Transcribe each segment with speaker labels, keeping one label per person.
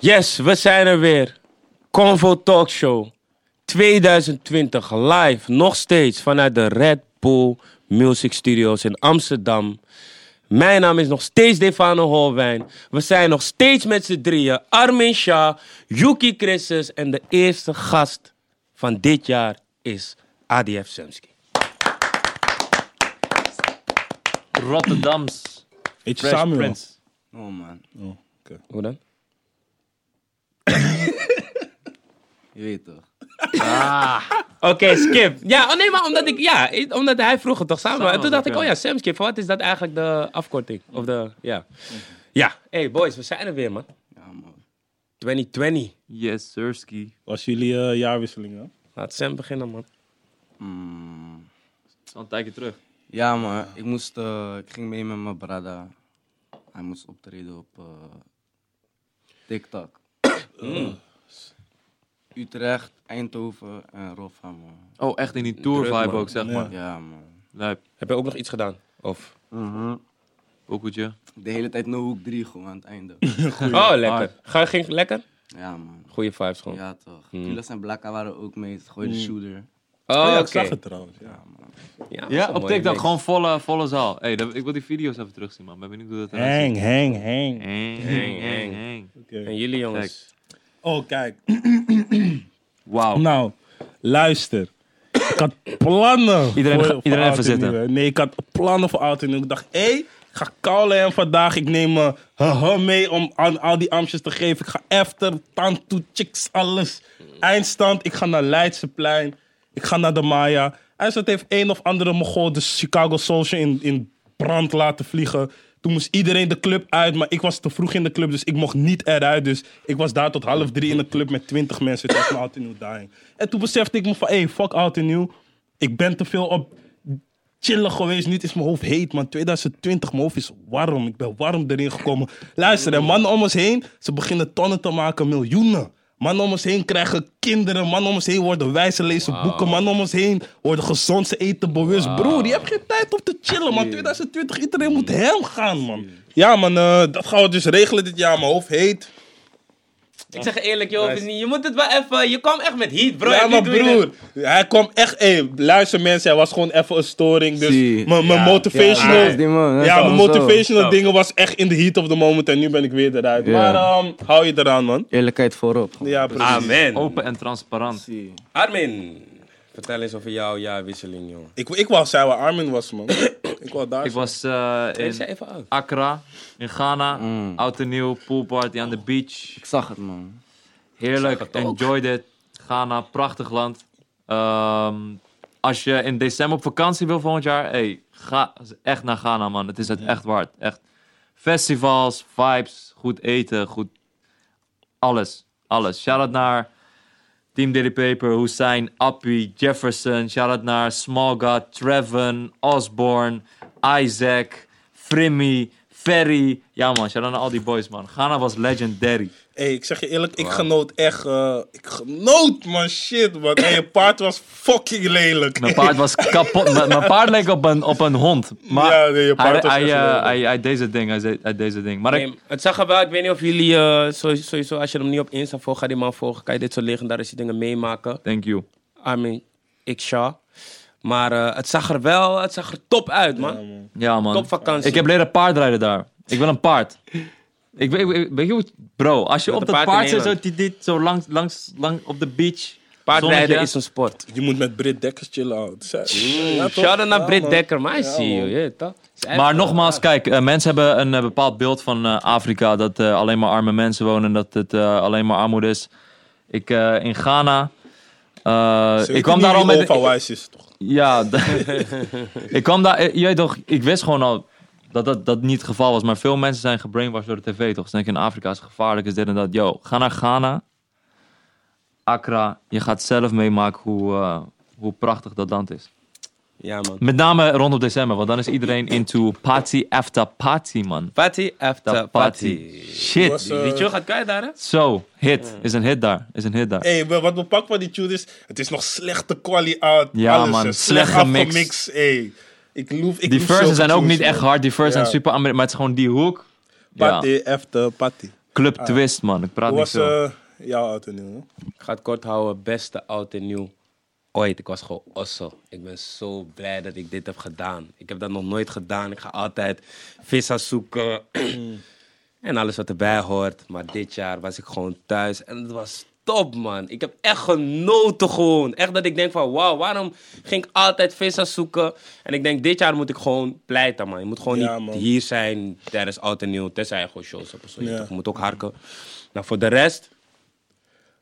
Speaker 1: Yes, we zijn er weer. Convo Talk Show 2020 live, nog steeds vanuit de Red Bull Music Studios in Amsterdam. Mijn naam is nog steeds Defano Holwijn. We zijn nog steeds met z'n drieën. Armin Shah, Yuki Christus en de eerste gast van dit jaar is ADF Sumski.
Speaker 2: Rotterdams.
Speaker 3: Eet je
Speaker 2: Fresh
Speaker 3: Samuel?
Speaker 2: Prince.
Speaker 4: Oh man,
Speaker 1: Hoe dan?
Speaker 4: je weet toch.
Speaker 1: Oké, Skip. Ja, oh nee, maar omdat, ik, ja, ik- omdat hij vroeg het toch samen.
Speaker 2: Samen
Speaker 1: en toen dacht
Speaker 2: was
Speaker 1: ik,
Speaker 2: het,
Speaker 1: oh ja, Sam Skip, wat is dat eigenlijk de afkorting? Of de, ja. Ja, hey boys, we zijn er weer, man.
Speaker 4: Ja man.
Speaker 1: 2020.
Speaker 2: Yes, Sirski.
Speaker 3: Was jullie eh, jaarwisseling, hè?
Speaker 1: Laat Sam beginnen, man.
Speaker 4: Mm.
Speaker 2: Dat is al een tijdje terug.
Speaker 4: Ja man, ik, moest, eh, ik ging mee met mijn brada. Hij moest optreden op eh, TikTok. Hmm. Utrecht, Eindhoven en Rotherdaam.
Speaker 2: Oh, echt in die tour
Speaker 1: Druk,
Speaker 2: vibe
Speaker 1: man.
Speaker 2: ook, zeg
Speaker 3: Ja.
Speaker 2: maar.
Speaker 4: Ja man.
Speaker 2: Lijp.
Speaker 1: Heb je ook nog iets gedaan? Of?
Speaker 2: Mhm. Pokoetje.
Speaker 4: De hele tijd no hoek 3 gewoon aan het einde.
Speaker 1: oh, lekker. Ga, ging lekker?
Speaker 4: ja man.
Speaker 1: Goeie vibes gewoon.
Speaker 4: Ja toch. Kulas en Blakka waren ook mee. Het gooide shooter.
Speaker 1: Oh,
Speaker 3: ja, ik
Speaker 1: oké.
Speaker 3: zag het trouwens. Ja.
Speaker 1: Ja,
Speaker 2: Ja,
Speaker 1: zo'n
Speaker 2: op
Speaker 1: mooie
Speaker 2: TikTok.
Speaker 1: mix.
Speaker 2: Gewoon volle, volle zaal. Hey, dat- ik wil die video's even terugzien, man. Ben benieuwd hoe dat eruit ziet.
Speaker 3: Hang, hang, hang.
Speaker 2: Hang, hang, hang, hang.
Speaker 3: Oké.
Speaker 1: En jullie jongens.
Speaker 3: Oh, kijk.
Speaker 2: Wauw.
Speaker 3: Nou, luister. Ik had plannen.
Speaker 2: Iedereen
Speaker 3: voor,
Speaker 2: ga-
Speaker 3: voor
Speaker 2: iedereen even
Speaker 3: Oud en
Speaker 2: zitten.
Speaker 3: Nieuw, hè. eh, Nee, ik had plannen voor oud en nieuw. Ik dacht, hé, ik ga koulen hem vandaag. Ik neem me mee om aan al die amstjes te geven. Ik ga efter, tantoe, chicks, alles. Eindstand, ik ga naar Leidseplein. Ik ga naar de Maya. Eindstand heeft een of andere mogol de Chicago Social in, in brand laten vliegen. Toen moest iedereen de club uit, maar ik was te vroeg in de club, dus ik mocht niet eruit. Dus ik was daar tot half drie in de club met twintig mensen. Het was mijn oud en nieuw dying. En toen besefte ik me van, hé, hey, fuck oud en nieuw. Ik ben te veel op chillen geweest. Niet is mijn hoofd heet, man. 2020, mijn hoofd is warm. Ik ben warm erin gekomen. Luister, en mannen om ons heen, ze beginnen tonnen te maken, miljoenen. Mannen om ons heen krijgen kinderen. Mannen om ons heen worden wijze lezen boeken. Mannen om ons heen worden gezond, ze eten bewust. Broer, je hebt geen tijd om te chillen, man. 2020, iedereen moet hem gaan, man. Ja, man, eh, dat gaan we dus regelen dit jaar. Mijn hoofd heet.
Speaker 1: Ik zeg je eerlijk, joh, Vinnie, je moet het wel even... Je kwam echt met heat, bro.
Speaker 3: ja,
Speaker 1: En nu
Speaker 3: maar
Speaker 1: doe je dit.
Speaker 3: broer, hij kwam echt... Hey, luister mensen, hij was gewoon even een storing. Dus
Speaker 4: Zie.
Speaker 3: mijn mijn
Speaker 4: Ja.
Speaker 3: motivational...
Speaker 4: Ja, die man, hè,
Speaker 3: Ja, mijn
Speaker 4: zo, zo.
Speaker 3: motivational
Speaker 2: Zo.
Speaker 3: dingen was echt in de heat of the moment en nu ben ik weer eruit.
Speaker 4: Ja.
Speaker 3: Maar ehm, hou je eraan, man.
Speaker 4: Eerlijkheid voorop. gewoon.
Speaker 3: Ja, precies.
Speaker 1: Amen.
Speaker 2: Open en transparant.
Speaker 4: Zie.
Speaker 1: Armin, vertel eens over jouw jaarwisseling, joh.
Speaker 3: Ik, ik wou zijn waar Armin was, man. ik wou daar
Speaker 2: Ik
Speaker 3: zijn.
Speaker 2: was eh,
Speaker 1: Wees jij
Speaker 2: in
Speaker 1: even oud?
Speaker 2: Accra, in Ghana. Oud en nieuw, poolparty aan de beach.
Speaker 4: Ik zag het man.
Speaker 2: Heerlijk, enjoy dit. Ghana, prachtig land. Ehm, als je in december op vakantie wil volgend jaar, hey, ga echt naar Ghana, man. Het is het echt waard. Echt. Festivals, vibes, goed eten, goed. Alles, alles. Shout out naar Team Daily Paper, Hussein, Appie, Jefferson. Shout out naar Small God, Trevon, Osborne, Isaac, Frimmy, Ferry. Ja, man, shout out naar al die boys, man. Ghana was legendary.
Speaker 3: Hey, ik zeg je eerlijk, ik genoot echt... eh, ik genoot, man. Shit, man. Hey, je paard was fucking lelijk.
Speaker 2: Mijn paard was kapot. M- mijn paard leek op een, op een hond. Maar
Speaker 3: Ja, nee, je paard was dus
Speaker 2: hij,
Speaker 3: echt
Speaker 2: hij, eh,
Speaker 3: leuk.
Speaker 2: hij, hij deed zijn ding. Hij, deed- hij deed zijn ding. Maar ik,
Speaker 1: Nee, het zag er wel, ik weet niet of jullie, eh, sowieso, sowieso, als je hem niet op Insta volgt, ga die man volgen. Kan je dit soort legendarische dingen meemaken.
Speaker 2: thank you.
Speaker 1: I mean, ik Sha. Maar eh, het zag er wel, het zag er top uit, man.
Speaker 2: Ja, man.
Speaker 1: Top vakantie.
Speaker 2: Ik heb leren paardrijden daar. Ik wil een paard. Ik weet, ik- weet je hoe... Bro, als je
Speaker 1: Met
Speaker 2: op
Speaker 1: een
Speaker 2: dat
Speaker 1: paard in
Speaker 2: paard zit, zo, die- dit, zo langs, langs, lang op de beach.
Speaker 1: Paardrijden
Speaker 2: zonnetje.
Speaker 1: is een sport.
Speaker 3: Je moet met Britt Dekkers chillen, oud.
Speaker 1: Shout out naar Britt
Speaker 3: Dekkers.
Speaker 1: Dekker, maar I see you, je weet toch? Het is echt-
Speaker 2: Maar nogmaals, kijk, eh, mensen hebben een eh, bepaald beeld van eh, Afrika. Dat eh, alleen maar arme mensen wonen en dat het eh, alleen maar armoede is. Ik eh, in Ghana. eh, ik kwam daar al met.
Speaker 3: Van Wijs is, toch?
Speaker 2: Ja, ik kwam daar. eh, Je weet toch, ik wist gewoon al dat dat, dat niet het geval was. Maar veel mensen zijn gebrainwashed door de tv, toch? Ze denken in Afrika is het gevaarlijk, is dit en dat. Yo, ga naar Ghana. Accra, je gaat zelf meemaken hoe, eh, hoe prachtig dat land is.
Speaker 1: Ja, man.
Speaker 2: Met name rondom december, want dan is iedereen into party after party, man.
Speaker 1: Party after
Speaker 2: After party.
Speaker 1: party.
Speaker 2: Shit.
Speaker 3: Was,
Speaker 2: Zo,
Speaker 3: eh,
Speaker 1: Die chill gaat kwijt daar, hè?
Speaker 2: hit. Is een hit daar. Is een hit daar.
Speaker 3: Ey, we- wat me pakt van die tune is, het is nog slechte quali ah, uit.
Speaker 2: Ja,
Speaker 3: alles,
Speaker 2: man,
Speaker 3: hè.
Speaker 2: slecht gemixt.
Speaker 3: afgemixt, ey. Ik loef, ik
Speaker 2: Die
Speaker 3: loef
Speaker 2: verses
Speaker 3: zulke
Speaker 2: zijn ook
Speaker 3: tunes,
Speaker 2: niet echt
Speaker 3: man.
Speaker 2: hard. Die verses
Speaker 3: Ja.
Speaker 2: zijn super Ameri- maar het is gewoon die hoek. Ja.
Speaker 3: Patty after patty.
Speaker 2: Club Twist, man. Ik praat
Speaker 3: Ah. Hoe
Speaker 2: niet
Speaker 3: was
Speaker 2: zo.
Speaker 3: eh, jouw auto nu? hè?
Speaker 1: Ik ga het kort houden. Beste oud en nieuw. Ooit, ik was gewoon ossel. Ik ben zo blij dat ik dit heb gedaan. Ik heb dat nog nooit gedaan. Ik ga altijd vissa zoeken. en alles wat erbij hoort. Maar dit jaar was ik gewoon thuis. En het was top, man. Ik heb echt genoten gewoon. Echt dat ik denk van, wauw, waarom ging ik altijd vissa zoeken? En ik denk, dit jaar moet ik gewoon pleiten, man. Je moet gewoon
Speaker 3: Ja,
Speaker 1: niet
Speaker 3: man.
Speaker 1: hier zijn tijdens oud en nieuw. Tenzij je gewoon shows hebt of zo. Je
Speaker 3: Ja.
Speaker 1: toch moet ook harken. Nou, voor de rest...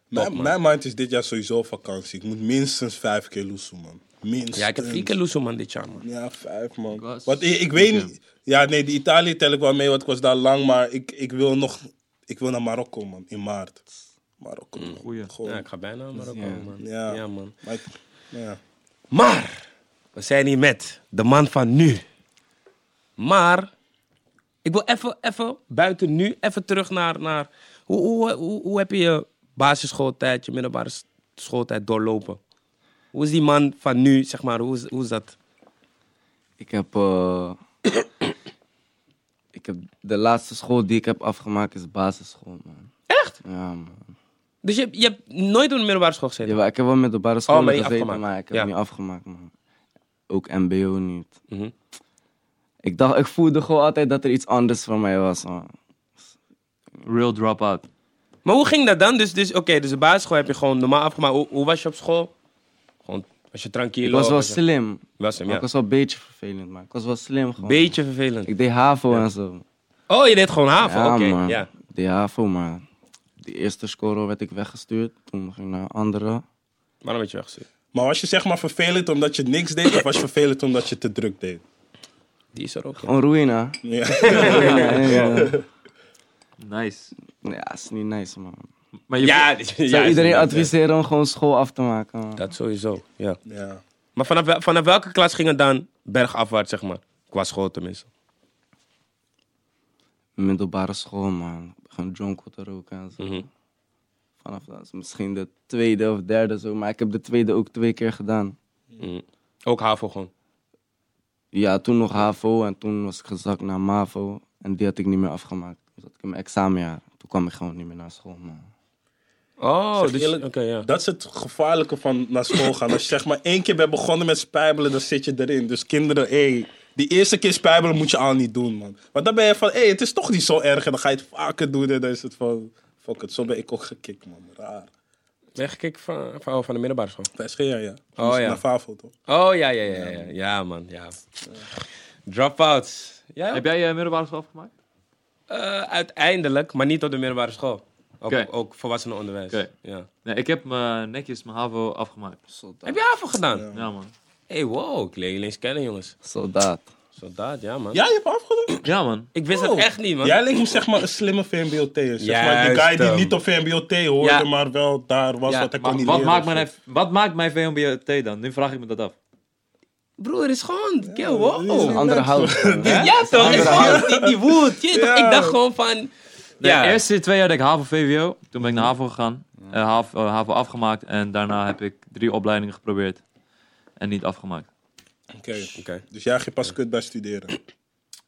Speaker 3: Mijn, mijn mind is dit jaar sowieso op vakantie. Ik moet minstens vijf keer loesoe, man. Minstens.
Speaker 1: Ja, ik heb vier keer loesoe, man, dit jaar, man.
Speaker 3: Ja, vijf, man.
Speaker 2: was-
Speaker 3: Want ik, ik weet niet... Ja, nee, de Italië tel ik wel mee, want ik was daar lang. Maar ik, ik wil nog... Ik wil naar Marokko, man. In maart. Marokko, man.
Speaker 2: Goeie.
Speaker 3: Gewoon.
Speaker 1: Mm, Ja, ik ga bijna naar Marokko, man.
Speaker 3: Ja.
Speaker 1: Ja. man.
Speaker 3: Maar ik- ja.
Speaker 1: Maar, we zijn hier met de man van nu. Maar, ik wil even, even buiten nu, even terug naar... naar hoe, hoe, hoe, hoe heb je je basisschooltijd, je middelbare s- schooltijd doorlopen? Hoe is die man van nu, zeg maar, hoe is, hoe is dat?
Speaker 4: Ik heb, eh, ik heb. De laatste school die ik heb afgemaakt is basisschool, man. Echt? Ja, man.
Speaker 1: Dus je, hebt- je hebt nooit op de middelbare school gezeten?
Speaker 4: Jawel, ik heb wel middelbare school
Speaker 1: Oh, maar niet
Speaker 4: gezeten,
Speaker 1: afgemaakt.
Speaker 4: maar ik heb
Speaker 1: Ja.
Speaker 4: niet afgemaakt, man. Ook MBO niet.
Speaker 1: Mhm.
Speaker 4: Ik dacht, ik voelde gewoon altijd dat er iets anders van mij was, man.
Speaker 3: eh,
Speaker 2: Real drop-out.
Speaker 1: Maar hoe ging dat dan? Dus, dus oké, dus de basisschool heb je gewoon normaal afgemaakt. Hoe, hoe was je op school? Gewoon, was je tranquilo?
Speaker 4: Ik was wel
Speaker 1: je-
Speaker 4: slim.
Speaker 1: Was hem,
Speaker 4: Maar
Speaker 1: ja.
Speaker 4: ik was wel een beetje vervelend, maar ik was wel slim gewoon.
Speaker 1: Beetje vervelend.
Speaker 4: Ik deed HAVO en zo.
Speaker 1: Oh, je deed gewoon haven.
Speaker 4: ja,
Speaker 1: Oké,
Speaker 4: man.
Speaker 1: ja.
Speaker 4: Ik deed HAVO, maar de eerste score werd ik weggestuurd. Toen ging ik naar een andere.
Speaker 1: Waarom werd je weggestuurd?
Speaker 3: Maar was je zeg maar vervelend omdat je niks deed? Of was je vervelend omdat je te druk deed?
Speaker 1: Die is er ook.
Speaker 4: Gewoon ruïna.
Speaker 3: Ja.
Speaker 4: Ruïna, ja, ja.
Speaker 2: Nice.
Speaker 4: Ja, is niet nice, man.
Speaker 2: Maar je
Speaker 1: Ja, ja,
Speaker 4: Ik zou
Speaker 1: ja,
Speaker 4: iedereen
Speaker 1: ja.
Speaker 4: adviseren om gewoon school af te maken, man.
Speaker 1: Dat sowieso, ja.
Speaker 3: ja.
Speaker 1: Maar vanaf, wel- vanaf welke klas ging het dan bergafwaarts, zeg maar? Qua school tenminste.
Speaker 4: Middelbare school, man. Gewoon jonko te roken en zo.
Speaker 1: Mhm.
Speaker 4: Vanaf dat is misschien de tweede of derde zo. Maar ik heb de tweede ook twee keer gedaan.
Speaker 1: Mm. Ook HAVO gewoon.
Speaker 4: Ja, toen nog HAVO en toen was ik gezakt naar MAVO. En die had ik niet meer afgemaakt. Toen zat ik in mijn examenjaar. Toen kwam ik gewoon niet meer naar school, man.
Speaker 1: Oh,
Speaker 3: Zeg
Speaker 1: dus...
Speaker 3: eerlijk-
Speaker 1: Oké, ja.
Speaker 3: Dat is het gevaarlijke van naar school gaan. Als je zeg maar één keer bent begonnen met spijbelen, dan zit je erin. Dus kinderen, hé, die eerste keer spijbelen moet je al niet doen, man. Want dan ben je van, hé, het is toch niet zo erg. En dan ga je het vaker doen en dan is het van, fuck it. Zo ben ik ook gekikt, man. Raar.
Speaker 1: Ben je gekeken van, van, oh, van de middelbare school?
Speaker 3: Bij SG, ja, ja.
Speaker 1: Oh,
Speaker 3: Dus
Speaker 1: ja.
Speaker 3: Naar Favo, toch?
Speaker 1: Oh, ja, ja, ja. Ja, ja man, ja. Dropouts. Ja,
Speaker 2: Heb jij je middelbare school afgemaakt?
Speaker 1: eh, uiteindelijk, maar niet op de middelbare school. Ook,
Speaker 2: Oké.
Speaker 1: ook volwassenenonderwijs.
Speaker 2: Oké.
Speaker 1: Ja.
Speaker 2: Nee, ik heb me netjes mijn HAVO afgemaakt. Dus
Speaker 1: Heb je HAVO gedaan?
Speaker 2: Ja, man.
Speaker 1: hey, wow. Ik leer jullie eens kennen, jongens.
Speaker 4: Soldaat.
Speaker 1: Soldaat, ja, man.
Speaker 3: Ja, je hebt afgedaan.
Speaker 2: Ja, man.
Speaker 1: Ik wist
Speaker 3: Oh.
Speaker 1: het echt niet, man.
Speaker 3: Jij leek me zeg maar een slimme VMBOT. Zeg maar die
Speaker 1: Juist,
Speaker 3: guy die
Speaker 1: ehm.
Speaker 3: niet op VMBOT hoorde,
Speaker 1: Ja.
Speaker 3: maar wel daar was
Speaker 1: Ja,
Speaker 3: wat hij kon
Speaker 2: Maar
Speaker 3: niet
Speaker 2: wat,
Speaker 3: leren
Speaker 2: maakt
Speaker 3: of
Speaker 2: mijn,
Speaker 3: zo.
Speaker 2: wat maakt mijn VMBOT dan? Nu vraag ik me dat af.
Speaker 1: Broer, is gewoon... Ja,
Speaker 4: Een andere hout. man.
Speaker 1: Ja, toch? Is gewoon die, die woed. Je, weet toch? Ik dacht gewoon van...
Speaker 2: De
Speaker 1: Ja,
Speaker 2: eerste twee jaar deed ik HAVO-VWO. Toen ben ik naar HAVO gegaan. eh, HAVO, eh, HAVO afgemaakt. En daarna heb ik drie opleidingen geprobeerd. En niet afgemaakt.
Speaker 3: Oké.
Speaker 1: Oké.
Speaker 3: Dus jij ging pas kut bij studeren.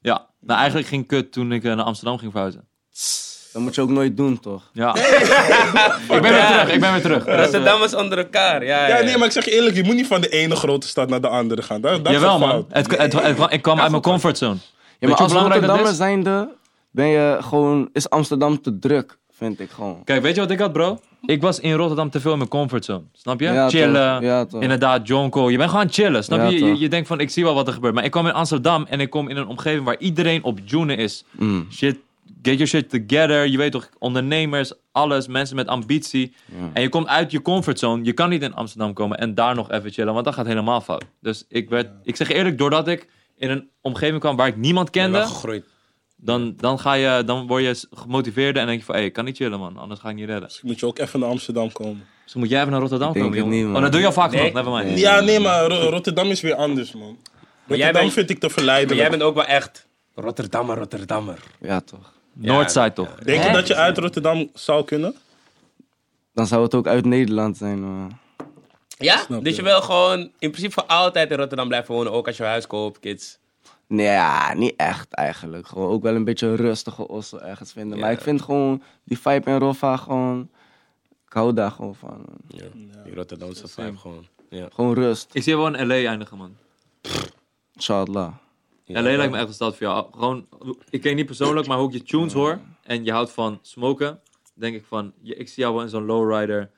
Speaker 2: Ja. Nou, eigenlijk ging kut toen ik eh, naar Amsterdam ging verhuizen.
Speaker 4: Dat moet je ook nooit doen, toch?
Speaker 2: Ja. ik ben weer terug. Ik ben weer terug.
Speaker 1: Rotterdam was onder elkaar. Ja, ja,
Speaker 3: Ja, nee, maar ik zeg je eerlijk, je moet niet van de ene grote stad naar de andere gaan. Dat, dat
Speaker 2: Jawel,
Speaker 3: is een
Speaker 2: man.
Speaker 3: fout.
Speaker 2: Het, het, het- ik kwam uit mijn comfortzone.
Speaker 4: Ja,
Speaker 2: je
Speaker 4: maar
Speaker 2: hoe
Speaker 4: als
Speaker 2: belangrijk dat
Speaker 4: Rotterdammer
Speaker 2: is?
Speaker 4: zijnde ben je gewoon... Is Amsterdam te druk, vind ik gewoon.
Speaker 2: Kijk, weet je wat ik had, bro? Ik was in Rotterdam te veel in mijn comfortzone. Snap je?
Speaker 4: Ja, toch.
Speaker 2: chillen.
Speaker 4: Ja, toch.
Speaker 2: Inderdaad, Jonko. Je bent gewoon aan het chillen. Snap
Speaker 4: Ja,
Speaker 2: je? je?
Speaker 4: toch.
Speaker 2: Je denkt van, ik zie wel wat er gebeurt. Maar ik kwam in Amsterdam en ik kom in een omgeving waar iedereen op June is.
Speaker 4: Mm.
Speaker 2: Shit, get your shit together. Je weet toch, ondernemers, alles. Mensen met ambitie. En je komt uit je comfortzone. Je kan niet in Amsterdam komen en daar nog even chillen. Want dat gaat helemaal fout. Dus ik werd, ik zeg eerlijk, doordat ik in een omgeving kwam waar ik niemand kende.
Speaker 1: gegroeid.
Speaker 2: Dan, dan, ga je, dan word je s- gemotiveerder en denk je van, hé, ik kan niet chillen, man. Anders ga ik niet redden.
Speaker 3: Dus moet je ook even naar Amsterdam komen.
Speaker 2: Dus moet jij even naar Rotterdam
Speaker 4: Ik denk
Speaker 2: komen,
Speaker 4: het
Speaker 2: jongen.
Speaker 4: niet,
Speaker 2: oh,
Speaker 4: man.
Speaker 2: dat doe je al vaak
Speaker 1: Nee.
Speaker 2: genoeg, never mind.
Speaker 1: Nee.
Speaker 3: Ja, nee, maar Ro- Rotterdam is weer anders, man.
Speaker 1: jij
Speaker 3: Rotterdam
Speaker 1: bent-
Speaker 3: vind ik te
Speaker 1: Maar jij
Speaker 3: verleidelijk.
Speaker 1: bent ook wel echt Rotterdammer, Rotterdammer.
Speaker 4: Ja, toch.
Speaker 2: Noordside toch?
Speaker 3: Denk je dat je uit Rotterdam zou kunnen?
Speaker 4: Dan zou het ook uit Nederland zijn, man.
Speaker 1: Ja?
Speaker 3: Snap
Speaker 1: dus
Speaker 3: je.
Speaker 1: je wil gewoon in principe voor altijd in Rotterdam blijven wonen. Ook als je huis koopt, kids.
Speaker 4: Nee, ja, niet echt eigenlijk. Gewoon ook wel een beetje rustige ossel ergens vinden. Maar ik vind gewoon die vibe in Roffa gewoon... Ik hou daar gewoon van.
Speaker 1: Ja. Die Rotterdamse vibe gewoon. Ja.
Speaker 4: Gewoon rust.
Speaker 2: Ik zie je wel in L.A. eindigen, man.
Speaker 4: Inshallah.
Speaker 1: Ja.
Speaker 2: L.A. lijkt me echt een stad voor jou. Gewoon, ik ken je niet persoonlijk, maar hoe ik je tunes hoor en je houdt van smoken, denk ik van, je- ik zie jou wel in zo'n lowrider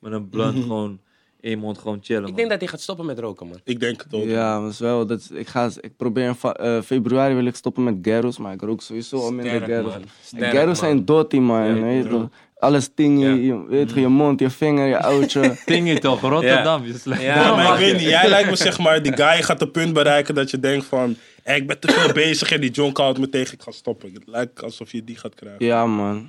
Speaker 2: met een blunt gewoon in je mond gewoon chillen.
Speaker 1: Ik denk dat hij gaat stoppen met roken, man.
Speaker 3: Ik denk het ook.
Speaker 4: Ja, maar is wel. Dat, is- ik, ga, ik probeer in fa- eh, februari wil ik stoppen met Gerros, maar ik rook sowieso al minder
Speaker 1: Sterk,
Speaker 4: Gerros.
Speaker 1: man.
Speaker 4: En
Speaker 1: Sterk, man.
Speaker 4: Gerros zijn dotty, man. weet je toch? Alles ting je, je, weet je, je mond, je vinger, je oudje.
Speaker 2: Ding je toch, Rotterdam, je slecht.
Speaker 1: Ja,
Speaker 3: Ja,
Speaker 1: man.
Speaker 3: maar ik weet niet. Jij lijkt me zeg maar, die guy gaat een punt bereiken dat je denkt van... hé, ik ben te veel bezig en die John houdt me tegen, ik ga stoppen. Het lijkt alsof je die gaat krijgen.
Speaker 4: ja, man.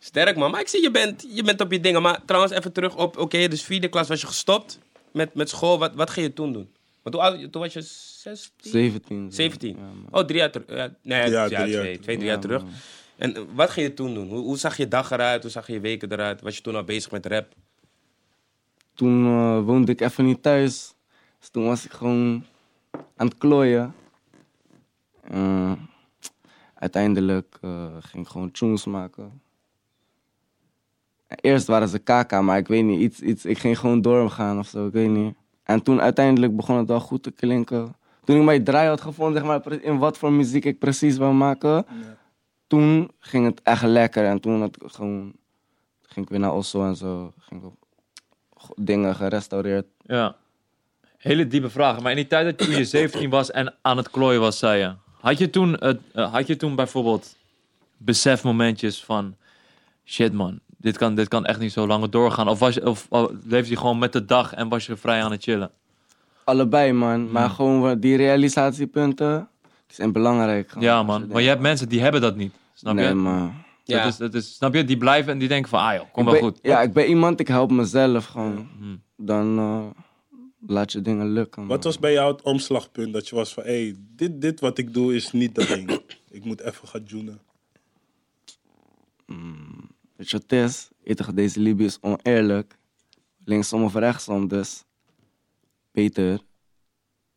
Speaker 1: Sterk, man. Maar ik zie, je bent, je bent op je dingen. Maar trouwens, even terug op... Oké, dus vierde klas was je gestopt met, met school. Wat, wat ging je toen doen? Want toen, oud- toen was je 16?
Speaker 4: 17. zo.
Speaker 1: 17.
Speaker 4: Ja, man.
Speaker 1: oh, drie jaar terug. Ja, nee, ja,
Speaker 3: Ja, drie jaar
Speaker 1: twee,
Speaker 3: terug.
Speaker 1: twee, drie jaar terug. En eh, wat ging je toen doen? Hoe, hoe zag je dag eruit? Hoe zag je weken eruit? Was je toen al bezig met rap?
Speaker 4: Toen eh, woonde ik even niet thuis. Dus toen was ik gewoon aan het klooien. Eh, uiteindelijk eh, ging ik gewoon tunes maken. Eerst waren ze kaka, maar ik weet niet, iets, iets, ik ging gewoon doorgaan of zo, ik weet niet. En toen uiteindelijk begon het wel goed te klinken. Toen ik mijn draai had gevonden, zeg maar, pre- in wat voor muziek ik precies wil maken, toen ging het echt lekker. En toen had ik gewoon, ging ik weer naar Oslo en zo, ging ik op go- dingen gerestaureerd.
Speaker 2: Ja. Hele diepe vragen. Maar in die tijd dat toen je 17 was en aan het klooien was, zei je. Had je toen, het, eh, had je toen bijvoorbeeld besefmomentjes van... Shit man, dit kan, dit kan echt niet zo langer doorgaan. Of, was je, of, of leefde je gewoon met de dag en was je vrij aan het chillen?
Speaker 4: Allebei, man.
Speaker 2: Hmm.
Speaker 4: Maar gewoon wa- die realisatiepunten die zijn belangrijk. gewoon.
Speaker 2: ja
Speaker 4: Als
Speaker 2: man, maar
Speaker 4: denkt-
Speaker 2: je hebt mensen die hebben dat niet. Snap
Speaker 4: Nee,
Speaker 2: je?
Speaker 4: man.
Speaker 2: Dat is, dat is, snap je? Die blijven en die denken van, ah joh, kom
Speaker 4: Ik
Speaker 2: wel
Speaker 4: ben-
Speaker 2: goed.
Speaker 4: Ja, ik ben iemand, ik help mezelf gewoon.
Speaker 2: Mhm.
Speaker 4: Dan eh, laat je dingen lukken. man.
Speaker 3: Wat was bij jou het omslagpunt dat je was van... hé, dit, dit wat ik doe is niet dat ding. Ik moet even gaan joenen.
Speaker 4: Mm, weet je wat het is? Eten deze Libië is oneerlijk. Linksom of rechtsom, dus beter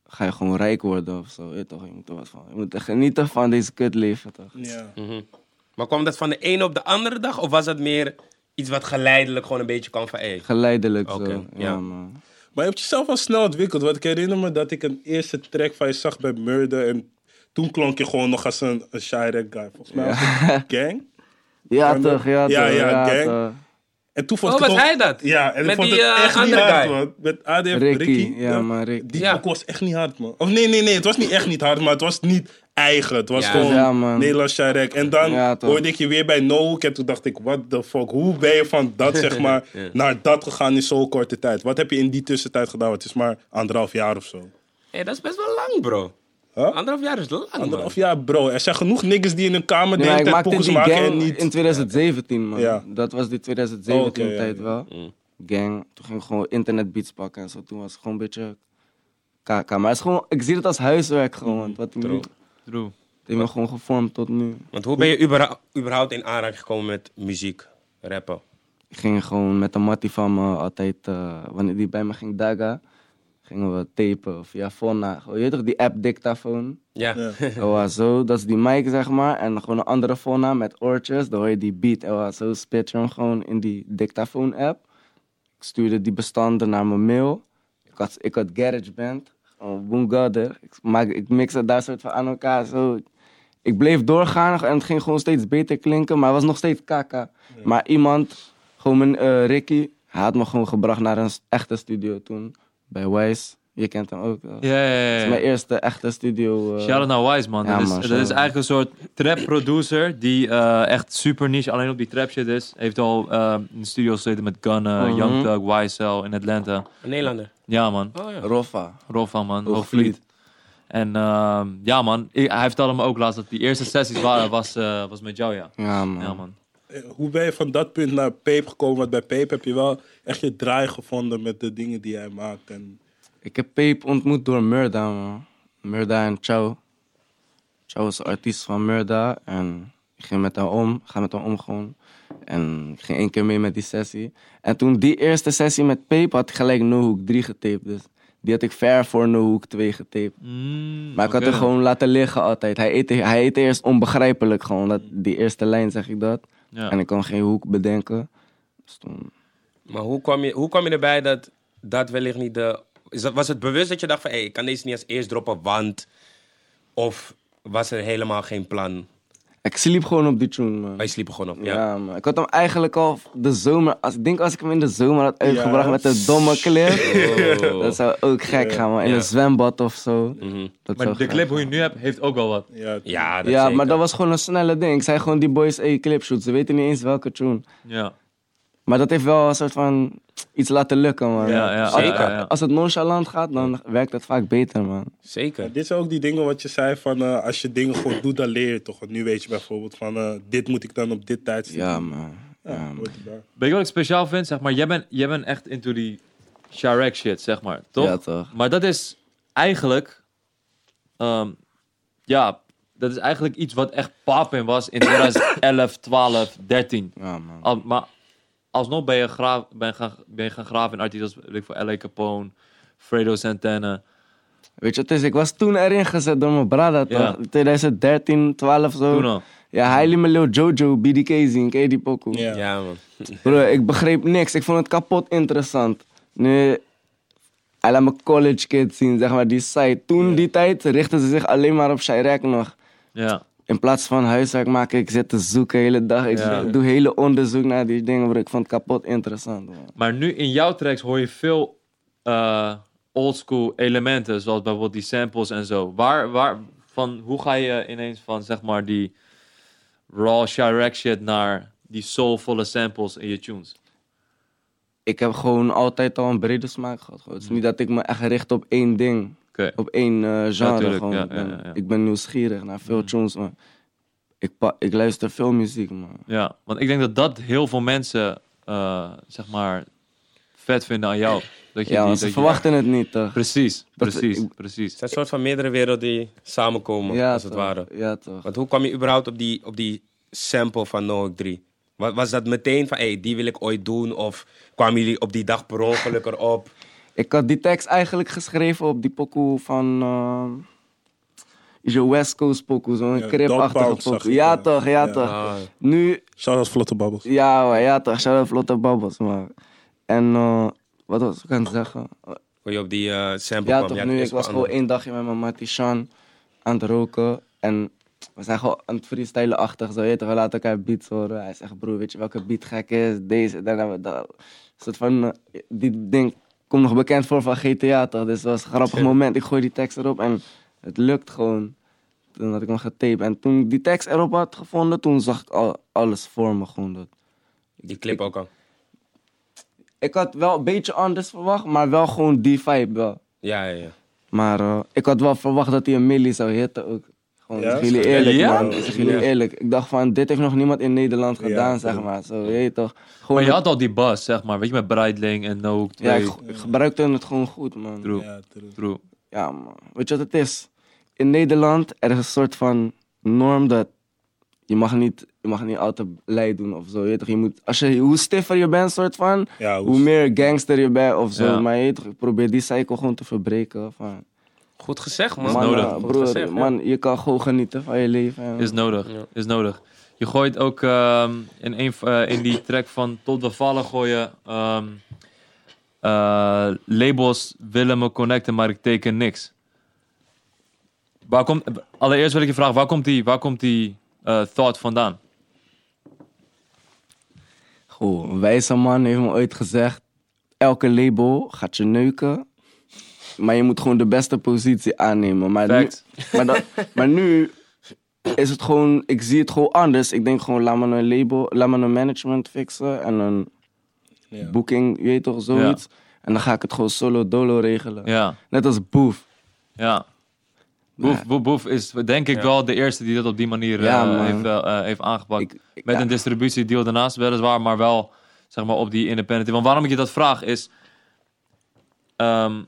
Speaker 4: ga je gewoon rijk worden of zo. Weet je toch? Je moet er wat van. Je moet echt genieten van deze kutleven, toch?
Speaker 3: Ja.
Speaker 1: Mhm. Maar kwam dat van de ene op de andere dag? Of was dat meer iets wat geleidelijk gewoon een beetje kwam van... Hey,
Speaker 4: Geleidelijk
Speaker 1: Oké,
Speaker 4: zo.
Speaker 1: ja.
Speaker 4: Ja, man.
Speaker 3: Maar je hebt jezelf al snel ontwikkeld. Want ik herinner me dat ik een eerste track van je zag bij Murder. En toen klonk je gewoon nog als een, een Shirek guy. Volgens mij was het Gang.
Speaker 4: Ja,
Speaker 3: Kan dat?
Speaker 4: toch? Ja,
Speaker 3: Ja,
Speaker 4: toch,
Speaker 3: ja, gang.
Speaker 4: toch.
Speaker 3: En toen vond
Speaker 1: oh,
Speaker 3: ik het
Speaker 1: was
Speaker 3: ook-
Speaker 1: hij dat?
Speaker 3: Ja, en
Speaker 1: Met
Speaker 3: ik vond
Speaker 1: die,
Speaker 3: het
Speaker 1: eh,
Speaker 3: echt niet
Speaker 1: andere
Speaker 3: hard,
Speaker 1: guy.
Speaker 3: man. Met ADF,
Speaker 4: Ricky,
Speaker 3: Ricky.
Speaker 4: ja, maar Ricky.
Speaker 3: Die
Speaker 1: Ja.
Speaker 3: pokoe was echt niet hard, man. Of nee, nee, nee. Het was niet echt niet hard, maar het was niet eigen. Het was
Speaker 1: Ja.
Speaker 3: gewoon
Speaker 4: Ja, man.
Speaker 3: Nederlands Shirek. En dan
Speaker 4: Ja, toch.
Speaker 3: hoorde ik je weer bij No Hook. En toen dacht ik, what the fuck. Hoe ben je van dat, zeg maar, naar dat gegaan in zo'n korte tijd? Wat heb je in die tussentijd gedaan? Want Het is maar anderhalf jaar of zo.
Speaker 1: Hey, dat is best wel lang, bro.
Speaker 3: Huh?
Speaker 1: Anderhalf jaar is lang, man.
Speaker 3: Anderhalf jaar, bro. Er zijn genoeg niggas die in hun kamer
Speaker 4: Nee,
Speaker 3: de
Speaker 4: maar
Speaker 3: hele tijd
Speaker 4: ik maakte
Speaker 3: pokoes
Speaker 4: die
Speaker 3: maken
Speaker 4: gang
Speaker 3: en
Speaker 4: in
Speaker 3: niet...
Speaker 4: 2017, man.
Speaker 3: Ja.
Speaker 4: Dat was die 2017
Speaker 3: Oh, oké, ja,
Speaker 4: tijd
Speaker 3: ja.
Speaker 4: wel. Gang. Toen ging ik gewoon internetbeats pakken en zo. Toen was het gewoon een beetje kk. Maar het is gewoon, ik zie het als huiswerk gewoon. want Wat nu, het
Speaker 2: True.
Speaker 4: heeft me gewoon gevormd tot nu.
Speaker 1: Want hoe ben je überha- überhaupt in aanraking gekomen met muziek, rappen?
Speaker 4: Ik ging gewoon met de mattie van me altijd, eh, wanneer die bij me ging daga, gingen we tapen of ja, Fonna. Gewoon, Je weet toch die app dictaphone?
Speaker 1: Ja.
Speaker 3: Ja.
Speaker 4: Ewa, zo, dat is die mic zeg maar. En gewoon een andere fona met oortjes. Dan hoor je die beat. Ewa, zo spit je hem gewoon in die dictaphone app. Ik stuurde die bestanden naar mijn mail. Ik had, ik had GarageBand. Gewoon Boomgader. Ik, maak- ik mix het daar soort van aan elkaar. Zo. Ik bleef doorgaan en het ging gewoon steeds beter klinken. Maar het was nog steeds kaka. Maar iemand, gewoon mijn eh, Ricky, hij had me gewoon gebracht naar een s- echte studio toen. Bij Wise. Je kent hem ook. wel.
Speaker 2: Ja, ja,
Speaker 4: Dat
Speaker 2: ja,
Speaker 4: is
Speaker 2: ja.
Speaker 4: mijn eerste echte studio. eh,
Speaker 2: Shout out naar Wise, man.
Speaker 4: Ja,
Speaker 2: dat, is,
Speaker 4: man,
Speaker 2: dat
Speaker 4: shout
Speaker 2: is
Speaker 4: out.
Speaker 2: eigenlijk een soort trap producer die eh, echt super niche alleen op die trap shit is. Heeft al eh, in de studio gezeten met Gunna,
Speaker 4: Mhm.
Speaker 2: Young Thug, YSL in Atlanta.
Speaker 1: Een Nederlander.
Speaker 2: Ja, man.
Speaker 1: Oh ja.
Speaker 4: Roffa.
Speaker 2: Roffa, man.
Speaker 4: Hoogvliet.
Speaker 2: Hoogvliet. En ehm, ja, man. I- Hij vertelde me ook laatst dat die eerste sessies waren, was, eh, was met jou, ja.
Speaker 4: Ja, man.
Speaker 2: Ja, man.
Speaker 3: Eh, Hoe ben je van dat punt naar Peep gekomen? Want bij Peep heb je wel echt je draai gevonden met de dingen die jij maakt. En
Speaker 4: Ik heb Peep ontmoet door Murda, man. Murda en Chow. Chow is artiest van Murda. En ik ging met hem om. Ga met hem om gewoon. En ik ging één keer mee met die sessie. En toen die eerste sessie met Peep had ik gelijk No Hook 3 getaped. Dus Die had ik ver voor No Hook 2 getaped.
Speaker 2: Mm,
Speaker 4: Maar ik had
Speaker 2: oké.
Speaker 4: hem gewoon laten liggen altijd. Hij eet, hij eet eerst onbegrijpelijk gewoon. Dat, die eerste lijn zeg ik dat.
Speaker 2: Ja.
Speaker 4: En ik kon geen hoek bedenken. Dus toen-
Speaker 1: Maar hoe kwam, je, hoe kwam je erbij dat dat wellicht niet de... Is dat, was het bewust dat je dacht van, hé, ik kan deze niet als eerst droppen, want... Of was er helemaal geen plan?
Speaker 4: ik sliep gewoon op die tune, man.
Speaker 1: Wij sliepen gewoon op,
Speaker 4: Ja,
Speaker 1: ja.
Speaker 4: man. Ik had hem eigenlijk al de zomer... Als, ik denk als ik hem in de zomer had uitgebracht met de domme clip...
Speaker 1: Oh.
Speaker 4: Dat zou ook gek gaan, man. In
Speaker 1: Ja.
Speaker 4: een zwembad of zo.
Speaker 1: Mhm.
Speaker 4: Dat
Speaker 2: Maar
Speaker 4: zou
Speaker 2: de
Speaker 4: gek
Speaker 2: clip hoe je nu hebt, heeft ook wel wat.
Speaker 3: Ja,
Speaker 1: Ja, dat
Speaker 4: Ja,
Speaker 1: zeker.
Speaker 4: maar dat was gewoon een snelle ding. Ik zei gewoon die boys, hey, clipshoot. Ze weten niet eens welke tune.
Speaker 2: Ja.
Speaker 4: Maar dat heeft wel een soort van iets laten lukken, man.
Speaker 2: Ja, ja,
Speaker 4: als,
Speaker 1: zeker.
Speaker 2: ja, ja.
Speaker 4: als het nonchalant gaat, dan werkt het vaak beter, man.
Speaker 1: Zeker.
Speaker 3: Dit zijn ook die dingen wat je zei van eh, als je dingen gewoon doet, dan leer je toch. Want nu weet je bijvoorbeeld van eh, dit moet ik dan op dit tijdstip.
Speaker 4: Ja, man. Ja,
Speaker 3: Ja,
Speaker 4: man.
Speaker 3: hoort erbij.
Speaker 2: Weet je wat ik speciaal vind? Zeg maar, jij bent, jij bent echt into die Sharek shit, zeg maar. Toch?
Speaker 4: Ja, toch.
Speaker 2: Maar dat is eigenlijk... ehm, ja, dat is eigenlijk iets wat echt papin was in 2011, 12, 13.
Speaker 4: Ja, man.
Speaker 2: Al- maar alsnog ben je, graaf, ben, je gaan, ben je gaan graven in artiesten als weet ik, voor L.A. Capone, Fredo Santana.
Speaker 4: Weet je wat het is? Ik was toen erin gezet door mijn brada, toch?
Speaker 2: Ja.
Speaker 4: 2013, 12 zo.
Speaker 2: Toen al.
Speaker 4: Ja, hij liet me Lil Jojo, BDK zien. Ken je die pokoe?
Speaker 3: Ja.
Speaker 1: Ja, man.
Speaker 4: Bro, ik begreep niks. Ik vond het kapot interessant. Nu, hij laat me college kids zien, zeg maar, die site. Toen, die tijd, richtten ze zich alleen maar op Shirek nog.
Speaker 2: Ja.
Speaker 4: In plaats van huiswerk maken, ik zit te zoeken de hele dag. Ik
Speaker 2: Ja.
Speaker 4: doe hele onderzoek naar die dingen, bro. Ik vond het kapot interessant, man.
Speaker 2: Maar nu in jouw tracks hoor je veel eh oldschool elementen, zoals bijvoorbeeld die samples en zo. Waar, waar, van, hoe ga je ineens van zeg maar die raw Chirac shit naar die soulvolle samples in je tunes?
Speaker 4: Ik heb gewoon altijd al een brede smaak gehad. gewoon. Het is niet dat ik me echt richt op één ding.
Speaker 2: Oké.
Speaker 4: op één eh,
Speaker 2: Ja,
Speaker 4: genre.
Speaker 2: tuurlijk.
Speaker 4: gewoon.
Speaker 2: Ja,
Speaker 4: ik, ben,
Speaker 2: ja, ja, Mhm. ja.
Speaker 4: ik ben nieuwsgierig naar veel tunes, man. Ik, pa- ik luister veel muziek, man.
Speaker 2: Ja, want ik denk dat dat heel veel mensen eh, zeg maar vet vinden aan jou. Dat je die-
Speaker 4: Ja, want
Speaker 2: dat
Speaker 4: ze
Speaker 2: je-
Speaker 4: verwachten het niet, toch?
Speaker 2: Precies,
Speaker 4: Dat-
Speaker 2: precies,
Speaker 4: ik-
Speaker 1: Het
Speaker 2: precies.
Speaker 1: zijn een soort van meerdere werelden die samenkomen, als het
Speaker 4: toch.
Speaker 1: ware.
Speaker 4: Ja, toch.
Speaker 1: Want hoe kwam je überhaupt op die, op die sample van No Hook 3? Wa- Was dat meteen van, hey, die wil ik ooit doen? Of kwamen jullie op die dag per ongeluk erop?
Speaker 4: Ik had die tekst eigenlijk geschreven op die pokoe van... ehm is je West Coast pokoe, zo'n
Speaker 3: Ja,
Speaker 4: cripachtige
Speaker 3: Dogpound zag
Speaker 4: pokoe.
Speaker 3: ik,
Speaker 4: Ja,
Speaker 3: ja.
Speaker 4: toch, ja,
Speaker 3: Ja.
Speaker 4: toch.
Speaker 1: Ah.
Speaker 4: Nu,
Speaker 3: Shout-out Vlotte Babbels.
Speaker 4: ja, man, ja, toch. Shout-out Vlotte Babbels, man. En eh, wat was ik aan het zeggen?
Speaker 1: Hoe je op die eh, sample
Speaker 4: Ja,
Speaker 1: kwam?
Speaker 4: toch,
Speaker 1: het
Speaker 4: nu,
Speaker 1: is
Speaker 4: ik was gewoon
Speaker 1: spannend.
Speaker 4: één dagje met mijn mattie Sean aan het roken. En we zijn gewoon aan het freestylen-achtig, zo. Je weet toch, we laten elkaar beats horen. Hij zegt, broer, weet je welke beat gek is? Deze, dan hebben we dat. Een soort van, eh, die ding komt nog bekend voor van GTA, toch? Dus het was een grappig moment. Ik gooi die tekst erop en het lukt gewoon. Toen had ik hem getaped. En toen ik die tekst erop had gevonden, toen zag ik al, alles voor me gewoon. Dat.
Speaker 1: Die clip ook al.
Speaker 4: Ik had wel een beetje anders verwacht, maar wel gewoon die vibe wel.
Speaker 1: Ja, ja, ja.
Speaker 4: Maar eh, ik had wel verwacht dat hij een milli zou hitten ook. Gewoon,
Speaker 3: Ja?
Speaker 4: zeg jullie eerlijk,
Speaker 2: Ja?
Speaker 4: man. Zeg jullie eerlijk. Ik dacht van, dit heeft nog niemand in Nederland
Speaker 3: Ja,
Speaker 4: gedaan,
Speaker 3: ja.
Speaker 4: zeg maar. Zo, je weet toch.
Speaker 2: Maar
Speaker 4: Gewoon,
Speaker 2: je had al die bas, zeg maar, weet je, met Breitling en No Hook
Speaker 4: ja,
Speaker 2: 2.
Speaker 4: ik, ge- ik gebruikte het gewoon goed, man.
Speaker 2: True,
Speaker 3: Ja, true.
Speaker 2: true.
Speaker 4: Ja, man. Weet je wat het is? In Nederland, er is een soort van norm dat je mag niet, je mag niet al te blij doen of zo. Je weet toch, je moet, als je, hoe stiffer je bent, soort van,
Speaker 3: Ja, hoe-
Speaker 4: hoe meer gangster je bent of zo.
Speaker 2: Ja.
Speaker 4: Maar je weet toch, ik probeer die cycle gewoon te verbreken. Van,
Speaker 1: Goed gezegd, man.
Speaker 4: man,
Speaker 2: nodig.
Speaker 4: eh,
Speaker 1: Goed
Speaker 4: broer,
Speaker 1: gezegd, ja.
Speaker 4: man, je kan gewoon genieten van je leven. en-
Speaker 2: Is nodig, is nodig. Je gooit ook ehm, in, een, v- eh, in die track van Tot we vallen gooien. ehm, eh, labels willen me connecten, maar ik teken niks. Waar komt, allereerst wil ik je vragen, waar komt die, waar komt die eh, thought vandaan?
Speaker 4: Goh, een wijze man heeft me ooit gezegd: elke label gaat je neuken. Maar je moet gewoon de beste positie aannemen. Maar nu,
Speaker 2: Facts.
Speaker 4: maar, dat, maar nu is het gewoon, ik zie het gewoon anders. Ik denk gewoon, laat me een label, laat me een management fixen en een
Speaker 3: Ja.
Speaker 4: booking, je weet toch, zoiets. En dan ga ik het gewoon solo dolo regelen.
Speaker 2: Ja,
Speaker 4: Net als Boef.
Speaker 2: ja. Boef, boef, boef is denk ik wel de eerste die dat op die manier eh,
Speaker 4: Ja, man.
Speaker 2: heeft, eh, eh, heeft aangepakt.
Speaker 4: Ik- ik-
Speaker 2: Met
Speaker 4: ja.
Speaker 2: een distributiedeal daarnaast, weliswaar, maar wel zeg maar, op die independent. Want waarom ik je dat vraag is. ehm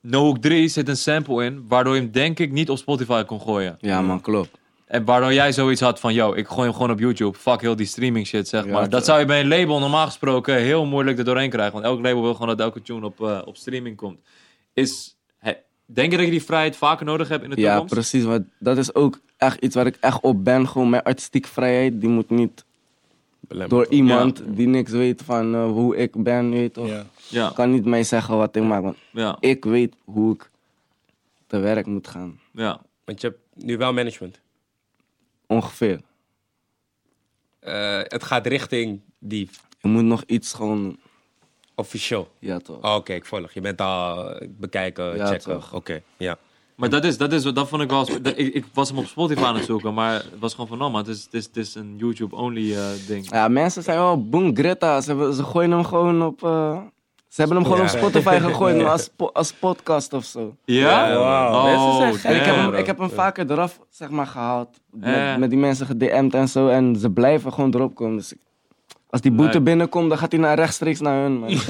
Speaker 2: no Hook 3 zit een sample in, waardoor je hem denk ik niet op Spotify kon gooien.
Speaker 4: Ja, man, klopt.
Speaker 2: En waardoor jij zoiets had van, yo, ik gooi hem gewoon op YouTube. Fuck heel die streaming shit, zeg
Speaker 4: Ja,
Speaker 2: maar. Dat
Speaker 4: toch.
Speaker 2: zou je bij een label normaal gesproken heel moeilijk er doorheen krijgen. Want elk label wil gewoon dat elke tune op, eh, op streaming komt. Is Denk je dat je die vrijheid vaker nodig hebt in de
Speaker 4: Ja,
Speaker 2: toekomst?
Speaker 4: precies. Want dat is ook echt iets waar ik echt op ben. Gewoon mijn artistieke vrijheid, die moet niet door
Speaker 1: Belemmerd.
Speaker 4: iemand die niks weet van eh, hoe ik ben, weet toch?
Speaker 3: Ja.
Speaker 2: Ja,
Speaker 4: Kan niet mij zeggen wat ik maak, want
Speaker 2: ja,
Speaker 4: ik weet hoe ik te werk moet gaan.
Speaker 2: ja.
Speaker 1: Want je hebt nu wel management.
Speaker 4: Ongeveer.
Speaker 1: Eh, het gaat richting die
Speaker 4: Ik moet nog iets gewoon,
Speaker 1: officieel.
Speaker 4: ja toch.
Speaker 1: Oh, Oké, ik volg. Je bent al eh, bekijken,
Speaker 4: Ja,
Speaker 1: checken.
Speaker 4: toch.
Speaker 1: Oké, ja.
Speaker 2: Maar dat is, dat is, dat vond ik wel... sp- dat- Ik, ik was hem op Spotify aan het zoeken, maar het was gewoon van, oh man, het is, het is, het is een YouTube-only eh, ding.
Speaker 4: Ja, mensen zijn wel boom Greta. Ze, hebben- ze gooien hem gewoon op. eh, ze hebben hem gewoon op
Speaker 1: Ja.
Speaker 4: Spotify gegooid, maar als, po- als podcast of zo.
Speaker 2: Ja?
Speaker 1: Wauw.
Speaker 2: Oh,
Speaker 1: Mensen zijn gek.
Speaker 4: En ik heb hem,
Speaker 1: bro.
Speaker 4: ik heb hem vaker eraf zeg maar, gehaald. Met,
Speaker 2: Ja.
Speaker 4: met die mensen gedm'd en zo. En ze blijven gewoon erop komen. Dus ik- als die boete
Speaker 2: Leuk.
Speaker 4: binnenkomt, dan gaat hij naar rechtstreeks naar hun. man.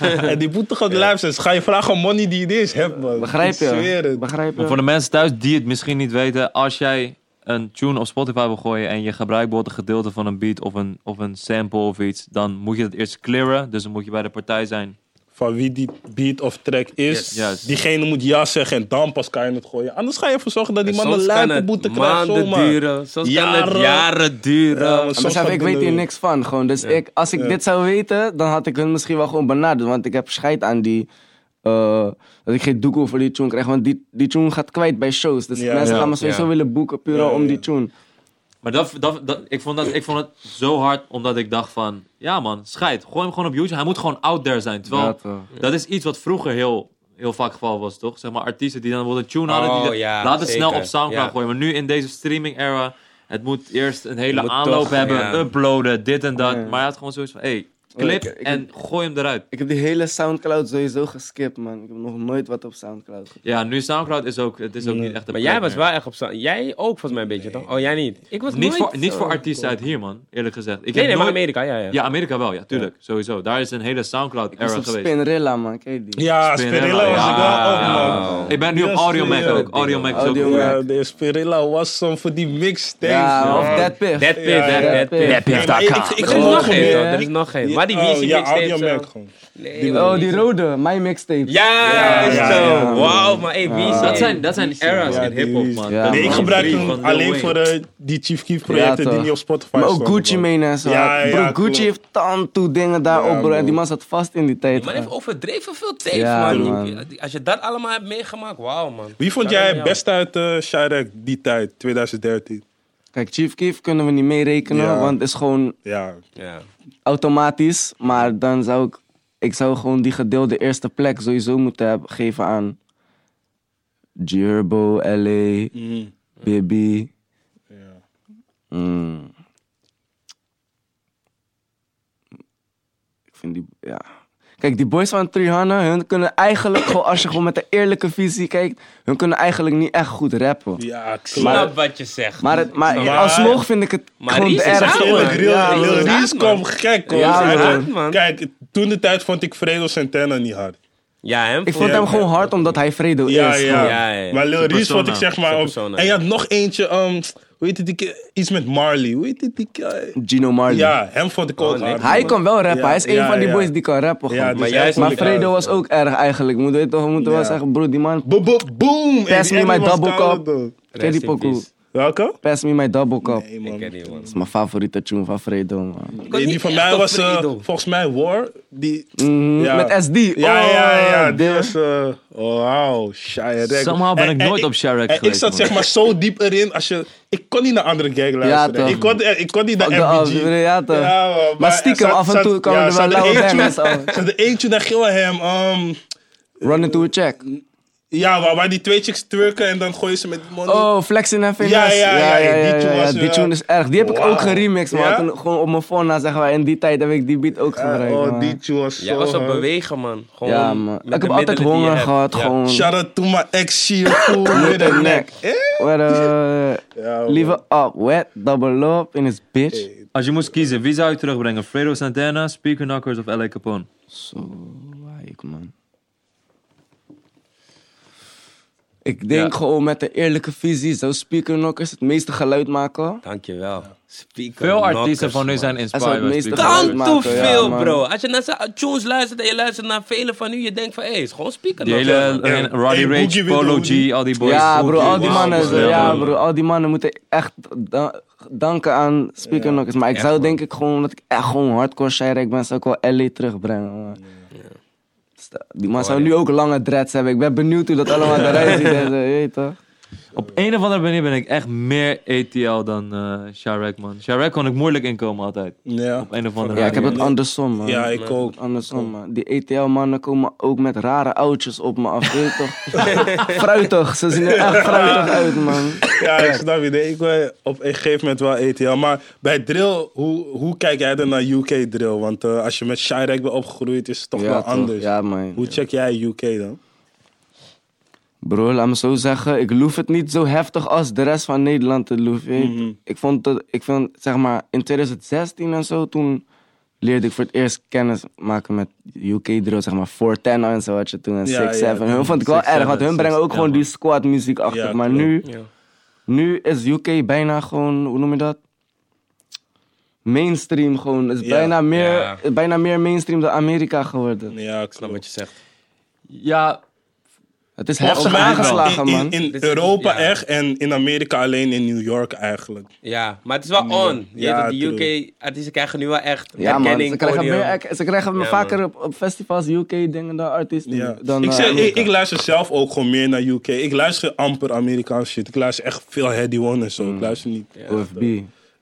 Speaker 3: En die boete gaat live zijn. Dus Ga je vragen om money die je niet eens hebt, man.
Speaker 4: Begrijp
Speaker 3: Ik zweer
Speaker 4: je?
Speaker 3: het.
Speaker 4: Begrijp
Speaker 2: Maar voor
Speaker 4: je?
Speaker 2: de mensen thuis die het misschien niet weten, als jij een tune op Spotify wil gooien en je gebruikt bijvoorbeeld een gedeelte van een beat of een, of een sample of iets, dan moet je dat eerst clearen. Dus dan moet je bij de partij zijn.
Speaker 3: Van wie die beat of track is,
Speaker 1: Yes.
Speaker 2: Juist.
Speaker 3: diegene moet ja zeggen en dan pas kan je het gooien. Anders ga je ervoor zorgen dat die man een
Speaker 1: Soms kan
Speaker 3: lijpe
Speaker 1: het
Speaker 3: boete krijgt
Speaker 1: maanden
Speaker 3: zomaar.
Speaker 1: duren. eh, Soms kan het jaren
Speaker 3: Jaren. Ja, maar
Speaker 1: duren.
Speaker 4: Maar
Speaker 3: soms
Speaker 4: besef,
Speaker 3: gaat
Speaker 4: ik
Speaker 3: die
Speaker 4: weet hier
Speaker 3: doen.
Speaker 4: niks van. Gewoon. Dus ik, als ik dit zou weten, dan had ik hun misschien wel gewoon benaderd. Want ik heb scheid aan die. eh, dat ik geen doekoe voor die tune krijg. Want die, die tune gaat kwijt bij shows. Dus
Speaker 3: Ja.
Speaker 4: mensen
Speaker 3: Ja.
Speaker 4: gaan me sowieso
Speaker 1: Ja.
Speaker 4: willen boeken puur
Speaker 3: Ja,
Speaker 4: al om
Speaker 3: ja.
Speaker 4: die tune.
Speaker 2: Maar dat, dat, dat, ik, vond dat, ik vond het zo hard omdat ik dacht van, ja man, scheid, gooi hem gewoon op YouTube. Hij moet gewoon out there zijn. Terwijl,
Speaker 4: Ja, toch.
Speaker 2: dat is iets wat vroeger heel, heel vaak het geval was, toch? Zeg maar artiesten die dan wel een tune hadden, die
Speaker 1: Oh,
Speaker 2: de-
Speaker 1: ja,
Speaker 2: laten het
Speaker 1: zeker.
Speaker 2: snel op Soundcloud
Speaker 1: Ja.
Speaker 2: gooien. Maar nu in deze streaming era, het moet eerst een hele
Speaker 1: moet
Speaker 2: aanloop
Speaker 1: toch,
Speaker 2: hebben,
Speaker 1: ja.
Speaker 2: uploaden, dit en dat.
Speaker 4: Ja. Oh,
Speaker 2: Maar hij had gewoon zoiets van, hey, clip
Speaker 4: Ik- ik-
Speaker 2: en gooi hem eruit.
Speaker 4: Ik heb die hele Soundcloud sowieso geskipt, man. Ik heb nog nooit wat op Soundcloud gedaan.
Speaker 2: Ja, nu Soundcloud is ook, het is ook
Speaker 3: Nee.
Speaker 2: niet echt een
Speaker 1: Maar
Speaker 2: plek
Speaker 1: jij was
Speaker 2: meer.
Speaker 1: wel echt op stand. Jij ook volgens mij een beetje, toch? Oh, jij niet? Ik was
Speaker 2: Niet
Speaker 1: nooit
Speaker 2: voor, niet
Speaker 1: zo-
Speaker 2: voor artiesten uit hier, man, eerlijk gezegd. Ik
Speaker 1: Nee, nee,
Speaker 2: heb
Speaker 1: maar
Speaker 2: nooit-
Speaker 1: Amerika, ja, ja.
Speaker 2: Ja, Amerika wel, ja, tuurlijk, sowieso. Daar is een hele Soundcloud
Speaker 4: Ik was
Speaker 2: era
Speaker 4: op
Speaker 2: geweest.
Speaker 4: Spinrilla, man. Kijk die.
Speaker 3: Ja,
Speaker 2: Spinrilla,
Speaker 3: Spirilla was ik wel op, man.
Speaker 1: Wauw.
Speaker 2: Ik ben nu op
Speaker 3: Ja,
Speaker 2: Audio Mac
Speaker 3: serieus.
Speaker 2: ook. Audio Mac is ook
Speaker 4: Audio
Speaker 2: goed.
Speaker 4: Mac.
Speaker 3: Ja, de Spirilla was zo voor die mixtapes,
Speaker 4: Ja,
Speaker 3: man.
Speaker 4: of Dead Piff.
Speaker 1: Dead Pit,
Speaker 3: Ja,
Speaker 1: Dead
Speaker 4: ja.
Speaker 1: Dead Pit.
Speaker 4: Ja,
Speaker 1: Dead Pit.
Speaker 3: Nee, maar ik, ik,
Speaker 1: Er is
Speaker 4: geloof
Speaker 1: nog
Speaker 4: het.
Speaker 1: geen,
Speaker 4: Ja.
Speaker 1: toch? Er is nog geen. Maar die
Speaker 3: oh,
Speaker 1: Weezy
Speaker 3: ja, Audio
Speaker 1: mixtape
Speaker 3: Mac
Speaker 1: zo.
Speaker 3: gewoon.
Speaker 1: Nee,
Speaker 4: Oh,
Speaker 1: man.
Speaker 4: die rode. Mijn mixtape.
Speaker 1: Ja,
Speaker 3: Ja, ja,
Speaker 1: zo.
Speaker 4: ja.
Speaker 1: Wauw, maar hey, wie
Speaker 4: Ja.
Speaker 2: Dat zijn, dat zijn era's
Speaker 3: Ja,
Speaker 2: in
Speaker 3: die-
Speaker 2: hip-hop, man.
Speaker 4: Ja,
Speaker 3: Nee, ik
Speaker 4: man.
Speaker 3: gebruik
Speaker 2: Drie
Speaker 3: hem
Speaker 2: van
Speaker 3: alleen
Speaker 2: Lil
Speaker 3: voor
Speaker 2: Wayne.
Speaker 3: eh, die Chief Keef projecten
Speaker 4: Ja,
Speaker 3: die
Speaker 4: toch.
Speaker 3: niet op Spotify
Speaker 4: Maar ook
Speaker 3: stonden,
Speaker 4: Gucci eh,
Speaker 3: man.
Speaker 4: Mane en zo.
Speaker 3: Ja, ja,
Speaker 4: bro,
Speaker 3: ja,
Speaker 4: Gucci
Speaker 3: klopt.
Speaker 4: heeft tantoe dingen daarop,
Speaker 3: Ja,
Speaker 4: bro. En die
Speaker 3: man.
Speaker 4: man zat vast in die
Speaker 1: Man
Speaker 4: tijd. man.
Speaker 1: heeft overdreven veel tapes,
Speaker 4: Ja,
Speaker 1: man.
Speaker 4: man.
Speaker 1: Als je dat allemaal hebt meegemaakt, wauw, man.
Speaker 3: Wie vond
Speaker 1: Shout out
Speaker 3: jij
Speaker 1: naar
Speaker 3: het best uit eh Shirek die tijd, 2013?
Speaker 4: Kijk, Chief Keef kunnen we niet meerekenen,
Speaker 3: Ja.
Speaker 4: want het is gewoon
Speaker 3: Ja,
Speaker 1: jou. Ja.
Speaker 4: automatisch. Maar dan zou ik... Ik zou gewoon die gedeelde eerste plek sowieso moeten hebben, geven aan... Gerbo, L.A.,
Speaker 3: Mm.
Speaker 4: Baby.
Speaker 3: Ja.
Speaker 4: Mm. Ik vind die... Ja. Kijk, die boys van Trihana, hun kunnen eigenlijk... gewoon, als je gewoon met een eerlijke visie kijkt... Hun kunnen eigenlijk niet echt goed rappen.
Speaker 3: ja klopt.
Speaker 4: Nou,
Speaker 1: Snap wat je zegt.
Speaker 4: Maar, het, maar,
Speaker 3: Maar-
Speaker 4: alsnog vind ik het
Speaker 1: Maar
Speaker 4: gewoon
Speaker 1: Ries
Speaker 4: te
Speaker 1: is
Speaker 4: erg.
Speaker 1: raar,
Speaker 4: voor
Speaker 1: hoor.
Speaker 4: me.
Speaker 3: Eerlijk, Real,
Speaker 4: Ja,
Speaker 1: Ries
Speaker 3: Real
Speaker 1: is
Speaker 4: man.
Speaker 1: raar,
Speaker 3: Ries
Speaker 1: man.
Speaker 3: kwam gek hoor.
Speaker 4: Ja,
Speaker 3: Zij
Speaker 4: man.
Speaker 3: had-
Speaker 1: man.
Speaker 3: Kijk, toen de tijd vond ik Fredo Santana niet hard.
Speaker 1: Ja, hem
Speaker 4: ik vond
Speaker 1: ja.
Speaker 4: hem gewoon hard omdat hij Fredo
Speaker 3: Ja,
Speaker 4: is.
Speaker 3: ja.
Speaker 4: gewoon.
Speaker 1: Ja, ja.
Speaker 3: Maar Lil
Speaker 2: Zijn
Speaker 3: Ries vond ik
Speaker 2: persona.
Speaker 3: zeg maar...
Speaker 1: Zijn
Speaker 3: Op,
Speaker 1: persona,
Speaker 3: en je
Speaker 1: ja.
Speaker 3: had nog eentje, ehm, hoe heet het, die, ke- iets met Marley. Hoe heet het, die ke-
Speaker 4: Gino Marley.
Speaker 3: Ja, hem vond ik ook
Speaker 1: nee.
Speaker 3: hard.
Speaker 4: Hij kan wel rappen.
Speaker 3: Ja,
Speaker 4: hij is een
Speaker 3: ja,
Speaker 4: van die
Speaker 3: ja.
Speaker 4: boys die kan rappen.
Speaker 3: Ja,
Speaker 4: gewoon.
Speaker 3: dus
Speaker 1: Maar
Speaker 3: hem
Speaker 1: juist-
Speaker 3: vond
Speaker 4: maar
Speaker 3: ik
Speaker 4: Fredo
Speaker 3: hard.
Speaker 4: was ook erg eigenlijk. Moet je toch we moeten wel
Speaker 3: Ja.
Speaker 4: zeggen, bro, die man.
Speaker 3: Bo- bo- Boom!
Speaker 4: Pass
Speaker 3: En
Speaker 4: me my
Speaker 3: Eddie was
Speaker 4: double
Speaker 3: koud,
Speaker 4: cup.
Speaker 3: though.
Speaker 4: Ken die
Speaker 1: Rest in
Speaker 4: pokoe?
Speaker 1: peace.
Speaker 3: Welke?
Speaker 4: Pass me my double cup.
Speaker 3: Nee,
Speaker 1: Ik
Speaker 3: man.
Speaker 1: ken die, man.
Speaker 4: Dat is mijn favoriete tune van Fredo, man.
Speaker 3: Nee, die van mij was eh, volgens mij War. Die,
Speaker 4: Mhm,
Speaker 3: Ja.
Speaker 4: Met SD.
Speaker 3: Ja,
Speaker 4: Oh,
Speaker 3: ja, ja. Die
Speaker 4: dit-
Speaker 3: was... eh, wauw, Shirek.
Speaker 2: Somehow ben
Speaker 3: En-
Speaker 2: ik
Speaker 3: en
Speaker 2: nooit op Shirek
Speaker 3: en Ik
Speaker 2: geweest,
Speaker 3: zat
Speaker 2: man.
Speaker 3: zeg maar zo diep erin. Als je, ik kon niet naar andere gang luisteren.
Speaker 4: toch.
Speaker 3: ik, kon, eh, ik kon niet naar
Speaker 4: Fuck de
Speaker 3: MBG.
Speaker 4: aflevering, ja, toch.
Speaker 3: man,
Speaker 4: Maar stiekem,
Speaker 3: er zat-
Speaker 4: af en toe
Speaker 3: zat-
Speaker 4: kwamen er wel
Speaker 3: zat
Speaker 4: lauwe
Speaker 3: eentje-
Speaker 4: bangers af.
Speaker 3: zat er eentje naar Gilham. ehm
Speaker 4: Run into a check.
Speaker 3: ja, waar, waar die twee chicks twerken en dan gooien ze met die money.
Speaker 4: Oh, Flexin en Finesse.
Speaker 3: Ja, ja, ja, ja, die tune was,
Speaker 4: Die
Speaker 3: eh,
Speaker 4: tune is erg. Die heb ik
Speaker 3: wauw.
Speaker 4: ook geremixed, maar
Speaker 3: Ja?
Speaker 4: toen gewoon op mijn phone, nou, zeg maar. In die tijd heb ik die beat ook
Speaker 3: Eh,
Speaker 4: gebruikt,
Speaker 3: oh,
Speaker 4: man.
Speaker 3: die tune was zo
Speaker 1: Jij was op
Speaker 3: hard.
Speaker 1: bewegen, man. Gewoon
Speaker 4: Ja, man.
Speaker 1: met de
Speaker 4: Ik heb
Speaker 1: middelen
Speaker 4: altijd
Speaker 1: die je
Speaker 4: honger
Speaker 1: hebt.
Speaker 4: gehad,
Speaker 1: Ja.
Speaker 4: gewoon.
Speaker 3: Shout out to my ex, she a fool with a
Speaker 4: the
Speaker 3: neck.
Speaker 4: neck.
Speaker 3: Eh?
Speaker 4: What a...
Speaker 3: Ja, man.
Speaker 4: Leave it eh, up, wet, double up in his bitch.
Speaker 2: Als je moest kiezen, wie zou je terugbrengen? Fredo Santana, Speaker Knockers of L.A. Capone?
Speaker 4: Zo, ik man. Ik denk
Speaker 2: Ja.
Speaker 4: gewoon met een eerlijke visie zou Speaker Knockers het meeste geluid maken.
Speaker 1: Dankjewel. Speaker
Speaker 2: Veel artiesten
Speaker 1: knockers,
Speaker 2: van nu
Speaker 1: man.
Speaker 2: zijn
Speaker 4: Hij zou
Speaker 2: inspired
Speaker 4: het
Speaker 2: by
Speaker 4: meeste
Speaker 2: Speaker
Speaker 4: geluid
Speaker 2: Knockers.
Speaker 1: Kan te
Speaker 4: maken, ja,
Speaker 1: veel,
Speaker 4: man.
Speaker 1: bro. Als je naar zijn tunes luistert en je luistert naar velen van nu, je denkt van, hé, het is gewoon speaker.
Speaker 2: Die
Speaker 1: knockers,
Speaker 2: hele
Speaker 1: man.
Speaker 2: eh, Roddy
Speaker 3: Hey,
Speaker 2: Rich,
Speaker 3: Boogie wil
Speaker 2: Polo
Speaker 3: doen,
Speaker 2: G, al die boys.
Speaker 4: Ja, bro, al die
Speaker 1: Wauw,
Speaker 4: mannen,
Speaker 1: bro.
Speaker 4: ja,
Speaker 1: Ja.
Speaker 4: bro, al die mannen moeten echt da- danken aan Speaker Knockers. Maar ik zou denk ik gewoon, omdat ik echt gewoon hardcore shirek ben, zou ik wel LA terugbrengen. Man. Sta- Die man zou nu ook lange dreads hebben. Ik ben benieuwd hoe dat allemaal eruit ziet. en zo, je weet toch?
Speaker 2: Op een of andere manier ben ik echt meer ATL dan eh Sharek, man. Sharek kon ik moeilijk inkomen altijd.
Speaker 3: Ja.
Speaker 2: Op een of andere
Speaker 4: Ja, ik heb
Speaker 2: manier.
Speaker 4: het andersom, man.
Speaker 3: Ja, ik ook.
Speaker 4: Andersom, man. Die ETL-mannen komen ook met rare oudjes op me af. Weet je toch? fruitig. Ze zien er echt fruitig uit, man.
Speaker 3: Ja, ik snap je. Nee, ik wil op een gegeven moment wel ETL. Maar bij drill, hoe, hoe kijk jij dan naar UK drill? Want eh, als je met Shirek bent opgegroeid, is het toch wel
Speaker 4: toch?
Speaker 3: anders.
Speaker 4: Ja, man.
Speaker 3: Hoe check jij UK dan?
Speaker 4: Bro, laat me zo zeggen, ik loef het niet zo heftig als de rest van Nederland te loeven. je weet.
Speaker 3: Mhm.
Speaker 4: Ik vond dat, ik vind, zeg maar, in 2016 en zo, toen leerde ik voor het eerst kennis maken met UK drill, zeg maar, 410 en zo had je toen
Speaker 3: Ja,
Speaker 4: en 6
Speaker 3: ja,
Speaker 4: 7 Hun vond ik wel
Speaker 2: 6,
Speaker 4: erg, want
Speaker 2: 7,
Speaker 4: hun brengen
Speaker 2: 6,
Speaker 4: ook gewoon
Speaker 2: ja,
Speaker 4: die squad muziek achter.
Speaker 3: Ja,
Speaker 4: maar
Speaker 3: klopt.
Speaker 4: nu,
Speaker 1: Ja.
Speaker 4: nu is UK bijna gewoon, hoe noem je dat? Mainstream gewoon. Het is
Speaker 3: Ja.
Speaker 4: bijna, meer,
Speaker 1: Ja.
Speaker 4: bijna meer mainstream dan Amerika geworden.
Speaker 3: Ja, ik
Speaker 1: Ik snap wat je zegt.
Speaker 2: Ja,
Speaker 4: Het is
Speaker 3: Of
Speaker 4: heftig aangeslagen,
Speaker 3: in,
Speaker 4: man.
Speaker 3: in, in
Speaker 1: Dit is-
Speaker 3: Europa
Speaker 1: ja.
Speaker 3: echt en in Amerika alleen in New York eigenlijk.
Speaker 1: Ja, maar het is wel on. Je
Speaker 3: Ja,
Speaker 1: weet dat die UK-artiesten krijgen nu wel echt
Speaker 4: Ja, man. Ze
Speaker 1: erkenning.
Speaker 4: krijgen,
Speaker 1: podium.
Speaker 4: meer, ze krijgen
Speaker 1: Ja,
Speaker 4: vaker op, op festivals UK-dingen dan artiesten.
Speaker 3: Ja.
Speaker 4: Dan,
Speaker 3: ik,
Speaker 4: eh,
Speaker 3: zeg, ik,
Speaker 4: Amerika.
Speaker 3: ik luister zelf ook gewoon meer naar UK. Ik luister amper Amerikaanse shit. Ik luister echt veel Heady One en zo.
Speaker 4: Mm.
Speaker 3: Ik luister niet.
Speaker 4: OFB.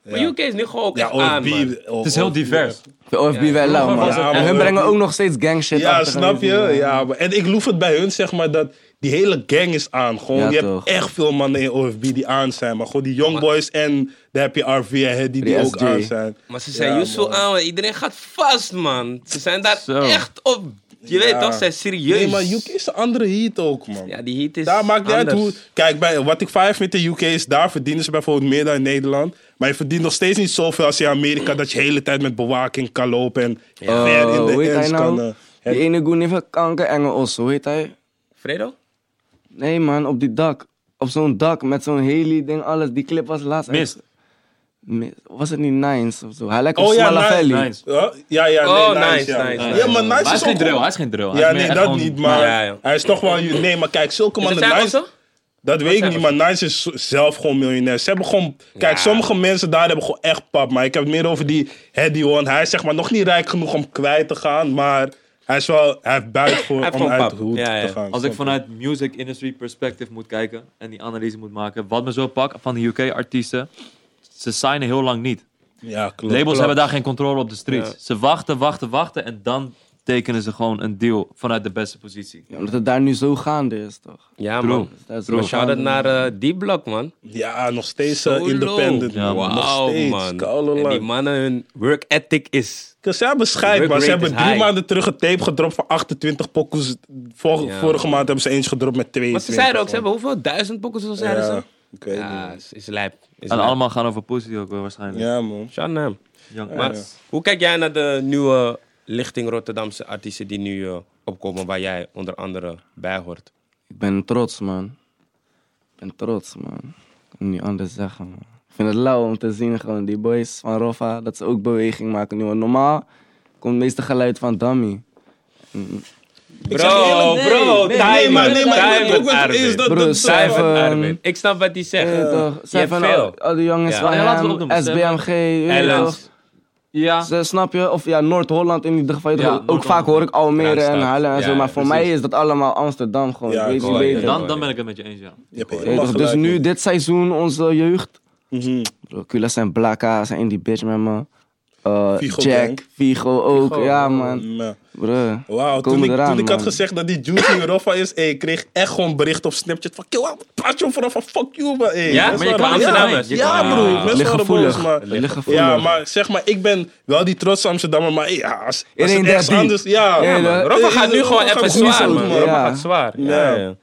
Speaker 1: Maar UK is nu gewoon ook
Speaker 3: Ja,
Speaker 1: echt aan,
Speaker 3: OFB.
Speaker 1: man.
Speaker 2: het is heel divers.
Speaker 4: De OFB wel lauw, man.
Speaker 2: was het
Speaker 4: en
Speaker 3: echt-
Speaker 4: hun brengen ook nog steeds gang shit
Speaker 3: Ja,
Speaker 4: achter
Speaker 3: snap
Speaker 4: hun,
Speaker 3: je?
Speaker 4: man.
Speaker 3: Ja, maar- en ik loef het bij hun, zeg maar, dat die hele gang is aan. Gewoon,
Speaker 4: Ja,
Speaker 3: je
Speaker 4: toch.
Speaker 3: hebt echt veel mannen in OFB die aan zijn. Maar gewoon die Young Boys en daar heb je RV en Heady die,
Speaker 4: Die
Speaker 3: ook
Speaker 4: SJ.
Speaker 3: aan zijn.
Speaker 1: Maar ze zijn
Speaker 3: Ja,
Speaker 1: Yusu
Speaker 3: man.
Speaker 1: aan, want iedereen gaat vast, man. Ze zijn daar
Speaker 2: Zo.
Speaker 1: echt op. Je weet toch, ze zijn serieus.
Speaker 3: Nee, maar UK is een andere heat ook, man.
Speaker 1: Ja, die heat is
Speaker 3: Daar maakt niet uit
Speaker 1: anders.
Speaker 3: hoe. Kijk, bij, wat ik vijf met de UK is, daar verdienen ze bijvoorbeeld meer dan in Nederland. Maar je verdient nog steeds niet zoveel als in Amerika dat je de hele tijd met bewaking kan lopen en ver in
Speaker 4: Oh, hoe
Speaker 3: de
Speaker 4: heet hij
Speaker 3: ends kan.
Speaker 4: nou?
Speaker 3: eh,
Speaker 4: Die ene goon heeft een kankerenge os, hoe heet hij?
Speaker 1: Fredo?
Speaker 4: Nee, man, op die dak. Op zo'n dak met zo'n Haley-ding, alles. Die clip was laatst. uit-
Speaker 2: Mist.
Speaker 4: Mis- Was het niet Nines of zo? Hij lijkt op
Speaker 3: Oh,
Speaker 4: oh,
Speaker 3: ja, Nines,
Speaker 4: Valley.
Speaker 2: Nice.
Speaker 3: ja, ja, ja, nee,
Speaker 1: Oh,
Speaker 3: nice,
Speaker 1: nice,
Speaker 3: ja.
Speaker 1: nice,
Speaker 3: Ja,
Speaker 1: nice.
Speaker 3: maar nice
Speaker 2: hij
Speaker 3: is
Speaker 2: is geen
Speaker 3: ook
Speaker 2: drill,
Speaker 3: gewoon-
Speaker 2: hij is geen drill. Hij
Speaker 3: Ja,
Speaker 2: is meer
Speaker 3: nee,
Speaker 2: echt
Speaker 3: dat
Speaker 2: gewoon-
Speaker 3: niet, maar
Speaker 1: Ja, joh.
Speaker 3: hij is toch wel... Nee, maar kijk, zulke
Speaker 1: Is
Speaker 3: mannen...
Speaker 1: het zijn
Speaker 3: Nines-
Speaker 1: also?
Speaker 3: Dat weet ik
Speaker 1: zijn
Speaker 3: niet, maar Nines is zo- zelf gewoon miljonair. Ze hebben gewoon... Kijk, sommige mensen daar hebben gewoon echt pap. Maar ik heb het meer over die Hedy One. Hij is zeg maar nog niet rijk genoeg om kwijt te gaan, maar... Hij, is wel, hij heeft buiten voor
Speaker 1: heeft
Speaker 3: om
Speaker 1: gewoon
Speaker 3: uit de
Speaker 1: pap.
Speaker 3: hoed
Speaker 1: Ja, ja.
Speaker 3: te gaan.
Speaker 2: Als ik vanuit music industry perspective moet kijken en die analyse moet maken, wat me zo pak van de UK-artiesten, ze signen heel lang niet.
Speaker 3: Ja, klopt.
Speaker 2: Labels
Speaker 3: Klopt.
Speaker 2: hebben daar geen controle op de streets.
Speaker 1: Ja.
Speaker 2: Ze wachten, wachten, wachten en dan tekenen ze gewoon een deal vanuit de beste positie.
Speaker 4: Ja, omdat het daar nu zo gaande is, toch?
Speaker 1: Ja,
Speaker 2: True.
Speaker 1: man.
Speaker 4: Dat is
Speaker 1: Bro,
Speaker 4: wel
Speaker 1: shout out
Speaker 4: gaande,
Speaker 1: naar eh, die blok, man.
Speaker 3: Ja, nog steeds eh,
Speaker 1: Solo.
Speaker 3: independent.
Speaker 2: Ja,
Speaker 3: man.
Speaker 2: man.
Speaker 3: nog
Speaker 1: Wauw,
Speaker 3: steeds.
Speaker 1: man.
Speaker 3: Koude
Speaker 1: En die
Speaker 3: lang.
Speaker 1: mannen, hun work ethic is...
Speaker 3: Ze hebben scheid,
Speaker 1: Work
Speaker 3: man. Ze
Speaker 1: rate
Speaker 3: hebben
Speaker 1: is
Speaker 3: drie
Speaker 1: high.
Speaker 3: maanden terug een tape gedropt van 28 pokkels. Vor-
Speaker 1: Ja.
Speaker 3: Vorige maand hebben ze eens gedropt met 22.
Speaker 1: Maar ze zeiden ook, ze
Speaker 3: gewoon.
Speaker 1: hebben hoeveel? Duizend pokkels of zo zeiden
Speaker 3: Ja,
Speaker 1: ze?
Speaker 3: ik weet het
Speaker 1: Ja,
Speaker 3: niet.
Speaker 1: is, is lijp. Is
Speaker 2: En
Speaker 1: lijp.
Speaker 2: allemaal gaan over pussy ook wel waarschijnlijk.
Speaker 3: Ja, man.
Speaker 1: Shout out naar hem.
Speaker 2: Young
Speaker 1: Maar
Speaker 2: Arts.
Speaker 1: hoe kijk jij naar de nieuwe lichting Rotterdamse artiesten die nu eh, opkomen, waar jij onder andere bij hoort?
Speaker 4: Ik ben trots, man. Ik ben trots, man. Ik kan niet anders zeggen, man. Ik vind het lauw om te zien, gewoon die boys van Roffa, dat ze ook beweging maken nu. Want normaal komt het meeste geluid van Dummy.
Speaker 1: Bro,
Speaker 3: zeg je eerlijk, nee,
Speaker 1: bro,
Speaker 4: nee,
Speaker 3: Nee, maar,
Speaker 1: timer,
Speaker 3: nee, maar ik
Speaker 1: timer,
Speaker 3: weet ook wat het is.
Speaker 1: Arvid.
Speaker 3: Dat,
Speaker 4: Bro,
Speaker 3: dat-
Speaker 4: zij
Speaker 1: Timer,
Speaker 4: Even,
Speaker 1: Arvid. Ik snap wat hij zegt.
Speaker 4: Weet je
Speaker 1: Je
Speaker 4: toch? Zij
Speaker 1: hebt
Speaker 4: van
Speaker 1: veel.
Speaker 4: al, al die jongens
Speaker 1: Ja.
Speaker 4: van
Speaker 2: Ja, laten we
Speaker 4: hem,
Speaker 2: opnoemen.
Speaker 4: SBMG, je weet
Speaker 1: Ellens.
Speaker 4: toch?
Speaker 2: Ja,
Speaker 4: Ze- Snap je? Of ja, Noord-Holland in ieder geval. je weet
Speaker 2: Ja,
Speaker 4: toch? ook
Speaker 2: Noord-Holland.
Speaker 4: vaak hoor ik Almere en
Speaker 1: Randstad.
Speaker 4: Haarlem en
Speaker 1: Ja,
Speaker 4: zo. Maar
Speaker 1: ja,
Speaker 4: voor
Speaker 1: precies.
Speaker 4: mij is dat allemaal Amsterdam gewoon.
Speaker 3: Ja,
Speaker 4: Ja, weet je
Speaker 3: klopt.
Speaker 4: beter.
Speaker 2: dan, dan ben ik het met je eens, ja.
Speaker 3: Je hebt
Speaker 4: Je weet
Speaker 3: helemaal
Speaker 4: toch? Dus
Speaker 3: gelijk,
Speaker 4: nu,
Speaker 3: man.
Speaker 4: dit seizoen, onze jeugd,
Speaker 3: Mhm.
Speaker 4: Bro, Kula zijn blakka, zijn in die bitch met me. Eh,
Speaker 3: Vigo
Speaker 4: Jack,
Speaker 3: gang.
Speaker 4: Vigo ook, ja man.
Speaker 3: Ja.
Speaker 4: Bro,
Speaker 3: Wauw, toen
Speaker 4: Komen
Speaker 3: ik,
Speaker 4: eraan,
Speaker 3: toen ik had
Speaker 4: man.
Speaker 3: gezegd dat die Juicy Rafa is, eh, ik kreeg echt gewoon bericht op Snapchat van, "Kill, wat praat je over Rafa? Fuck you, man. eh."
Speaker 1: Ja?
Speaker 3: Mensen
Speaker 1: Maar je
Speaker 3: waren-
Speaker 1: kwam Amsterdammers.
Speaker 3: Ja,
Speaker 1: Je kwam-
Speaker 3: ja, bro,
Speaker 1: Ah.
Speaker 3: mensen waren boos,
Speaker 4: Lichtgevoelig.
Speaker 3: maar...
Speaker 4: Lichtgevoelig.
Speaker 3: Ja, maar zeg maar, ik ben wel die trotse Amsterdammer, maar eh, ja, als, als
Speaker 4: Iedereen
Speaker 3: het
Speaker 4: daar
Speaker 3: ergens
Speaker 4: diep.
Speaker 3: anders... Ja,
Speaker 4: Ja, man.
Speaker 1: Rafa
Speaker 3: Eh,
Speaker 1: gaat nu
Speaker 3: eh,
Speaker 1: gewoon
Speaker 3: Rafa
Speaker 1: even
Speaker 3: gaat goed
Speaker 1: zwaar,
Speaker 3: doen,
Speaker 1: man.
Speaker 4: Ja.
Speaker 1: Rafa gaat zwaar. Ja,
Speaker 3: Ja.
Speaker 1: ja.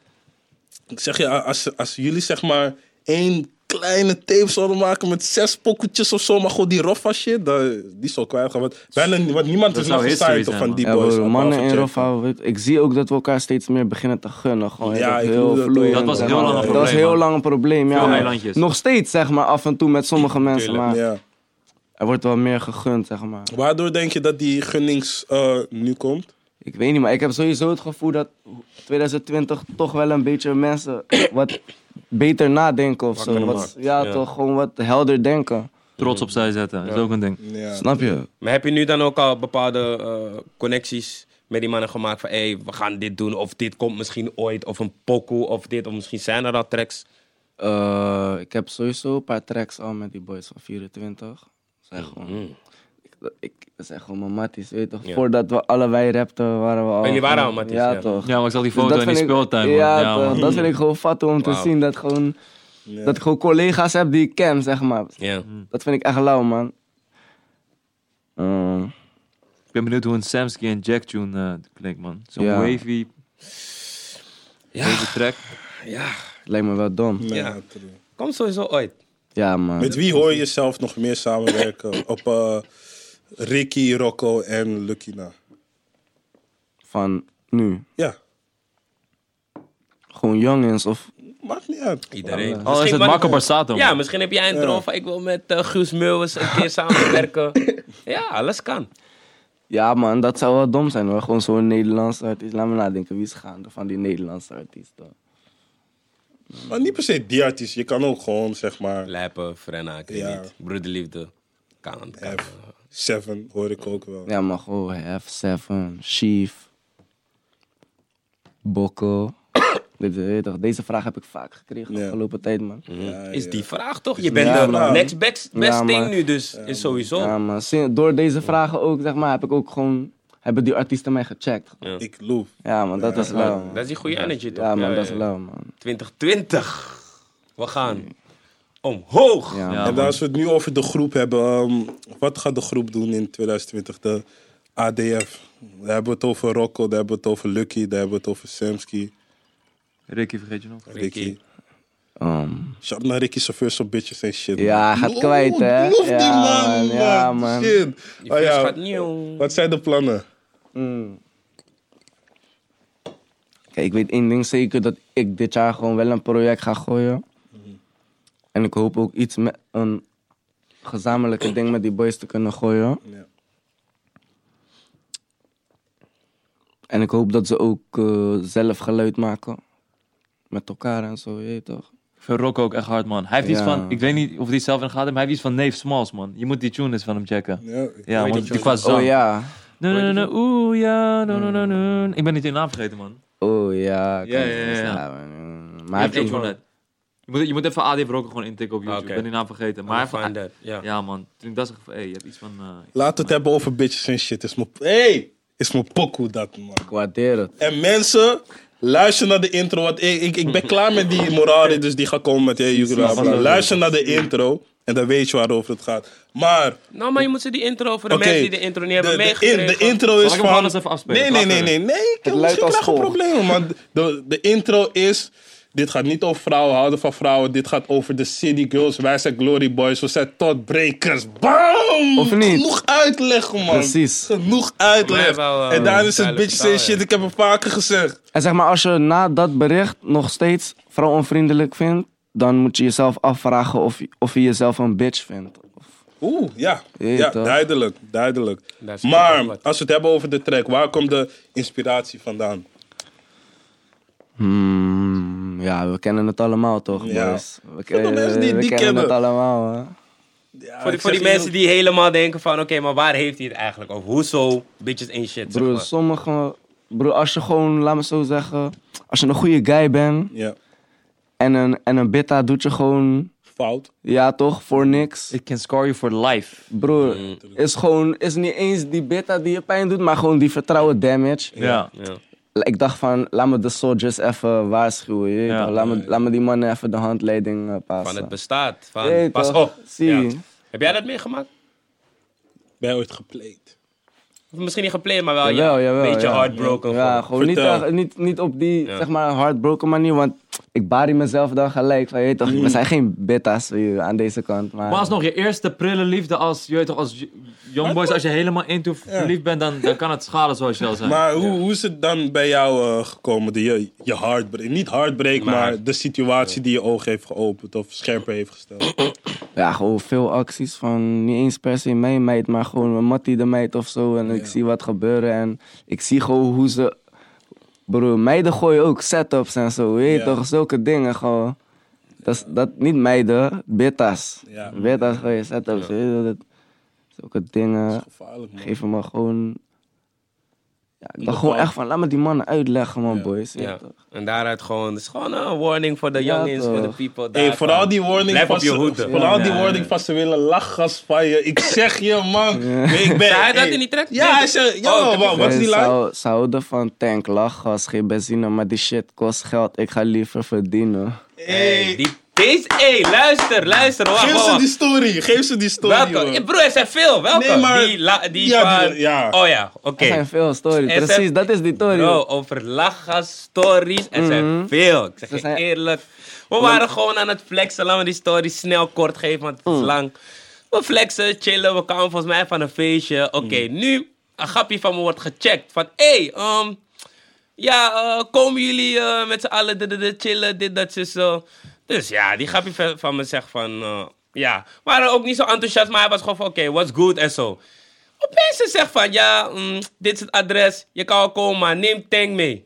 Speaker 3: Ik zeg je, als, als jullie zeg maar één kleine tapes zouden maken met zes pokketjes of zo. Maar goed, die Roffa shit, dat- die zal kwijtgen. Want, bijna, want niemand
Speaker 2: Dat
Speaker 3: is
Speaker 2: zou
Speaker 3: nog
Speaker 2: history
Speaker 3: gesigned
Speaker 2: zijn,
Speaker 3: van
Speaker 2: man.
Speaker 3: die
Speaker 4: Ja,
Speaker 3: boys.
Speaker 4: bro, mannen
Speaker 3: behalve
Speaker 4: in
Speaker 3: Jack.
Speaker 4: Roffa, weet- ik zie ook dat we elkaar steeds meer beginnen te gunnen. Gewoon,
Speaker 3: Ja,
Speaker 4: dat
Speaker 3: ik
Speaker 4: heel
Speaker 3: voel dat ook.
Speaker 4: vloeiend,
Speaker 3: Dat
Speaker 2: was
Speaker 4: zeg
Speaker 2: heel
Speaker 4: maar.
Speaker 2: lang een
Speaker 4: Dat was
Speaker 2: probleem,
Speaker 4: heel
Speaker 2: man.
Speaker 4: lang een probleem, ja.
Speaker 2: Veel
Speaker 4: maar
Speaker 2: eilandjes.
Speaker 4: Nog steeds, zeg maar, af en toe met sommige mensen.
Speaker 1: Tuurlijk.
Speaker 4: Maar
Speaker 3: Ja.
Speaker 4: er wordt wel meer gegund, zeg maar.
Speaker 3: Waardoor denk je dat die gunnings eh, nu komt?
Speaker 4: Ik weet niet, maar ik heb sowieso het gevoel dat 2020 toch wel een beetje mensen wat beter nadenken of zo.
Speaker 1: Wakker
Speaker 4: Wat,
Speaker 1: maakt.
Speaker 4: ja,
Speaker 1: Ja.
Speaker 4: toch gewoon wat helder denken.
Speaker 2: Trots opzij zetten, dat is ook een ding.
Speaker 3: Ja.
Speaker 4: Snap je?
Speaker 1: Maar heb je nu dan ook al bepaalde eh, connecties met die mannen gemaakt van... hé, hey, we gaan dit doen of dit komt misschien ooit of een pokoe of dit... of misschien zijn er al tracks.
Speaker 4: Eh, ik heb sowieso een paar tracks al met die boys van 24. Zeg gewoon. Ik, ik, dat zijn gewoon mijn matties, weet je toch?
Speaker 1: Mm-hmm. Ja.
Speaker 4: Voordat we allebei rapten, waren we al.
Speaker 1: Oh, jullie waren al
Speaker 4: gewoon-
Speaker 1: matties,
Speaker 4: Ja,
Speaker 1: ja.
Speaker 4: toch?
Speaker 2: Ja, maar ik zag die
Speaker 4: Dus
Speaker 2: foto
Speaker 4: dat
Speaker 2: in die
Speaker 4: vind ik-
Speaker 2: speeltuin. man.
Speaker 4: Ja,
Speaker 2: Ja,
Speaker 4: toch?
Speaker 2: man.
Speaker 4: dat vind ik gewoon fat om te
Speaker 1: Wauw.
Speaker 4: zien dat, gewoon,
Speaker 3: Ja.
Speaker 4: dat ik gewoon collega's heb die ik ken, zeg maar.
Speaker 1: Ja.
Speaker 3: Mm.
Speaker 4: Dat vind ik echt lauw, man. Ehm,
Speaker 2: Ik ben benieuwd hoe een Samsky en Jack tune eh, klinkt, man. Zo'n
Speaker 4: Ja.
Speaker 2: wavy,
Speaker 1: Ja,
Speaker 2: wavy track.
Speaker 1: ja.
Speaker 4: het lijkt me wel dom.
Speaker 3: Nee,
Speaker 1: Ja.
Speaker 3: true.
Speaker 1: Komt sowieso ooit.
Speaker 4: Ja, man.
Speaker 3: Met wie hoor je jezelf nog meer samenwerken? Op eh, Ricky, Rocco en Lukina.
Speaker 4: Van nu.
Speaker 3: Ja,
Speaker 4: Gewoon jongens of...
Speaker 3: maakt niet uit.
Speaker 1: Iedereen.
Speaker 4: Al is
Speaker 2: Al is het
Speaker 1: maar-
Speaker 2: Marco Borsato. man.
Speaker 1: Ja, misschien heb jij een droom van ik wil met eh, Guus Meeuwis een keer samenwerken. Ja, alles kan.
Speaker 4: Ja, man, dat zou wel dom zijn hoor. Gewoon zo'n Nederlandse artiest. Laat me nadenken, wie is gaande van die Nederlandse artiesten?
Speaker 3: Maar niet per se die artiest. Je kan ook gewoon, zeg maar,
Speaker 1: Lijpen, Frenna, ik weet
Speaker 3: Ja.
Speaker 1: niet. Broederliefde. Kan, kan.
Speaker 3: F, Seven hoor ik ook wel.
Speaker 4: Ja, maar gewoon F7, Chief, Bokko. Dit, weet je toch, deze vraag heb ik vaak gekregen de
Speaker 3: Ja.
Speaker 4: afgelopen tijd, man.
Speaker 3: Ja,
Speaker 1: Is
Speaker 3: ja.
Speaker 1: die vraag toch? Je bent
Speaker 4: Ja,
Speaker 1: de
Speaker 3: man.
Speaker 1: next best, best
Speaker 4: Ja,
Speaker 1: thing
Speaker 4: man.
Speaker 1: nu dus. is sowieso.
Speaker 4: Ja, man. sin- Door deze vragen ook, zeg maar, heb ik ook gewoon... Hebben die artiesten mij gecheckt.
Speaker 3: Ik loop.
Speaker 4: Ja, man, dat is lauw. man.
Speaker 1: Dat is die goede energy toch?
Speaker 4: Ja, man,
Speaker 1: Ja,
Speaker 4: dat is
Speaker 1: ja.
Speaker 4: lauw, man.
Speaker 1: 2020. We gaan omhoog.
Speaker 4: Ja,
Speaker 2: Ja,
Speaker 4: man.
Speaker 3: en als we het nu over de groep hebben, ehm, wat gaat de groep doen in 2020? De ADF. Daar hebben we het over Rocco, daar hebben we het over Lucky, daar hebben we het over Samsky,
Speaker 2: Ricky, vergeet je nog?
Speaker 3: Ricky.
Speaker 4: Ehm,
Speaker 3: Shout naar Ricky chauffeurs op bitches en shit.
Speaker 4: Ja, hij gaat kwijt, hè?
Speaker 3: Lof die
Speaker 4: Ja,
Speaker 3: man,
Speaker 4: man, ja, man.
Speaker 3: Shit.
Speaker 1: Die
Speaker 3: Oh,
Speaker 1: vis
Speaker 3: ja.
Speaker 1: gaat nieuw.
Speaker 3: Wat zijn de plannen?
Speaker 4: mm. Kijk, ik weet één ding zeker, dat ik dit jaar gewoon wel een project ga gooien.
Speaker 2: Mhm.
Speaker 4: En ik hoop ook iets met een gezamenlijke ding met die boys te kunnen gooien.
Speaker 3: Ja.
Speaker 4: En ik hoop dat ze ook eh, zelf geluid maken. Met elkaar en zo, je weet toch?
Speaker 2: Ik vind Rocco ook echt hard, man. Hij heeft iets
Speaker 4: Ja.
Speaker 2: van, ik weet niet of hij het zelf in de gaten heeft, maar hij heeft iets van Neef Smalls, man. Je moet die tune eens van hem checken.
Speaker 3: Ja,
Speaker 2: Ja,
Speaker 1: die
Speaker 2: want die
Speaker 1: tune?
Speaker 2: qua zang.
Speaker 4: Oh ja.
Speaker 2: Nu, nu, nu, oeh, ja, nu, nu, nu, nu. Ik ben niet de naam vergeten, man.
Speaker 4: Oh ja. ik
Speaker 2: Ja,
Speaker 4: kan
Speaker 2: ja,
Speaker 4: het niet
Speaker 2: ja, ja.
Speaker 4: staan, man.
Speaker 2: Hij
Speaker 4: Maar
Speaker 2: heeft
Speaker 4: hij
Speaker 2: één
Speaker 4: heeft ook-
Speaker 2: tune uit. Je moet, je moet even AD Rocco gewoon intikken op YouTube.
Speaker 1: Oké.
Speaker 2: Ik ben die naam vergeten. Maar
Speaker 1: Maar
Speaker 2: hij
Speaker 1: find
Speaker 2: heeft-
Speaker 1: that. Ja.
Speaker 2: Ja, man. Toen ik dat zag, van, hey, je hebt iets van... eh,
Speaker 3: Laat het hebben over bitches en shit. Is mijn, hey, is mijn pokoe dat, man.
Speaker 4: ik waardeer het.
Speaker 3: En mensen, luister naar de intro. Want ik, ik, ik ben klaar met die morale, dus die gaat komen met... Hey, jullie
Speaker 2: Precies,
Speaker 3: luisteren.
Speaker 2: man.
Speaker 3: luister naar de intro en dan weet je waarover het gaat. Maar,
Speaker 1: Nou, maar je moet ze die intro voor de
Speaker 3: oké.
Speaker 1: mensen die de intro niet hebben
Speaker 3: de, de,
Speaker 1: meegekregen.
Speaker 3: in- de intro is
Speaker 2: ik hem
Speaker 3: van...
Speaker 2: gewoon eens even afspelen?
Speaker 3: Nee, nee, nee,
Speaker 2: Klaar
Speaker 3: nee. nee ik heb
Speaker 4: luidt
Speaker 3: misschien
Speaker 4: als
Speaker 3: geen
Speaker 4: volgt.
Speaker 3: probleem, man. De, de intro is... Dit gaat niet over vrouwen, houden van vrouwen. Dit gaat over de City Girls. Wij zijn Glory Boys. We zijn totbrekers. Bam!
Speaker 4: Of niet?
Speaker 3: Genoeg uitleg, man.
Speaker 4: Precies.
Speaker 3: Genoeg uitleg.
Speaker 1: Voor mij wel, eh,
Speaker 3: en daar is het
Speaker 1: duidelijk
Speaker 3: bitches en
Speaker 1: vertaal,
Speaker 3: shit.
Speaker 1: ja.
Speaker 3: Ik heb het vaker gezegd.
Speaker 4: En zeg maar, als je na dat bericht nog steeds vrouwonvriendelijk vindt, dan moet je jezelf afvragen of, je- of je jezelf een bitch vindt. Of-
Speaker 3: Oeh, ja.
Speaker 4: Jeet,
Speaker 3: ja
Speaker 4: toch?
Speaker 3: duidelijk, duidelijk.
Speaker 1: Daar zit
Speaker 3: Maar
Speaker 1: wel wat.
Speaker 3: als we het hebben over de track, waar komt de inspiratie vandaan?
Speaker 4: Hmm, ja, we kennen het allemaal toch,
Speaker 3: Ja.
Speaker 4: boys? We,
Speaker 3: Voor de mensen die
Speaker 4: we
Speaker 3: die
Speaker 4: kennen het
Speaker 3: kennen.
Speaker 4: allemaal, hè?
Speaker 3: Ja,
Speaker 1: voor die,
Speaker 3: ik
Speaker 1: voor die
Speaker 3: zeg
Speaker 1: mensen
Speaker 3: eerlijk-
Speaker 1: die helemaal denken van... Oké, maar waar heeft hij het eigenlijk over? Hoezo? Bitches ain't shit, zeg
Speaker 4: Broer,
Speaker 1: maar.
Speaker 4: sommige... Broer, als je gewoon, laat me zo zeggen, als je een goede guy bent
Speaker 3: Ja,
Speaker 4: en een, en een beta doet je gewoon,
Speaker 3: fout.
Speaker 4: ja toch, voor niks.
Speaker 2: It can scar you for life.
Speaker 4: Broer,
Speaker 3: Mm.
Speaker 4: is gewoon, is niet eens die beta die je pijn doet, maar gewoon die vertrouwen damage.
Speaker 2: Ja.
Speaker 1: Ja.
Speaker 4: ik dacht van, laat me de soldiers even waarschuwen. je weet
Speaker 2: Ja.
Speaker 4: toch? laat, me, laat me die mannen even de handleiding eh, passen.
Speaker 1: Van het bestaat. Van,
Speaker 4: Jeet
Speaker 1: pas
Speaker 4: toch?
Speaker 1: op.
Speaker 4: Zie je.
Speaker 1: Ja. Heb jij dat meegemaakt?
Speaker 3: Ben je ooit gepleegd?
Speaker 1: Of misschien niet gepland, maar wel
Speaker 4: Jawel,
Speaker 1: Ah, ja,
Speaker 4: jawel,
Speaker 1: een beetje
Speaker 4: ja.
Speaker 1: heartbroken.
Speaker 4: Ja,
Speaker 1: Ja.
Speaker 4: gewoon niet,
Speaker 3: Vertel.
Speaker 4: echt- niet, niet op die
Speaker 1: Ja.
Speaker 4: zeg maar hardbroken manier, want ik baar mezelf dan gelijk. Van, je weet toch, we zijn geen beta's eh, aan deze kant. Maar,
Speaker 2: Maar alsnog, je eerste prille liefde als, je weet toch, als j- young boys, als je helemaal into verliefd bent, dan, dan kan het schaden zoals je al
Speaker 4: Ah,
Speaker 2: zei.
Speaker 3: Maar hoe, hoe is het dan bij jou eh, gekomen? Die, je, je heartbreak, niet heartbreak, maar, de situatie die je ogen heeft geopend of scherper heeft gesteld.
Speaker 4: Ja, gewoon veel acties van niet eens per se mijn meid, maar gewoon mijn mattie de meid of zo. En ik zie wat gebeuren en ik zie gewoon hoe ze... Bro, meiden gooien ook setups en zo, weet je
Speaker 3: Ja.
Speaker 4: toch? Zulke dingen gewoon. Dat, is- dat niet meiden, beta's.
Speaker 3: Ja.
Speaker 4: Beta's gooien setups, weet je toch? Dat, zulke dingen
Speaker 3: Gevaarlijk, man.
Speaker 4: geven me gewoon... Ja, ik dacht
Speaker 3: Bepaald.
Speaker 4: gewoon echt van, laat me die mannen uitleggen man,
Speaker 3: Ja.
Speaker 4: boys. weet je
Speaker 1: Ja.
Speaker 4: toch?
Speaker 1: En daaruit gewoon, het is gewoon een warning voor de
Speaker 4: Ja,
Speaker 1: youngins, voor de
Speaker 4: toch.
Speaker 1: people.
Speaker 3: Hey,
Speaker 1: daar
Speaker 3: vooral
Speaker 1: van,
Speaker 3: die warning
Speaker 1: Blijf
Speaker 3: van
Speaker 1: op je
Speaker 3: ze-
Speaker 1: hoede.
Speaker 3: Vooral
Speaker 4: Ja,
Speaker 3: die
Speaker 4: ja,
Speaker 3: warning van ze willen lachgas van je. Ik zeg je, man. Nee, ik ben,
Speaker 1: Zei hij dat
Speaker 3: hey.
Speaker 1: in die track?
Speaker 3: Ja, hij zei,
Speaker 1: Oh,
Speaker 3: ja,
Speaker 1: ik heb
Speaker 3: wa- wat is
Speaker 4: Wij
Speaker 3: die lijn?
Speaker 4: zou- Ze houden van tank, lachgas, geen benzine, maar die shit kost geld. Ik ga liever verdienen.
Speaker 1: Hey,
Speaker 3: Hey,
Speaker 1: die, deze, hey, luister, luister. Wacht,
Speaker 3: geef
Speaker 1: wacht,
Speaker 3: ze
Speaker 1: wacht.
Speaker 3: die story, geef ze die story.
Speaker 1: Welke?
Speaker 3: man.
Speaker 1: Eh, Broer, er zijn veel. Welke?
Speaker 3: Nee, maar-
Speaker 1: Die, la, die
Speaker 3: Ja,
Speaker 1: van...
Speaker 3: die- ja.
Speaker 1: Oh ja, oké.
Speaker 4: Er zijn veel
Speaker 1: Er
Speaker 4: stories.
Speaker 1: zijn-
Speaker 4: Precies, dat is die story.
Speaker 1: Bro, over lachgas, stories. Er
Speaker 4: Mhm.
Speaker 1: zijn veel. Ik zeg
Speaker 4: Er
Speaker 1: je
Speaker 4: zijn-
Speaker 1: eerlijk. We waren gewoon aan het flexen. Laten we die stories snel kort geven, want het is lang. We flexen, chillen. We kwamen volgens mij van een feestje. Oké, nu een grapje van me wordt gecheckt. Van, hé, hey, um, ja, eh, komen jullie eh, met z'n allen dit, dit, dit, chillen, dit, dat, zus, zo. Dus ja, die grapje van- van me zegt van, eh, ja. We waren ook niet zo enthousiast, maar hij was gewoon van, oké, what's good en zo. Opeens ze zegt van, ja, mm, dit is het adres, je kan wel komen, maar neem tank mee.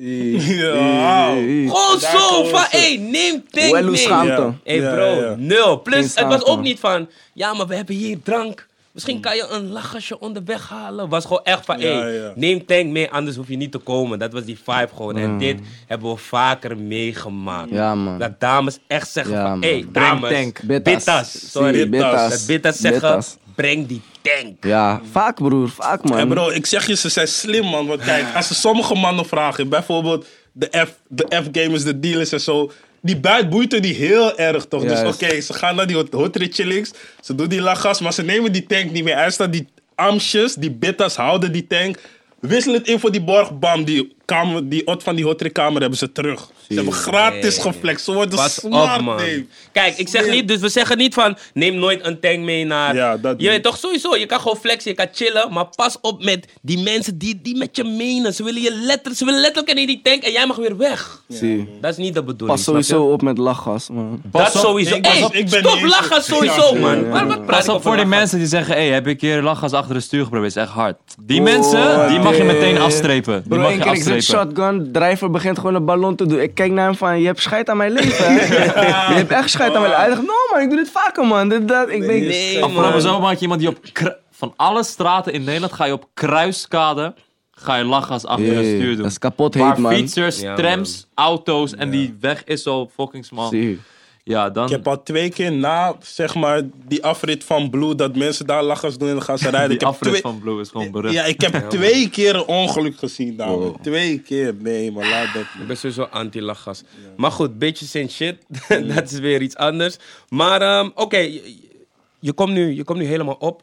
Speaker 3: Ja, wow.
Speaker 1: Gewoon
Speaker 3: Daar
Speaker 1: zo
Speaker 3: komen
Speaker 1: van,
Speaker 3: ze.
Speaker 1: hé, neem tank
Speaker 4: Wel hoe
Speaker 1: mee.
Speaker 4: schaam-
Speaker 3: Ja,
Speaker 1: Hé
Speaker 3: ja,
Speaker 1: bro,
Speaker 3: ja.
Speaker 1: nul.
Speaker 4: Geen
Speaker 1: Plus, het was
Speaker 4: schaamte,
Speaker 1: ook
Speaker 4: man.
Speaker 1: niet van, ja, maar we hebben hier drank. Misschien kan je een lachasje onderweg halen. Was gewoon echt van,
Speaker 3: Ja,
Speaker 1: hé,
Speaker 3: ja.
Speaker 1: neem tank mee, anders hoef je niet te komen. Dat was die vibe gewoon. En dit hebben we vaker meegemaakt.
Speaker 4: Ja, man.
Speaker 1: Dat dames echt zeggen
Speaker 4: Ja,
Speaker 1: van,
Speaker 4: man.
Speaker 1: hé, dames,
Speaker 2: tank.
Speaker 1: Bittas. Sorry,
Speaker 4: Zie,
Speaker 3: bittas.
Speaker 1: dat bittas zeggen,
Speaker 4: Bittas.
Speaker 1: breng die tank.
Speaker 4: Ja, vaak broer, vaak man.
Speaker 3: Ja, bro, ik zeg je, ze zijn slim, man. Want kijk, als ze sommige mannen vragen, bijvoorbeeld de, F, de F-gamers, de dealers en zo. Die buit boeit er die heel erg, toch? Dus
Speaker 4: Juist.
Speaker 3: oké, ze gaan naar die hot- hotritje links. Ze doen die lachgas, maar ze nemen die tank niet meer. Er staan die amsjes, die bittas houden die tank. Wissel het in voor die borg, bam. Die, kamer, die ot van die hotritkamer hebben ze terug. Ze hebben gratis
Speaker 1: Nee.
Speaker 3: geflext. Ze worden
Speaker 1: Pas
Speaker 3: smart,
Speaker 1: op, man.
Speaker 3: Dave.
Speaker 1: Kijk, ik zeg
Speaker 3: Slim.
Speaker 1: niet, dus we zeggen niet van neem nooit een tank mee naar.
Speaker 3: Ja, dat
Speaker 1: je weet
Speaker 3: niet.
Speaker 1: toch sowieso, je kan gewoon flexen, je kan chillen, maar pas op met die mensen die, die met je menen. Ze willen je letter, ze willen letterlijk in die tank en jij mag weer weg.
Speaker 4: Zie.
Speaker 1: Dat is niet de bedoeling.
Speaker 4: Pas
Speaker 1: snap je?
Speaker 4: sowieso op met lachgas, man.
Speaker 1: Dat
Speaker 2: op.
Speaker 1: sowieso.
Speaker 3: Ik- pas
Speaker 1: Hey,
Speaker 3: op, ik ben
Speaker 1: stop
Speaker 3: niet eens-
Speaker 1: lachen
Speaker 3: Ja,
Speaker 1: sowieso,
Speaker 3: ja,
Speaker 1: man.
Speaker 3: ja, ja.
Speaker 1: Maar wat praat
Speaker 2: Pas
Speaker 1: ik
Speaker 2: op
Speaker 1: over
Speaker 2: voor die
Speaker 1: lachen?
Speaker 2: mensen die zeggen, hey, heb ik hier lachgas achter de stuur geprobeerd? Is echt hard. Die
Speaker 4: Oh,
Speaker 2: mensen, die mag je
Speaker 4: nee.
Speaker 2: meteen afstrepen. Die
Speaker 4: Bro,
Speaker 2: mag
Speaker 4: één
Speaker 2: je
Speaker 4: keer ik zit
Speaker 2: afstrepen.
Speaker 4: shotgun, drijver begint gewoon een ballon te doen. Ik kijk naar hem van, je hebt scheid aan mijn leven. hè? Je hebt echt scheid aan mijn leven. Hij zegt, no man, ik doe dit vaker man. Dit, dat. Ik denk,
Speaker 1: Nee,
Speaker 2: Of vooral
Speaker 1: man.
Speaker 2: zo maak je iemand die op kru- van alle straten in Nederland ga je op kruiskade ga je lachgas achter de
Speaker 4: Jee,
Speaker 2: stuur doen.
Speaker 4: dat is kapot heet
Speaker 2: Waar
Speaker 4: man.
Speaker 2: fietsers,
Speaker 1: Ja,
Speaker 2: trams, auto's en die weg is zo fucking smal.
Speaker 4: Zie.
Speaker 2: Ja, dan.
Speaker 3: Ik heb al twee keer na, zeg maar, die afrit van Blue, dat mensen daar lachgas doen en dan gaan ze rijden. ik
Speaker 2: Die
Speaker 3: heb
Speaker 2: afrit
Speaker 3: twee-
Speaker 2: van Blue is gewoon berucht.
Speaker 3: Ja, ik heb twee keer een ongeluk gezien, dames. Twee keer. Nee, maar laat dat.
Speaker 1: Ik ben sowieso anti-lachgas. Maar goed, bitches en shit, dat is weer iets anders. Maar ehm, oké, je, je komt nu, je komt nu helemaal op.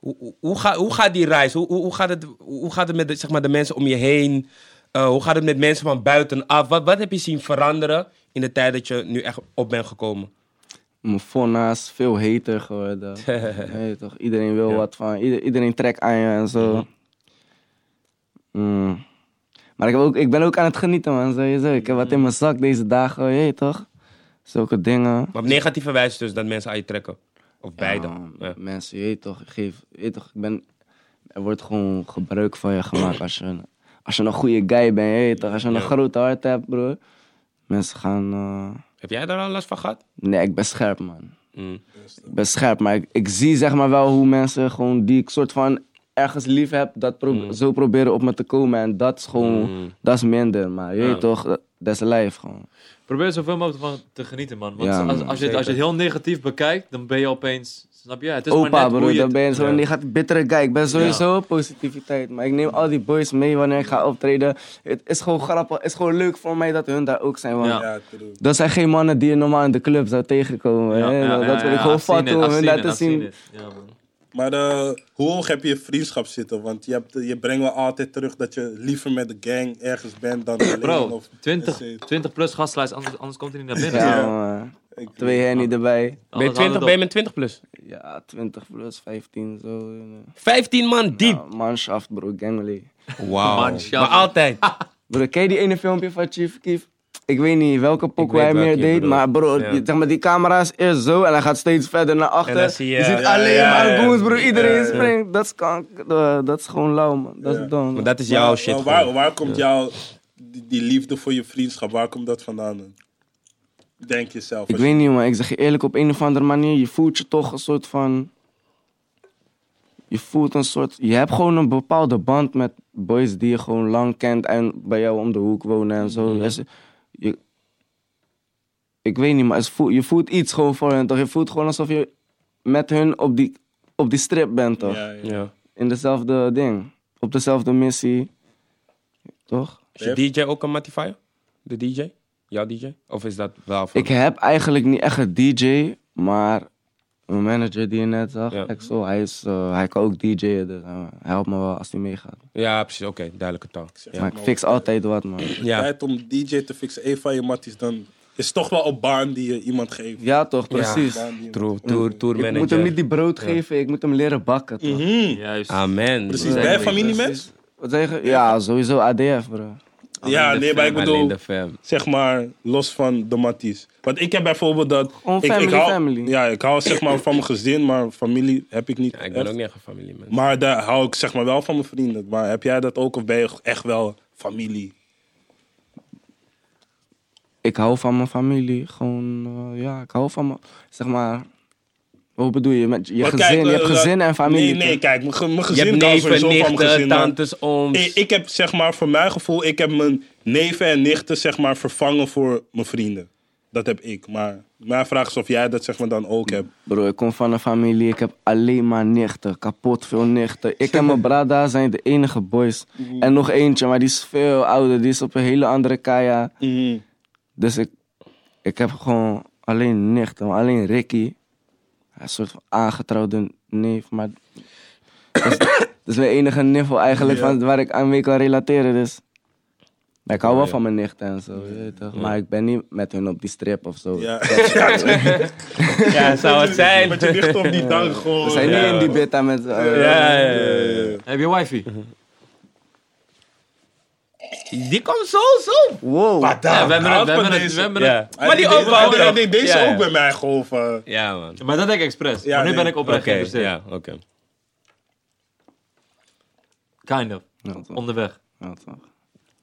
Speaker 1: Hoe, hoe, hoe, ga- hoe gaat die reis? Hoe, hoe, hoe gaat het, hoe gaat het met de, zeg maar, de mensen om je heen? Eh, hoe gaat het met mensen van buitenaf? Wat, wat heb je zien veranderen in de tijd dat je nu echt op bent gekomen?
Speaker 4: mijn fonna's veel heter geworden. Nee, toch? Iedereen wil wat van. Ieder- iedereen trekt aan je en zo. Mm. Maar ik, heb ook, ik ben ook aan het genieten, man. Sowieso. Ik heb wat in mijn zak deze dagen, je weet toch? Zulke dingen.
Speaker 1: Maar op negatieve wijze dus, dat mensen aan je trekken. Of beide. Ja. mm.
Speaker 4: Ja, Mensen, je weet toch? Ik geef, je weet toch? Ik ben, er wordt gewoon gebruik van je gemaakt als je, een- als je een goede guy bent, je weet toch? Als je een grote hart hebt, broer. Mensen gaan. eh,
Speaker 1: Heb jij daar al last van gehad?
Speaker 4: Nee, ik ben scherp, man.
Speaker 1: Mm.
Speaker 4: Ik ben scherp, maar ik, ik zie zeg maar wel hoe mensen gewoon die ik soort van ergens lief heb, dat pro-
Speaker 2: Mm.
Speaker 4: zo proberen op me te komen. En dat is gewoon, dat is minder. Maar je weet toch, dat dat is lijf gewoon.
Speaker 2: Probeer zoveel mogelijk van te genieten, man. Want
Speaker 4: Ja,
Speaker 2: als,
Speaker 4: man,
Speaker 2: als, je, het- als je het heel negatief bekijkt, dan ben je opeens. Snap je? Het is maar
Speaker 4: Opa,
Speaker 2: net hoe
Speaker 4: broer,
Speaker 2: je
Speaker 4: dan
Speaker 2: het-
Speaker 4: ben je zo'n
Speaker 1: ja.
Speaker 4: negatief bittere guy. Ik ben sowieso positiviteit, maar ik neem al die boys mee wanneer ik ga optreden. Het is gewoon grappig, het is gewoon leuk voor mij dat hun daar ook zijn. Want
Speaker 2: Ja.
Speaker 3: Ja, true.
Speaker 4: Dat zijn geen mannen die je normaal in de club zou tegenkomen.
Speaker 2: Ja,
Speaker 4: hè?
Speaker 2: ja,
Speaker 4: dat
Speaker 2: ja,
Speaker 4: wil
Speaker 2: ja,
Speaker 4: ik gewoon
Speaker 2: I've seen
Speaker 4: vatten
Speaker 2: it,
Speaker 4: om
Speaker 2: I've
Speaker 4: hun
Speaker 2: seen
Speaker 4: dat
Speaker 2: it,
Speaker 4: te
Speaker 2: I've seen
Speaker 4: zien.
Speaker 2: it. Ja, man.
Speaker 3: Maar eh, hoe hoog heb je je vriendschap zitten? Want je, hebt, je brengt wel altijd terug dat je liever met de gang ergens bent dan alleen.
Speaker 2: Bro,
Speaker 3: of,
Speaker 2: 20, 20 plus gastlijst, anders, anders komt hij niet naar binnen.
Speaker 4: Ja,
Speaker 3: Ja.
Speaker 4: man.
Speaker 3: Ik-
Speaker 4: Twee Henny erbij.
Speaker 1: Ben je,
Speaker 2: Anders houdt
Speaker 1: 20,
Speaker 2: het
Speaker 1: ben je
Speaker 2: op.
Speaker 1: met 20 plus?
Speaker 4: Ja, 20 plus, 15 zo. eh.
Speaker 1: 15 man diep.
Speaker 4: Ja, manschaft, bro, gangly.
Speaker 1: Wauw.
Speaker 2: Manschaft.
Speaker 1: Maar altijd.
Speaker 4: Bro, ken je die ene filmpje van Chief Keef? Ik weet niet welke pokoe
Speaker 1: weet
Speaker 4: hij meer
Speaker 1: welke je
Speaker 4: deed,
Speaker 1: bedoelt.
Speaker 4: maar bro,
Speaker 1: Ja.
Speaker 4: je- zeg maar, die camera is eerst zo en hij gaat steeds verder naar achter.
Speaker 1: En dan zie je-
Speaker 4: ziet
Speaker 1: Ja,
Speaker 4: alleen
Speaker 3: ja,
Speaker 4: maar
Speaker 3: ja.
Speaker 4: goons, bro. Iedereen
Speaker 3: Ja.
Speaker 4: springt. Dat is kank- eh, dat is gewoon lauw, man. Dat
Speaker 3: Ja.
Speaker 4: is dom.
Speaker 1: Maar
Speaker 4: man.
Speaker 1: dat is
Speaker 3: Maar-
Speaker 1: jouw shit.
Speaker 3: maar waar,
Speaker 1: gewoon.
Speaker 3: waar komt jouw die, die liefde voor je vriendschap, waar komt dat vandaan? dan? Denk jezelf.
Speaker 4: Ik weet niet, man. Ik zeg je eerlijk, op een of andere manier, je voelt je toch een soort van... Je voelt een soort... Je hebt gewoon een bepaalde band met boys die je gewoon lang kent en bij jou om de hoek wonen en zo. Dus je, ik weet niet, maar het voelt, je voelt iets gewoon voor hen, toch? Je voelt gewoon alsof je met hun op die, op die strip bent, toch?
Speaker 3: Ja, ja.
Speaker 1: Ja.
Speaker 4: In dezelfde ding. Op dezelfde missie. Toch?
Speaker 1: Is je DJ ook een Matifier? De DJ? Jouw DJ? Of is dat wel van?
Speaker 4: Ik heb eigenlijk niet echt een DJ, maar mijn manager die je net zag,
Speaker 1: Ja.
Speaker 4: Axel, hij, is, eh, hij kan ook DJ'en, dus eh, hij helpt me wel als hij meegaat.
Speaker 1: Ja, precies. Oké, duidelijke taal. Ja.
Speaker 4: maar ik fix altijd wat, man.
Speaker 1: Ja.
Speaker 3: Tijd om DJ te fixen, een van je matties, dan is toch wel op baan die je iemand geeft.
Speaker 4: Ja, toch, precies.
Speaker 3: Baan die je-
Speaker 1: Tour, tour, tour
Speaker 4: Ik moet hem niet
Speaker 1: manager.
Speaker 4: die brood geven, ik moet hem leren bakken. toch?
Speaker 3: Mhm.
Speaker 2: Juist.
Speaker 4: Ah.
Speaker 1: Amen.
Speaker 3: Precies,
Speaker 1: bro.
Speaker 3: ben je familiemens?
Speaker 4: Precies. Wat zeg je? Ja, sowieso ADF, bro.
Speaker 3: Ja,
Speaker 2: de
Speaker 3: nee, maar ik
Speaker 1: Alleen
Speaker 3: bedoel,
Speaker 1: de fam.
Speaker 3: zeg maar, los van de matties. Want ik heb bijvoorbeeld dat...
Speaker 4: Gewoon
Speaker 3: ik, ik
Speaker 4: family,
Speaker 3: hou,
Speaker 4: family.
Speaker 3: Ja, ik hou zeg maar van mijn gezin, maar familie heb ik niet
Speaker 1: Ja, ik ben
Speaker 3: echt.
Speaker 1: ook niet echt een familieman.
Speaker 3: Maar daar hou ik zeg maar wel van mijn vrienden. Maar heb jij dat ook of ben je echt wel familie?
Speaker 4: Ik hou van mijn familie, gewoon, eh, ja, ik hou van mijn, zeg maar... Hoe bedoel je? Met je
Speaker 3: Maar
Speaker 4: gezin,
Speaker 3: kijk,
Speaker 4: je hebt
Speaker 3: eh,
Speaker 4: gezin en familie.
Speaker 3: Nee, nee,
Speaker 4: toch?
Speaker 3: kijk, mijn ge- mijn
Speaker 1: Je
Speaker 3: gezin
Speaker 1: hebt
Speaker 3: kan sowieso
Speaker 1: neven,
Speaker 3: van mijn
Speaker 1: nichten,
Speaker 3: gezin. maar
Speaker 1: tantes, ooms.
Speaker 3: Ik, ik heb zeg maar, voor mijn gevoel, ik heb mijn neven en nichten zeg maar vervangen voor mijn vrienden. Dat heb ik. Maar mijn vraag is of jij dat zeg maar dan ook hebt.
Speaker 4: Bro, ik kom van een familie, ik heb alleen maar nichten. Kapot veel nichten. Ik en mijn brada zijn de enige boys.
Speaker 3: Mm.
Speaker 4: En nog eentje, maar die is veel ouder. Die is op een hele andere kaya. Dus ik, ik heb gewoon alleen nichten. maar Alleen Ricky. Hij is Een soort van aangetrouwde neef. Maar dat is, dat is mijn enige niffel eigenlijk
Speaker 3: Ja.
Speaker 4: van, waar ik aan mee kan relateren. Dus. Maar ik hou wel van mijn nichten en zo. je weet toch? Maar ik ben niet met hun op die strip of zo.
Speaker 3: Ja.
Speaker 1: Ja, zou Nou, het zijn.
Speaker 3: Met je nicht op die dag gewoon.
Speaker 4: We zijn
Speaker 3: ja.
Speaker 4: niet in die beta met z'n allen.
Speaker 1: Ja, ja, ja, ja.
Speaker 2: Heb je wifi?
Speaker 1: Die komt zo, zo.
Speaker 4: Wow.
Speaker 2: Ja, we hebben
Speaker 3: hou
Speaker 2: het, we
Speaker 3: van
Speaker 2: hebben het,
Speaker 3: deze.
Speaker 2: we hebben
Speaker 1: Ja.
Speaker 2: het.
Speaker 1: Maar die
Speaker 3: deed-
Speaker 1: opbouw
Speaker 3: hij
Speaker 1: erop.
Speaker 3: deed deze
Speaker 1: Ja, ja.
Speaker 3: ook bij mij gewoon van...
Speaker 1: Ja, man. Oké,
Speaker 2: Maar dat denk ik expres.
Speaker 3: Ja,
Speaker 2: maar nu
Speaker 3: nee.
Speaker 2: ben ik oprecht geïnteresseerd.
Speaker 1: ja, oké.
Speaker 2: Kind of.
Speaker 4: Ja, toch.
Speaker 2: Onderweg.
Speaker 4: Ja, toch.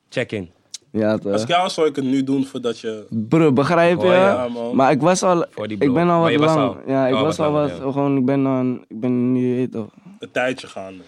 Speaker 1: Check in.
Speaker 4: Ja,
Speaker 3: Als
Speaker 4: toch.
Speaker 3: ik jou was, zou ik het nu doen voordat je...
Speaker 4: Bro, begrijp je?
Speaker 1: Oh,
Speaker 3: ja, man.
Speaker 4: maar ik was al...
Speaker 1: Voor die
Speaker 4: Ik ben
Speaker 1: blow.
Speaker 4: al
Speaker 1: Maar
Speaker 4: wat
Speaker 1: je was
Speaker 4: lang.
Speaker 1: al-
Speaker 4: Ja, ik
Speaker 1: oh,
Speaker 4: was
Speaker 1: wat
Speaker 4: al wat...
Speaker 1: langer, ja.
Speaker 4: Gewoon, ik ben dan... Ik ben nu... je weet toch.
Speaker 3: een tijdje gaande.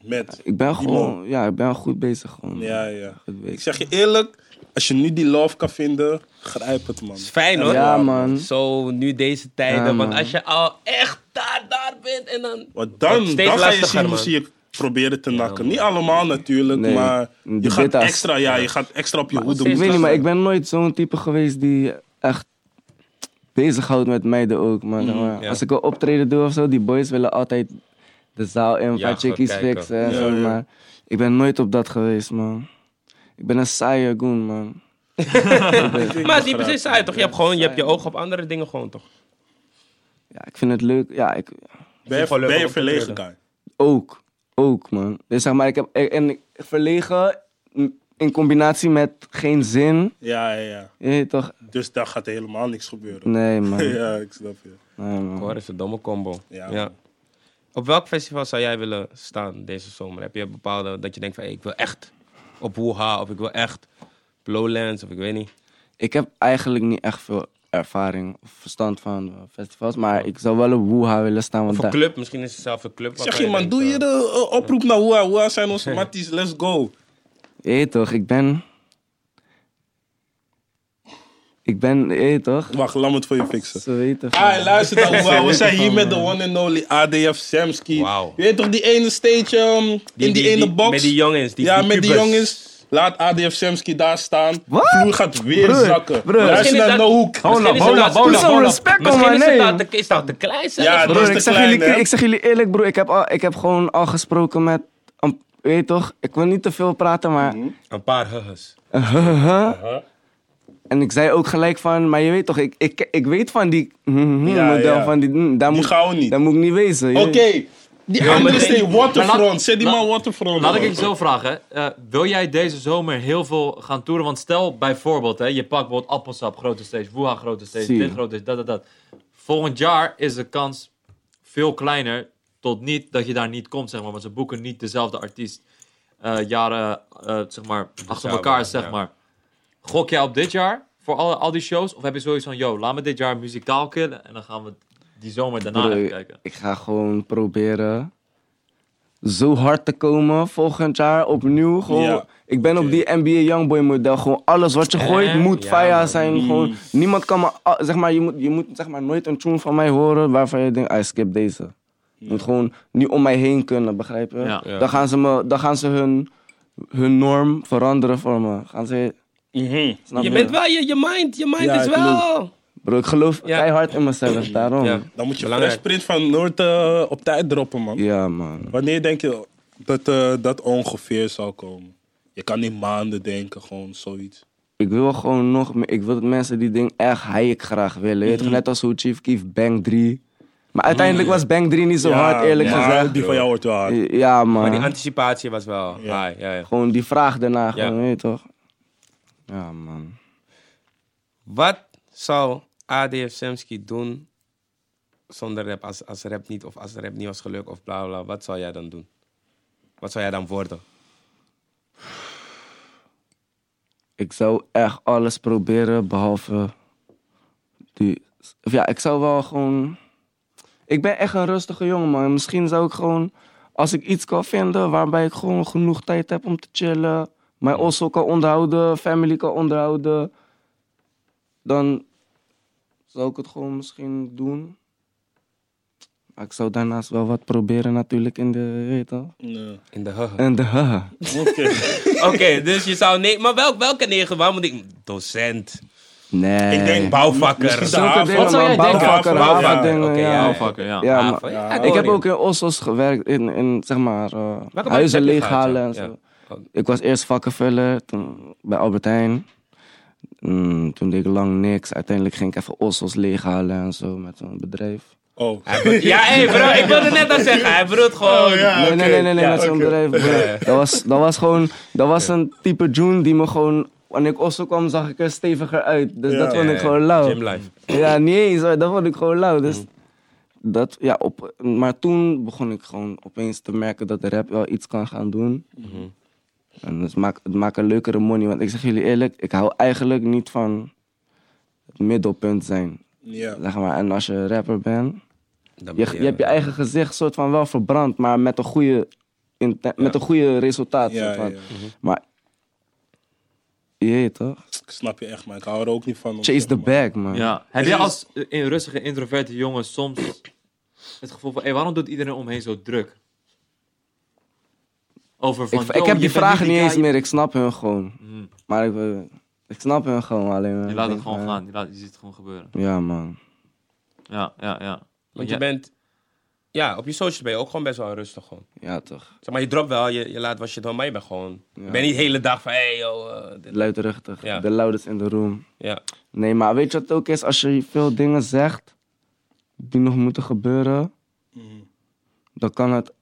Speaker 3: Met.
Speaker 4: Ik ben
Speaker 3: Die
Speaker 4: gewoon... Ja, ik ben goed bezig gewoon.
Speaker 3: Ja, ja.
Speaker 4: Goed
Speaker 3: Ik
Speaker 4: bezig.
Speaker 3: zeg je eerlijk, als je nu die love kan vinden, grijp het man.
Speaker 1: Is fijn hoor.
Speaker 4: Ja, man.
Speaker 1: Zo, nu deze tijden.
Speaker 4: Ja,
Speaker 1: want
Speaker 4: man.
Speaker 1: als je al echt daar, daar bent en dan.
Speaker 3: Want
Speaker 1: Wordt
Speaker 3: dan,
Speaker 1: steeds
Speaker 3: dan ga je
Speaker 1: lastiger,
Speaker 3: zien hoe
Speaker 1: man.
Speaker 3: ze je proberen te nakken. Niet allemaal natuurlijk,
Speaker 4: Nee,
Speaker 3: maar
Speaker 4: die
Speaker 3: je gaat
Speaker 4: beta's.
Speaker 3: extra, ja, je gaat extra op je hoede
Speaker 4: Ik
Speaker 3: moeten
Speaker 4: weet niet, maar
Speaker 3: staan.
Speaker 4: ik ben nooit zo'n type geweest die echt bezighoudt met meiden ook, man. Maar
Speaker 1: Mhm. ja.
Speaker 4: Als ik een optreden doe of zo, die boys willen altijd de zaal in,
Speaker 1: Ja,
Speaker 4: ja,
Speaker 1: gewoon
Speaker 4: chickies
Speaker 1: kijken.
Speaker 4: fixen en
Speaker 3: Ja,
Speaker 4: zo,
Speaker 3: ja.
Speaker 4: maar ik ben nooit op dat geweest, man. Ik ben een saaie goon, man.
Speaker 1: Maar het is niet precies saai toch? Je hebt gewoon je, hebt je ogen op andere dingen gewoon toch?
Speaker 4: Ja, ik vind het leuk. Ja, ik,
Speaker 3: Ben je,
Speaker 1: Gewoon leuk
Speaker 3: ben je
Speaker 1: om te
Speaker 3: verlegen,
Speaker 1: treden.
Speaker 3: guy?
Speaker 4: Ook. Ook, man. Dus zeg maar, ik heb... ik- En ik- verlegen in- in combinatie met geen zin.
Speaker 3: Ja, ja, ja.
Speaker 4: Je weet toch?
Speaker 3: Dus daar gaat helemaal niks gebeuren.
Speaker 4: Nee, man.
Speaker 3: ja, ik snap je.
Speaker 4: Nee, man.
Speaker 1: Hoor, is een domme combo.
Speaker 3: Ja.
Speaker 1: Op welk festival zou jij willen staan deze zomer? Heb je een bepaalde dat je denkt van hey, ik wil echt op Woeha of ik wil echt op Lowlands of ik weet niet.
Speaker 4: Ik heb eigenlijk niet echt veel ervaring of verstand van eh, festivals. Maar ik zou wel op Woeha willen staan. Want
Speaker 1: Of een
Speaker 4: daar-
Speaker 1: club, misschien is het zelf een club.
Speaker 3: Ik zeg
Speaker 1: waarvan
Speaker 3: je man,
Speaker 1: denkt,
Speaker 3: doe
Speaker 1: eh,
Speaker 3: je de eh, oproep naar Hoa. Hoa zijn onze matties, let's go.
Speaker 4: Je weet toch, ik ben... Ik ben... Je weet toch?
Speaker 3: Wacht, laat me het voor je fixen.
Speaker 4: Ze weten van...
Speaker 3: Ah, luister dan, wauw, we zijn hier
Speaker 4: van,
Speaker 3: met de one and only ADF Samski.
Speaker 1: Wauw.
Speaker 3: Je weet toch die ene stage ehm, in die, ene box?
Speaker 1: Met die jongens. Die,
Speaker 3: ja,
Speaker 1: die
Speaker 3: met die
Speaker 1: pubers.
Speaker 3: jongens. Laat ADF Semski daar staan.
Speaker 4: Wat?
Speaker 3: Vloer gaat weer
Speaker 4: Broer,
Speaker 3: zakken.
Speaker 4: broer.
Speaker 3: Luister
Speaker 1: Misschien is
Speaker 3: naar
Speaker 1: dat-
Speaker 3: Nohoek.
Speaker 2: Hold up,
Speaker 1: Misschien is
Speaker 2: hold
Speaker 1: het
Speaker 2: up,
Speaker 1: dat-
Speaker 2: hold
Speaker 4: Doe
Speaker 2: up.
Speaker 4: zo'n
Speaker 2: hold up.
Speaker 4: respect om
Speaker 1: Misschien
Speaker 4: haar,
Speaker 1: is het dat
Speaker 4: nee.
Speaker 1: te- is dat te klein zelfs,
Speaker 3: Ja,
Speaker 1: bro.
Speaker 3: dat
Speaker 4: Broer,
Speaker 3: is
Speaker 4: ik
Speaker 3: te
Speaker 4: zeg,
Speaker 3: klein,
Speaker 4: jullie,
Speaker 3: hè?
Speaker 4: ik zeg jullie eerlijk, broer. Ik heb, al, ik heb gewoon al gesproken met... een- weet je toch? Ik wil niet te veel praten, maar...
Speaker 3: Mhm.
Speaker 1: Een paar huggers.
Speaker 4: Uh-huh. En ik zei ook gelijk van... Maar je weet toch, ik, ik, ik weet van die... mhm,
Speaker 3: Ja,
Speaker 4: model
Speaker 3: ja.
Speaker 4: van die... mm, daar
Speaker 3: Die
Speaker 4: moet,
Speaker 3: gaan we niet.
Speaker 4: Daar moet ik niet wezen. je
Speaker 3: Oké.
Speaker 4: weet.
Speaker 3: Die andere
Speaker 2: maar-
Speaker 3: is
Speaker 2: Maar
Speaker 3: Waterfront.
Speaker 2: laat-
Speaker 3: Zet die
Speaker 2: laat-
Speaker 3: man Waterfront.
Speaker 2: Laat ik
Speaker 3: man.
Speaker 2: je zo vragen. eh, wil jij deze zomer heel veel gaan toeren? Want stel bijvoorbeeld, hè, je pakt bijvoorbeeld appelsap, grote stage, woeha, grote stage,
Speaker 4: Zie je.
Speaker 2: dit grote stage, dat, dat, dat. Volgend jaar is de kans veel kleiner tot niet dat je daar niet komt, zeg maar. Want ze boeken niet dezelfde artiest eh, jaren, eh, zeg maar, achter
Speaker 1: jaar
Speaker 2: elkaar,
Speaker 1: wel,
Speaker 2: zeg
Speaker 1: ja.
Speaker 2: maar. Gok jij op dit jaar voor al, al die shows? Of heb je zoiets van, yo, laat me dit jaar muzikaal killen en dan gaan we die zomer daarna
Speaker 4: Broer,
Speaker 2: even kijken?
Speaker 4: Ik ga gewoon proberen zo hard te komen volgend jaar opnieuw. Gewoon,
Speaker 3: Ja,
Speaker 4: ik ben op die NBA Youngboy model. Gewoon alles wat je gooit
Speaker 2: Eh,
Speaker 4: moet
Speaker 2: ja,
Speaker 4: fire
Speaker 2: man.
Speaker 4: zijn. Gewoon, niemand kan me... a- Zeg maar, je moet, je moet zeg maar, nooit een tune van mij horen waarvan je denkt, ah, skip deze. Je moet gewoon niet om mij heen kunnen, begrijp je?
Speaker 2: Ja.
Speaker 1: Ja.
Speaker 4: Dan gaan ze, me, dan gaan ze hun, hun norm veranderen voor me. Gaan ze,
Speaker 3: Mhm.
Speaker 4: snap
Speaker 1: Je bent wel, je, je mind, je mind
Speaker 3: Ja,
Speaker 1: is
Speaker 3: ik
Speaker 1: wel.
Speaker 4: Bro, ik geloof
Speaker 1: Ja.
Speaker 4: keihard in mezelf, daarom.
Speaker 1: Ja.
Speaker 4: Ja,
Speaker 3: Dan moet je
Speaker 1: Belangrijk.
Speaker 3: Fresh Print van Noord eh, op tijd droppen, man.
Speaker 4: man.
Speaker 3: Wanneer denk je dat eh, dat ongeveer zal komen? Je kan niet maanden denken, gewoon zoiets.
Speaker 4: Ik wil gewoon nog meer. Ik wil dat mensen die ding echt ik graag willen. Je weet
Speaker 1: Mhm.
Speaker 4: toch, net als hoe Chief Keef Bang 3. Maar uiteindelijk was Bang 3 niet zo hard, eerlijk
Speaker 3: maar
Speaker 4: gezegd.
Speaker 3: Die van jou wordt wel hard.
Speaker 4: Ja,
Speaker 1: Maar die
Speaker 4: man.
Speaker 1: anticipatie was wel
Speaker 3: Ja.
Speaker 1: high. Ja, ja.
Speaker 4: Gewoon die vraag daarna,
Speaker 1: Ja.
Speaker 4: gewoon, weet je toch? Ja, man.
Speaker 1: Wat zou ADF Semski doen zonder rap? Als, als rap niet of als rap niet was gelukt of bla bla. Wat zou jij dan doen? Wat zou jij dan worden?
Speaker 4: Ik zou echt alles proberen behalve. Die. Of ja, ik zou wel gewoon. Ik ben echt een rustige jongen, man. Misschien zou ik gewoon. Als ik iets kan vinden waarbij ik gewoon genoeg tijd heb om te chillen. Mijn osso kan onderhouden, family kan onderhouden. Dan zou ik het gewoon misschien doen. Maar ik zou daarnaast wel wat proberen natuurlijk in de... je Weet je wel?
Speaker 3: Nee.
Speaker 1: In de hugger.
Speaker 4: In de haha.
Speaker 3: Oké.
Speaker 1: Oké, dus je zou nee, maar welk, welke negen? Waar moet ik? Docent.
Speaker 4: Nee.
Speaker 3: Ik denk
Speaker 1: Bouwvakker.
Speaker 3: Misschien
Speaker 1: Zulke
Speaker 3: de haven.
Speaker 4: dingen, Wat zou man. jij denken? Bouwvakker,
Speaker 3: Haven, ja.
Speaker 4: bouwvakker,
Speaker 1: Oké,
Speaker 4: ja.
Speaker 1: ja.
Speaker 2: Oh, fucker, ja.
Speaker 4: Ja,
Speaker 1: Ah,
Speaker 4: maar-
Speaker 1: van-
Speaker 3: ja,
Speaker 1: ik
Speaker 4: Ik heb
Speaker 1: hoor
Speaker 4: ook
Speaker 1: je.
Speaker 4: in Ossos gewerkt, in, in zeg maar, eh,
Speaker 1: bank
Speaker 4: huizen
Speaker 1: heb je
Speaker 4: leeghalen en
Speaker 1: gehad, ja?
Speaker 4: zo. Ik was eerst vakkenvuller toen, bij Albert Heijn. Mm, toen deed ik lang niks. Uiteindelijk ging ik even Ossos leeghalen en zo met een bedrijf.
Speaker 3: Oh.
Speaker 1: Ja, hé bro, ik wilde net al zeggen. Hij bedoelt gewoon.
Speaker 3: ja,
Speaker 4: nee,
Speaker 3: Ah, oké.
Speaker 4: nee, nee, nee, nee,
Speaker 3: Ja,
Speaker 4: met zo'n
Speaker 3: oké.
Speaker 4: bedrijf. bro. Dat was, dat was gewoon, dat was een type June die me gewoon, wanneer ik Osso kwam zag ik er steviger uit. Dus
Speaker 3: Ja.
Speaker 4: dat vond ik
Speaker 1: Eh,
Speaker 4: gewoon lauw.
Speaker 1: Gym life.
Speaker 4: Ja, niet eens, hoor. dat vond ik gewoon lauw. Dus dat, ja, op, maar toen begon ik gewoon opeens te merken dat de rap wel iets kan gaan doen.
Speaker 1: Mhm.
Speaker 4: En het maakt, het maakt een leukere money, want ik zeg jullie eerlijk, ik hou eigenlijk niet van het middelpunt zijn.
Speaker 3: Ja.
Speaker 4: Zeg maar. En als je rapper bent,
Speaker 1: Dan
Speaker 4: je,
Speaker 1: ben
Speaker 4: je hebt je eigen gezicht soort van wel verbrand, maar met een goede, inten- met een goede resultaat.
Speaker 3: Ja,
Speaker 4: soort van.
Speaker 3: ja,
Speaker 1: Mhm.
Speaker 3: ja.
Speaker 4: Maar, jee toch?
Speaker 3: Ik snap je echt, man. Ik hou er ook niet van. om
Speaker 4: Chase
Speaker 3: zeg
Speaker 4: the
Speaker 3: maar-
Speaker 4: bag, man.
Speaker 2: Ja. Heb
Speaker 3: Dus
Speaker 2: jij
Speaker 3: is-
Speaker 2: als eh, in rustige, introverte jongen soms het gevoel van... Hey, waarom doet iedereen omheen zo druk? Over van...
Speaker 4: Ik,
Speaker 2: yo,
Speaker 4: ik heb
Speaker 2: je
Speaker 4: die
Speaker 2: bent
Speaker 4: vragen niet
Speaker 2: die
Speaker 4: eens
Speaker 2: guy-
Speaker 4: meer, ik snap hun gewoon.
Speaker 2: Mm,
Speaker 4: Maar ik, eh, ik snap hun gewoon alleen maar.
Speaker 2: je
Speaker 4: ik eh,
Speaker 2: laat het
Speaker 4: denk
Speaker 2: gewoon
Speaker 4: van,
Speaker 2: gaan. Je, laat, je ziet het gewoon gebeuren.
Speaker 4: Ja, man.
Speaker 2: Ja, ja, ja.
Speaker 1: Want je
Speaker 2: Ja.
Speaker 1: bent. Ja, op je social ben je ook gewoon best wel rustig. Gewoon.
Speaker 4: Ja, toch.
Speaker 1: Zeg maar, je dropt wel, je, je laat wat je doet, maar je bent gewoon. Je bent niet de hele dag van, hey, yo. eh, dit-
Speaker 4: Luidruchtig.
Speaker 1: Ja.
Speaker 4: De loudest in de room.
Speaker 1: ja.
Speaker 4: Nee, maar weet je wat het ook is? Als je veel dingen zegt die nog moeten gebeuren,
Speaker 3: Mhm.
Speaker 4: dan kan het.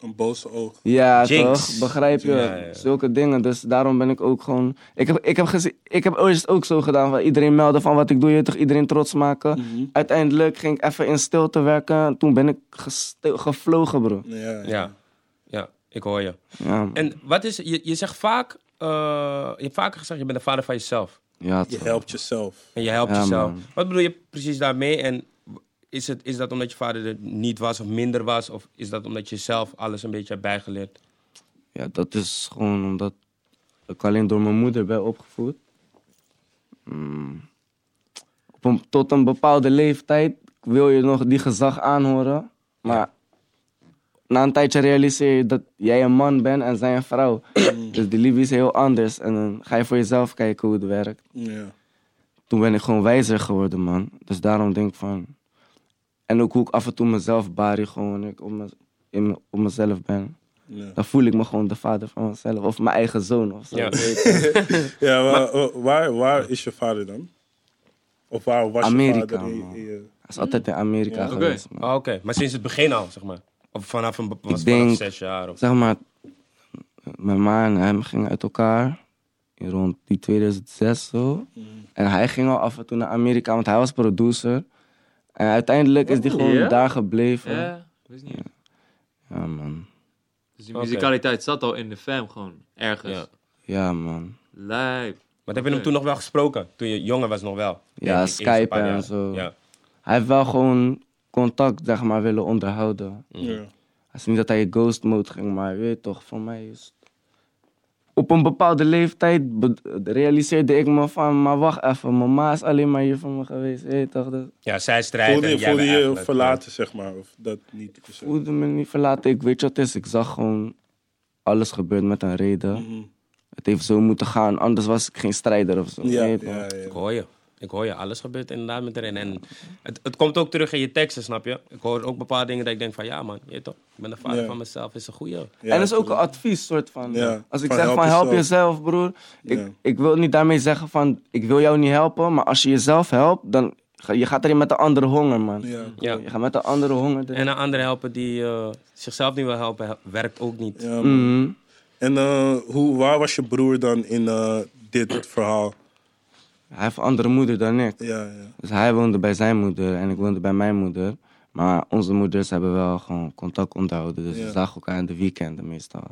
Speaker 3: Een boze oog.
Speaker 4: Ja,
Speaker 1: Jinx.
Speaker 4: toch? Begrijp je?
Speaker 1: Ja, ja.
Speaker 4: Zulke dingen. Dus daarom ben ik ook gewoon. Ik heb, ik heb, gezien, ik heb ooit ook zo gedaan. Van iedereen melden van wat ik doe. Je toch iedereen trots maken.
Speaker 3: Mhm.
Speaker 4: Uiteindelijk ging ik even in stilte werken. Toen ben ik gestil- gevlogen, bro.
Speaker 3: Ja,
Speaker 1: Ja. Ja, ik hoor je.
Speaker 4: Ja, man.
Speaker 1: En wat is, je, je zegt vaak, eh, je hebt vaker gezegd, je bent de vader van jezelf.
Speaker 4: ja
Speaker 3: Je
Speaker 4: toch.
Speaker 3: helpt jezelf.
Speaker 1: En je helpt
Speaker 4: Ja,
Speaker 1: jezelf.
Speaker 4: man.
Speaker 1: Wat bedoel je precies daarmee? En is, het, is dat omdat je vader er niet was of minder was? Of is dat omdat je zelf alles een beetje hebt bijgeleerd?
Speaker 4: Ja, dat is gewoon omdat ik alleen door mijn moeder ben opgevoed. Mm. Op een- tot een bepaalde leeftijd wil je nog die gezag aanhoren. Maar na een tijdje realiseer je dat jij een man bent en zij een vrouw. dus die liefde is heel anders. En dan ga je voor jezelf kijken hoe het werkt.
Speaker 3: Ja.
Speaker 4: Toen ben ik gewoon wijzer geworden, man. Dus daarom denk ik van... En ook hoe ik af en toe mezelf bari gewoon wanneer ik op, me, in me- op mezelf ben.
Speaker 3: Ja.
Speaker 4: Dan voel ik me gewoon de vader van mezelf. Of mijn eigen zoon of zo.
Speaker 1: Ja.
Speaker 4: weet je.
Speaker 3: Ja, maar, eh, waar, waar is je vader dan? Of waar was je
Speaker 4: Amerika,
Speaker 3: vader? in-
Speaker 4: man.
Speaker 3: in je-
Speaker 4: Hij is altijd in Amerika
Speaker 2: oké.
Speaker 4: geweest, man.
Speaker 1: Ah, Oké, maar sinds het begin al, zeg maar. Of vanaf een be- was het
Speaker 4: denk-
Speaker 1: vanaf zes jaar of
Speaker 4: zeg maar, mijn ma en hem gingen uit elkaar in rond die 2006 zo.
Speaker 2: Mm.
Speaker 4: En hij ging al af en toe naar Amerika, want hij was producer. En uiteindelijk is die gewoon
Speaker 2: Oh, Ja?
Speaker 4: daar gebleven.
Speaker 2: Ja, weet niet.
Speaker 4: Ja, man.
Speaker 2: Dus die
Speaker 1: Oké.
Speaker 2: musicaliteit zat al in de fam gewoon. Ergens.
Speaker 1: Ja.
Speaker 4: Ja, man.
Speaker 2: Lijp.
Speaker 1: Maar heb je hem toen nog wel gesproken? Toen je jonger was nog wel.
Speaker 4: Ja,
Speaker 1: Denk ik,
Speaker 4: Skype
Speaker 1: eerste paar
Speaker 4: en
Speaker 1: jaar.
Speaker 4: zo.
Speaker 1: Ja.
Speaker 4: Hij heeft wel gewoon contact, zeg maar, willen onderhouden.
Speaker 1: Mhm.
Speaker 3: Ja.
Speaker 4: Het is niet dat hij in ghost mode ging, maar je weet toch, voor mij is... Op een bepaalde leeftijd be- realiseerde ik me van, maar wacht even, mijn ma is alleen maar hier voor me geweest. Je weet toch, dat...
Speaker 1: ja, zij strijdt
Speaker 3: Voelde
Speaker 1: en
Speaker 3: je,
Speaker 1: jij
Speaker 3: voelde
Speaker 1: bent
Speaker 3: je
Speaker 1: eigenlijk-
Speaker 3: verlaten, zeg maar? Of dat niet?
Speaker 4: Ik voelde me niet verlaten. Ik weet wat het is. Ik zag gewoon alles gebeurt met een reden.
Speaker 3: Mhm.
Speaker 4: Het heeft zo moeten gaan, anders was ik geen strijder of zo.
Speaker 3: Ja,
Speaker 4: Nee,
Speaker 3: ja,
Speaker 4: man.
Speaker 3: ja.
Speaker 1: Ik hoor je. Ik hoor je. Alles gebeurt inderdaad met erin. En het, het komt ook terug in je teksten, snap je? Ik hoor ook bepaalde dingen dat ik denk van... Ja, man. Je weet toch? Ik ben de vader
Speaker 3: Ja.
Speaker 1: van mezelf. Is een goeie.
Speaker 3: Ja,
Speaker 4: en dat is ook een
Speaker 3: tuurlijk.
Speaker 4: advies, soort van.
Speaker 3: Ja,
Speaker 4: Als ik
Speaker 3: van
Speaker 4: zeg
Speaker 3: help
Speaker 4: van help
Speaker 3: jezelf.
Speaker 4: jezelf, broer. Ik,
Speaker 3: Ja.
Speaker 4: ik wil niet daarmee zeggen van ik wil jou niet helpen, maar als je jezelf helpt, dan ga, je gaat erin met een andere honger, man.
Speaker 3: Ja.
Speaker 1: Ja.
Speaker 4: Je gaat met een andere honger erin.
Speaker 1: En een andere helpen die eh, zichzelf niet wil helpen, hel- werkt ook niet.
Speaker 3: Ja, man.
Speaker 4: Mhm.
Speaker 3: En eh, hoe, waar was je broer dan in eh, dit verhaal?
Speaker 4: Hij heeft een andere moeder dan ik.
Speaker 3: Ja, ja.
Speaker 4: Dus hij woonde bij zijn moeder en ik woonde bij mijn moeder. Maar onze moeders hebben wel gewoon contact onderhouden. Dus
Speaker 3: Ja.
Speaker 4: we zagen elkaar in de weekenden meestal.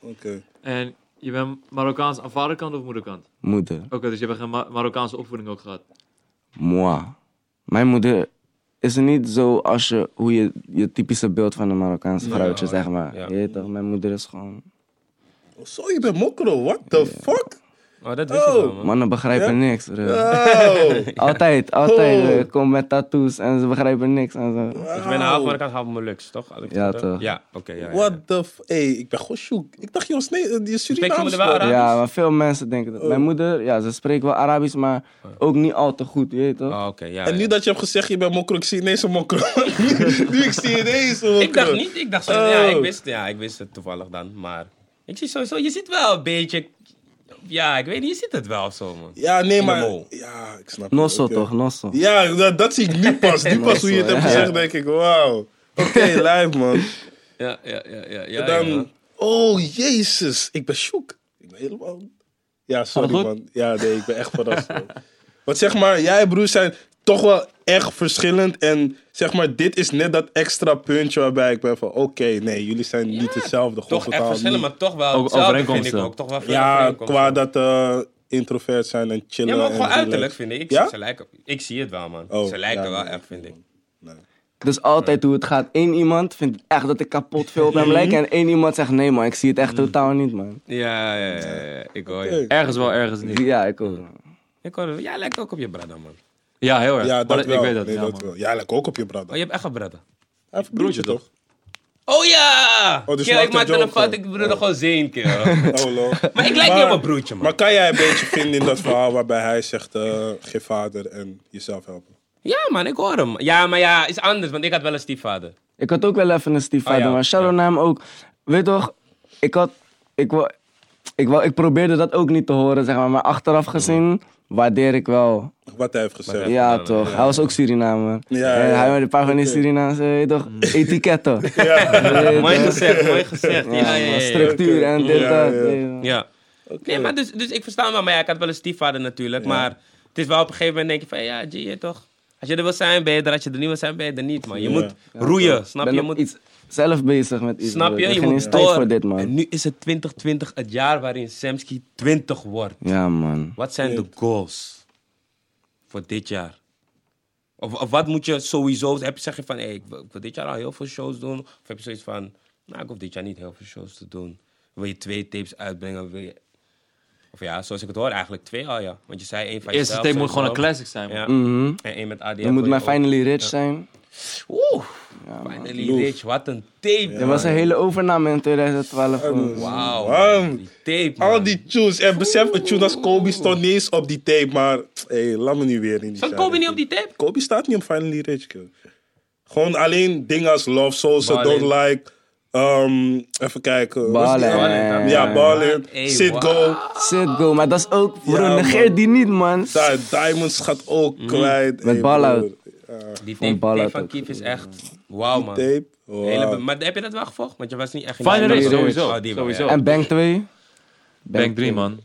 Speaker 3: Oké.
Speaker 2: En je bent Marokkaans aan vaderkant of moederkant?
Speaker 4: Moeder,
Speaker 2: Oké, dus je hebt geen Ma- Marokkaanse opvoeding ook gehad.
Speaker 4: moi. Mijn moeder is niet zo als je, hoe je je typische beeld van een Marokkaanse vrouwtje, zeg maar.
Speaker 1: ja.
Speaker 4: Je weet toch, mijn moeder is gewoon...
Speaker 3: Oh, Zo, je bent mokro, what the fuck?
Speaker 1: Oh, dat wist je wel, man.
Speaker 4: Mannen begrijpen niks, bro.
Speaker 3: Oh,
Speaker 4: Altijd, altijd.
Speaker 3: Oh.
Speaker 4: bro. Ik kom met tattoos en ze begrijpen niks en zo.
Speaker 1: Dus ik ben een half Marokkaan, half Molux, toch? Als ik het
Speaker 4: Ja,
Speaker 1: goed heb.
Speaker 4: toch.
Speaker 1: Ja, oké. ja, ja, ja.
Speaker 3: what the f... Hé, ik ben gewoon sjoek. Ik dacht, joh, nee, eh, die Suriname
Speaker 1: Spreek je me er wel Arabisch? Oh.
Speaker 4: Ja, maar veel mensen denken dat. Mijn moeder, ja, ze spreekt wel Arabisch, maar ook niet al te goed, je weet toch?
Speaker 1: Oh, oké, ja,
Speaker 3: En nu
Speaker 1: ja.
Speaker 3: dat je hebt gezegd, je bent mokro, ik zie ineens een mokro. nu, nu ik zie ineens een mokro.
Speaker 1: Ik dacht niet, ik dacht zo, ja, ik
Speaker 3: Oh.
Speaker 1: wist, ja, ik wist het toevallig dan, maar ik zie sowieso, je ziet wel een beetje, ja, ik weet niet, je ziet het wel zo, man.
Speaker 3: Ja, nee,
Speaker 1: de
Speaker 3: maar...
Speaker 1: mol.
Speaker 3: Ja, ik snap het.
Speaker 4: Nosso
Speaker 3: oké.
Speaker 4: toch, Nosso.
Speaker 3: Ja, dat, dat zie ik nu pas. Nu pas hoe je het hebt
Speaker 4: Ja.
Speaker 3: gezegd, denk ik, wauw. Oké, live, man.
Speaker 2: Ja, ja, ja, ja.
Speaker 3: En dan... Oh, jezus. Ik ben shook. Ik ben helemaal... Ja, sorry,
Speaker 4: goed?
Speaker 3: man. Ja, nee, ik ben echt verrast. man. Want zeg maar, jij en broer zijn toch wel echt verschillend. En zeg maar, dit is net dat extra puntje waarbij ik ben van... Oké, nee, jullie zijn niet hetzelfde. Gewoon
Speaker 1: toch echt
Speaker 3: totaal
Speaker 1: verschillen,
Speaker 3: niet.
Speaker 1: maar toch wel
Speaker 2: Ook
Speaker 1: hetzelfde, vind ik
Speaker 2: overeenkomsten.
Speaker 1: ook. Toch wel veel
Speaker 3: Ja,
Speaker 1: overeenkomsten.
Speaker 3: qua dat eh, introvert zijn en
Speaker 1: Ja,
Speaker 3: chillen.
Speaker 1: maar ook
Speaker 3: en
Speaker 1: gewoon
Speaker 3: relaxed.
Speaker 1: uiterlijk, vind ik. Ik,
Speaker 3: Ja?
Speaker 1: ze lijken, ik zie het wel, man.
Speaker 3: Oh,
Speaker 1: ze lijken
Speaker 3: ja,
Speaker 1: wel
Speaker 3: nee,
Speaker 1: echt, vind ik.
Speaker 4: Dus altijd hoe het gaat. Eén iemand vindt echt dat ik kapot veel op hem lijk. En één iemand zegt, nee man, ik zie het echt
Speaker 1: Mm.
Speaker 4: totaal niet man.
Speaker 1: Ja, ja, ja, ja, ik hoor je.
Speaker 3: Oké.
Speaker 2: Ergens wel, ergens niet.
Speaker 4: Ja, ik ook.
Speaker 1: Ik hoor, jij lijkt ook op je brada, man.
Speaker 2: Ja, heel erg.
Speaker 3: Ja,
Speaker 2: Maar
Speaker 3: dat
Speaker 2: ik
Speaker 3: wel.
Speaker 2: weet dat.
Speaker 3: Nee,
Speaker 2: ja,
Speaker 3: dat
Speaker 2: man.
Speaker 3: wel. Jij lijkt ook op je brada.
Speaker 1: Oh, je hebt echt een brada.
Speaker 3: Hij heeft een broertje, toch?
Speaker 1: Oh ja!
Speaker 3: Oh, dus
Speaker 1: Kill,
Speaker 3: je
Speaker 1: ik
Speaker 3: maakt
Speaker 1: maakte
Speaker 3: een
Speaker 1: een
Speaker 3: joke
Speaker 1: fout,
Speaker 3: van.
Speaker 1: ik bedoelde gewoon zeen, kill.
Speaker 3: Oh, lol.
Speaker 1: Maar ik lijk niet op mijn broertje, man.
Speaker 3: Maar kan jij een beetje vinden in dat verhaal waarbij hij zegt: eh geef vader en jezelf helpen?
Speaker 1: Ja, man, ik hoor hem. Ja, maar ja, is anders, want ik had wel een stiefvader.
Speaker 4: Ik had ook wel even een stiefvader,
Speaker 1: Ah, ja.
Speaker 4: maar shout-out
Speaker 1: Ja.
Speaker 4: naar hem ook. Weet toch, ik had... Ik, wou, ik, wou, ik probeerde dat ook niet te horen, zeg maar. Maar achteraf gezien waardeer ik wel.
Speaker 3: Wat hij heeft gezegd.
Speaker 1: hij-
Speaker 3: Ja.
Speaker 4: Ja, toch. Hij was ook Surinamer.
Speaker 3: Ja,
Speaker 4: En
Speaker 3: ja.
Speaker 4: Hij had een paar van die Surinaamse, weet je toch,
Speaker 1: Mm.
Speaker 4: etiketten.
Speaker 1: Mooi gezegd, mooi gezegd. Ja, ja, ja. ja.
Speaker 4: Structuur en dit,
Speaker 3: Ja,
Speaker 4: dat.
Speaker 3: ja.
Speaker 4: weet je wel.
Speaker 1: Ja. Nee, maar dus, dus ik verstaan wel, maar ja, ik had wel een stiefvader natuurlijk. Maar het is wel op een gegeven moment denk je van, ja, G, je toch. Als je er wil zijn, ben je er. Als je er niet wil zijn, ben je er niet, man. Je
Speaker 3: Ja.
Speaker 1: moet roeien, snap je?
Speaker 4: ben
Speaker 1: Je
Speaker 4: op
Speaker 1: moet,
Speaker 4: iets zelf bezig met iets.
Speaker 1: snap
Speaker 4: broer.
Speaker 1: je?
Speaker 4: Ik
Speaker 1: Je
Speaker 4: heb geen
Speaker 1: moet
Speaker 4: eens tijd
Speaker 1: door.
Speaker 4: voor dit, man.
Speaker 1: En nu is het 2020 het jaar waarin Semski 20 wordt.
Speaker 4: Ja, man.
Speaker 1: Wat zijn de goals voor dit jaar? Of, of wat moet je sowieso... Heb je, zeg je van, hey, ik, wil, ik wil dit jaar al heel veel shows doen? Of heb je zoiets van, nou, ik hoef dit jaar niet heel veel shows te doen. Wil je twee tapes uitbrengen? Wil je... Of ja, zoals ik het hoor, eigenlijk twee al, ja. Want je zei één van
Speaker 2: Eerste
Speaker 1: jezelf,
Speaker 2: tape moet
Speaker 1: sowieso.
Speaker 2: gewoon een classic zijn, man.
Speaker 1: Ja.
Speaker 4: Mhm.
Speaker 1: En één met ADF.
Speaker 4: Je moet
Speaker 1: wil
Speaker 4: mijn
Speaker 1: ook.
Speaker 4: finally rich zijn.
Speaker 1: Oeh,
Speaker 4: Ja, man.
Speaker 1: Finally Rich, wat een tape.
Speaker 4: Dit was een hele overname in 2012. man.
Speaker 1: Wauw,
Speaker 3: Man.
Speaker 1: man. die tape. man.
Speaker 3: Al die tunes. En besef, een tune als Kobe stond niet eens op die tape. Maar hey, laat me nu weer in die
Speaker 1: Staat
Speaker 3: shadow.
Speaker 1: Kobe niet op die tape?
Speaker 3: Kobe staat niet op Finally Rich. kill. Gewoon alleen dingen als Love Souls, I
Speaker 2: Ballin.
Speaker 3: Don't Like. ehm, even kijken. Wat is die
Speaker 4: Ballin.
Speaker 3: andere? Ja, Ballin.
Speaker 1: Hey,
Speaker 3: Sit
Speaker 1: wow.
Speaker 3: Go.
Speaker 4: Sit go, maar dat is ook. Bro,
Speaker 3: Ja,
Speaker 4: negeer
Speaker 3: man.
Speaker 4: die niet, man.
Speaker 3: Daar, Diamonds gaat ook kwijt.
Speaker 4: Met ball out.
Speaker 3: broer.
Speaker 1: Die
Speaker 4: Van
Speaker 1: tape,
Speaker 4: Ballard
Speaker 1: tape van
Speaker 4: ook.
Speaker 1: Kief is echt... Wauw, man.
Speaker 3: Tape.
Speaker 1: Hele be-
Speaker 3: Wow.
Speaker 1: maar heb je dat wel gevolgd? Want je was niet echt... in-
Speaker 2: Final Race,
Speaker 4: Rich.
Speaker 2: sowieso.
Speaker 1: Oh, die wel,
Speaker 2: sowieso.
Speaker 1: ja.
Speaker 4: En Bank 2?
Speaker 2: Bank 3, man.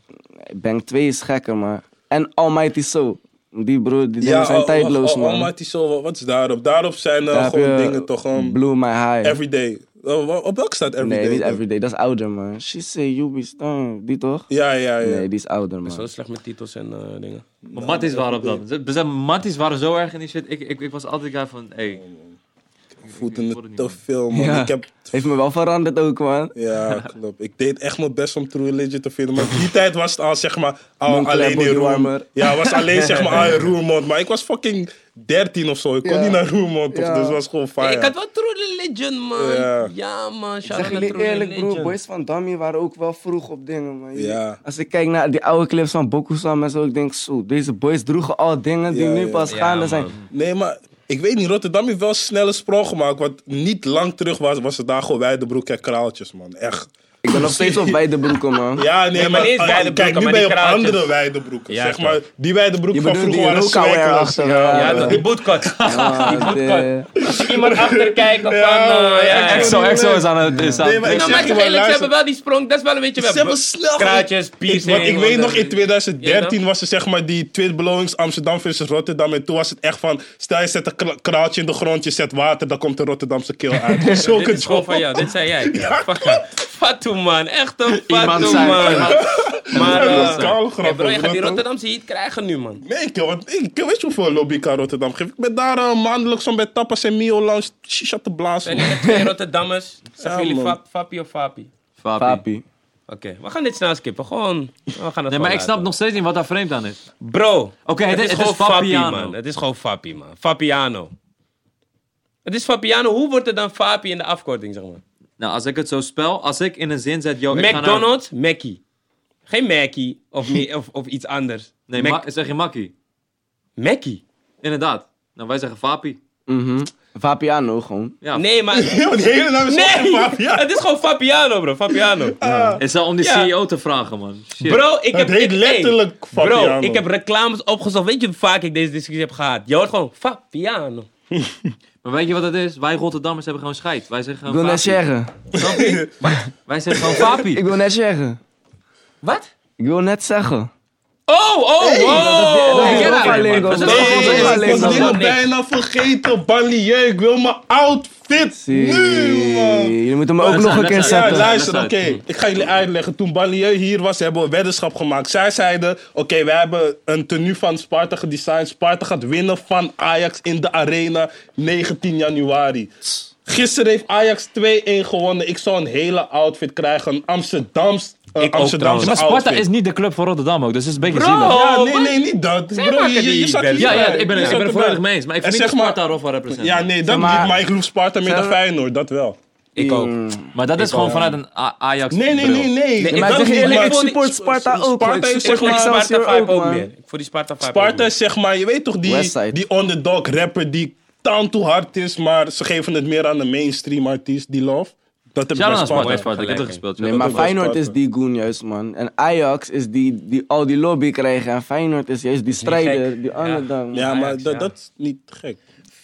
Speaker 4: Bank 2 is gekker, man. En Almighty Soul. Die broer, die dingen
Speaker 3: Ja,
Speaker 4: zijn
Speaker 3: oh,
Speaker 4: tijdloos,
Speaker 3: oh, oh,
Speaker 4: man.
Speaker 3: Almighty Soul, wat- wat is daarop? Daarop zijn eh,
Speaker 4: Daar heb
Speaker 3: gewoon
Speaker 4: je
Speaker 3: dingen toch gewoon
Speaker 4: Blew My High.
Speaker 3: everyday. Oh, wa- op welke staat everyday?
Speaker 4: nee, niet
Speaker 3: dan?
Speaker 4: Everyday, dat is ouder, man. She say you be stunning. Die toch?
Speaker 3: Ja, ja, ja.
Speaker 4: Nee, die is ouder, man.
Speaker 1: Zo slecht met titels en eh, dingen.
Speaker 2: Maar Matties waren op dat. Besef, Matties waren zo erg in die shit. Ik, ik, ik was altijd guy van, hey,
Speaker 3: voelde
Speaker 2: Ik word er
Speaker 3: me
Speaker 2: niet
Speaker 3: te
Speaker 2: meer.
Speaker 3: veel, man.
Speaker 4: Ja.
Speaker 3: Ik heb...
Speaker 4: Heeft me wel veranderd ook, man.
Speaker 3: Ja, klopt. Ik deed echt mijn best om True Religion te vinden. Maar die tijd was het al, zeg maar, al
Speaker 4: Moncler,
Speaker 3: alleen in Roermond.
Speaker 4: bodywarmer.
Speaker 3: Ja, was alleen, zeg maar, al in Roermond. Maar ik was fucking 13 of zo. Ik kon
Speaker 4: Ja.
Speaker 3: niet naar Roermond, toch?
Speaker 4: Ja.
Speaker 3: Dus het was gewoon fire.
Speaker 1: Ik had wel True Religion, man.
Speaker 3: Ja.
Speaker 1: Ja, man. Shout
Speaker 4: Zeg
Speaker 1: out naar
Speaker 4: jullie
Speaker 1: True
Speaker 4: eerlijk,
Speaker 1: Religion.
Speaker 4: broer. Boys van Dummy waren ook wel vroeg op dingen, man. Jullie-
Speaker 3: Ja.
Speaker 4: Als ik kijk naar die oude clips van Bokusam en zo, ik denk zo, deze boys droegen al dingen die
Speaker 3: Ja,
Speaker 4: nu
Speaker 3: ja.
Speaker 4: pas
Speaker 1: Ja,
Speaker 4: gaande zijn.
Speaker 1: man.
Speaker 3: Nee, maar ik weet niet, Rotterdam heeft wel een snelle sprong gemaakt. Want niet lang terug was, was het daar gewoon Weidebroek en kraaltjes, man. Echt.
Speaker 4: Ik ben nog steeds op beide broeken, man.
Speaker 3: Ja, nee,
Speaker 1: maar
Speaker 3: maar,
Speaker 1: niet
Speaker 3: ah,
Speaker 1: Weidebroeken,
Speaker 3: kijk, nu
Speaker 1: maar
Speaker 3: ben je op
Speaker 1: die kraaltjes.
Speaker 3: andere Weidebroeken.
Speaker 1: Ja,
Speaker 3: zeg
Speaker 1: toch.
Speaker 3: maar, die Weidebroeken
Speaker 4: Je
Speaker 3: van
Speaker 4: bedoelt
Speaker 3: vroeger
Speaker 4: die
Speaker 3: waren
Speaker 4: rookouwer
Speaker 3: swaggers.
Speaker 4: achter,
Speaker 3: Ja,
Speaker 1: Ja,
Speaker 4: man.
Speaker 1: toch, die bootcut.
Speaker 4: Ah,
Speaker 1: die bootcut.
Speaker 4: de-
Speaker 1: Als je iemand achterkijken van...
Speaker 3: Ja,
Speaker 1: eh,
Speaker 3: ja,
Speaker 1: ja,
Speaker 3: echt.
Speaker 2: Exo, Exo is aan het... Is aan
Speaker 3: Nee, maar ik
Speaker 1: Nou,
Speaker 3: zeg
Speaker 1: maar
Speaker 3: je
Speaker 1: toch eerlijk,
Speaker 3: maar,
Speaker 1: ze
Speaker 3: luister.
Speaker 1: hebben wel die sprong. Dat is wel een beetje...
Speaker 3: Ze hebben snel...
Speaker 1: Kraatjes, piercing.
Speaker 3: Ik, want ik weet nog, in
Speaker 1: Ja, toch?
Speaker 3: 2013 was er zeg maar die twitbelonings Amsterdam versus Rotterdam. En toen was het echt van, stel je zet een kra- kraaltje in de grond, je zet water, dan komt de Rotterdamse keel uit. Zulke
Speaker 1: Dit is gewoon
Speaker 3: job.
Speaker 1: van jou, dit zijn jij. Fuck. Fatou man, echt een
Speaker 2: Iemand
Speaker 1: Fatou
Speaker 2: zei-
Speaker 1: man. Maar
Speaker 3: Dat
Speaker 1: eh,
Speaker 3: is kaal
Speaker 1: hey, bro, je
Speaker 3: grappig,
Speaker 1: gaat die
Speaker 3: bro.
Speaker 1: Rotterdamse heat krijgen nu man.
Speaker 3: Nee, ik, want ik, ik weet je hoeveel lobby ik aan Rotterdam geef. Ik ben daar eh, maandelijks om bij Tapas en Mio Lounge shisha te blazen.
Speaker 1: Zijn
Speaker 3: man.
Speaker 1: er twee Rotterdammers? Zeggen
Speaker 3: Ja,
Speaker 1: jullie
Speaker 3: man.
Speaker 1: Fap- Fappie of Fapi?
Speaker 2: Papi.
Speaker 4: Papi.
Speaker 1: Oké, we gaan dit snel skippen. Gewoon, we gaan het
Speaker 2: Nee,
Speaker 1: gewoon
Speaker 2: maar ik snap
Speaker 1: laten.
Speaker 2: nog steeds niet wat daar vreemd aan is.
Speaker 1: Bro,
Speaker 2: Oké, het- het is
Speaker 1: Fappie,
Speaker 2: Fapiano.
Speaker 1: man. Het is gewoon Fappie man. Fapiano. Het is Fapiano. Hoe wordt het dan Fapi in de afkorting, zeg maar?
Speaker 2: Nou, als ik het zo spel, als ik in een zin zet, yo, ik ga naar-
Speaker 1: McDonald's,
Speaker 2: nou-
Speaker 1: Mackie. Geen Mackie of, me- of, of iets anders.
Speaker 2: Nee,
Speaker 1: Mac-
Speaker 2: ma- zeg je makkie.
Speaker 1: Mackie?
Speaker 2: Inderdaad. Nou, wij zeggen Fapi.
Speaker 4: Mhm. Vapiano gewoon.
Speaker 2: Ja.
Speaker 1: Nee, maar...
Speaker 3: Ja, die hele naam is
Speaker 1: Nee!
Speaker 3: gewoon Fabia.
Speaker 1: Het is gewoon Fabiano, bro. Fabiano.
Speaker 2: Het zou om die
Speaker 1: Ja.
Speaker 2: CEO te vragen, man. Shit.
Speaker 1: Bro, ik heb...
Speaker 3: Het heet
Speaker 1: ik- hey,
Speaker 3: letterlijk
Speaker 1: Bro,
Speaker 3: Fabiano.
Speaker 1: ik heb reclames opgezocht. Weet je hoe vaak ik deze discussie heb gehad? Je hoort gewoon Fabiano.
Speaker 2: Maar weet je wat het is? Wij Rotterdammers hebben gewoon scheid. Wij zeggen
Speaker 4: Ik wil
Speaker 2: gewoon
Speaker 4: net
Speaker 2: Fapi.
Speaker 4: zeggen.
Speaker 2: Wij zeggen gewoon Fapi.
Speaker 4: Ik wil net zeggen.
Speaker 1: Wat?
Speaker 4: Ik wil net zeggen.
Speaker 1: Oh, oh,
Speaker 4: dat-
Speaker 1: wow!
Speaker 4: dat-
Speaker 1: Get
Speaker 4: dat-
Speaker 1: out.
Speaker 4: dat-
Speaker 1: man.
Speaker 4: dat-
Speaker 1: Dat is
Speaker 4: dat- dat-
Speaker 1: gewoon- dat-
Speaker 4: dat- dat-
Speaker 3: Nee,
Speaker 1: dat-
Speaker 3: ik was
Speaker 1: dat-
Speaker 3: dingen
Speaker 1: dat-
Speaker 3: bijna vergeten. Banlieue, ik wil mijn outfit
Speaker 4: Zie.
Speaker 3: nu, man.
Speaker 4: Jullie moeten
Speaker 3: Oh,
Speaker 4: me ook
Speaker 2: dat
Speaker 4: nog
Speaker 2: zijn-
Speaker 4: een keer
Speaker 2: dat zijn-
Speaker 3: Ja,
Speaker 4: zetten.
Speaker 3: luister, oké.
Speaker 2: Mm.
Speaker 3: Ik ga jullie uitleggen. Toen Banlieue hier was, hebben we een weddenschap gemaakt. Zij zeiden, oké, wij hebben een tenue van Sparta gedesigned. Sparta gaat winnen van Ajax in de arena 19 januari. Gisteren heeft Ajax 2-1 gewonnen. Ik zou een hele outfit krijgen. Een Amsterdams, een
Speaker 1: Ik ook
Speaker 3: Amsterdamse
Speaker 1: trouwens.
Speaker 2: Maar Sparta
Speaker 3: outfit.
Speaker 2: is niet de club van Rotterdam ook, dus het is een beetje
Speaker 1: Bro!
Speaker 2: zielig.
Speaker 3: Ja,
Speaker 1: Oh,
Speaker 3: nee,
Speaker 1: wat?
Speaker 3: nee, niet dat. Bro,
Speaker 1: maken
Speaker 3: je, je,
Speaker 1: die
Speaker 3: zat
Speaker 1: band.
Speaker 2: Ja,
Speaker 3: hierbij.
Speaker 2: ja, ik ben,
Speaker 3: Je
Speaker 2: ik
Speaker 3: zat
Speaker 2: ben er
Speaker 3: erbij.
Speaker 2: volledig mee eens. Maar ik
Speaker 3: En
Speaker 2: vind niet dat
Speaker 3: zeg
Speaker 2: Sparta
Speaker 3: maar-
Speaker 2: daarop wel represent.
Speaker 3: Ja, nee, dat
Speaker 4: Zeg maar-
Speaker 3: niet. Maar ik loef Sparta meer dan Feyenoord, dat wel.
Speaker 1: Mm. Ik ook.
Speaker 2: Maar dat is gewoon vanuit een A- Ajax
Speaker 3: Nee, nee,
Speaker 2: bril.
Speaker 3: nee, nee.
Speaker 1: Nee,
Speaker 4: Maar
Speaker 1: dat
Speaker 4: ik
Speaker 1: niet,
Speaker 4: zeg je
Speaker 1: maar
Speaker 4: eerlijk,
Speaker 1: ik
Speaker 4: ik
Speaker 1: vond-
Speaker 4: support Sparta ook.
Speaker 3: Sparta
Speaker 4: man. Ik
Speaker 3: heeft
Speaker 1: Ik
Speaker 4: support
Speaker 1: voel die Sparta
Speaker 4: Excelsior ook,
Speaker 1: vibe ook meer.
Speaker 4: man.
Speaker 1: Ik voel die Sparta vibe ook
Speaker 3: Sparta
Speaker 1: meer.
Speaker 3: is zeg maar, je weet toch die,
Speaker 4: Westside.
Speaker 3: die underdog rapper die taal toe hard is, maar ze geven het meer aan de mainstream artiest, die love. Dat
Speaker 2: Shout
Speaker 3: heb ik bij
Speaker 2: out naar Sparta.
Speaker 3: Sparta.
Speaker 2: Sparta, Ik heb er
Speaker 1: Gelijk.
Speaker 2: gespeeld.
Speaker 4: Nee,
Speaker 2: Shout
Speaker 4: maar
Speaker 2: out.
Speaker 3: wel
Speaker 4: Feyenoord
Speaker 3: Sparta.
Speaker 4: is die goon juist, man. En Ajax is die, die al die lobby krijgen. En Feyenoord is juist die strijder,
Speaker 1: gek.
Speaker 4: die
Speaker 1: Ja.
Speaker 4: underdog. man.
Speaker 3: Ja, maar
Speaker 1: Ajax,
Speaker 3: dat,
Speaker 1: ja.
Speaker 3: dat is niet gek.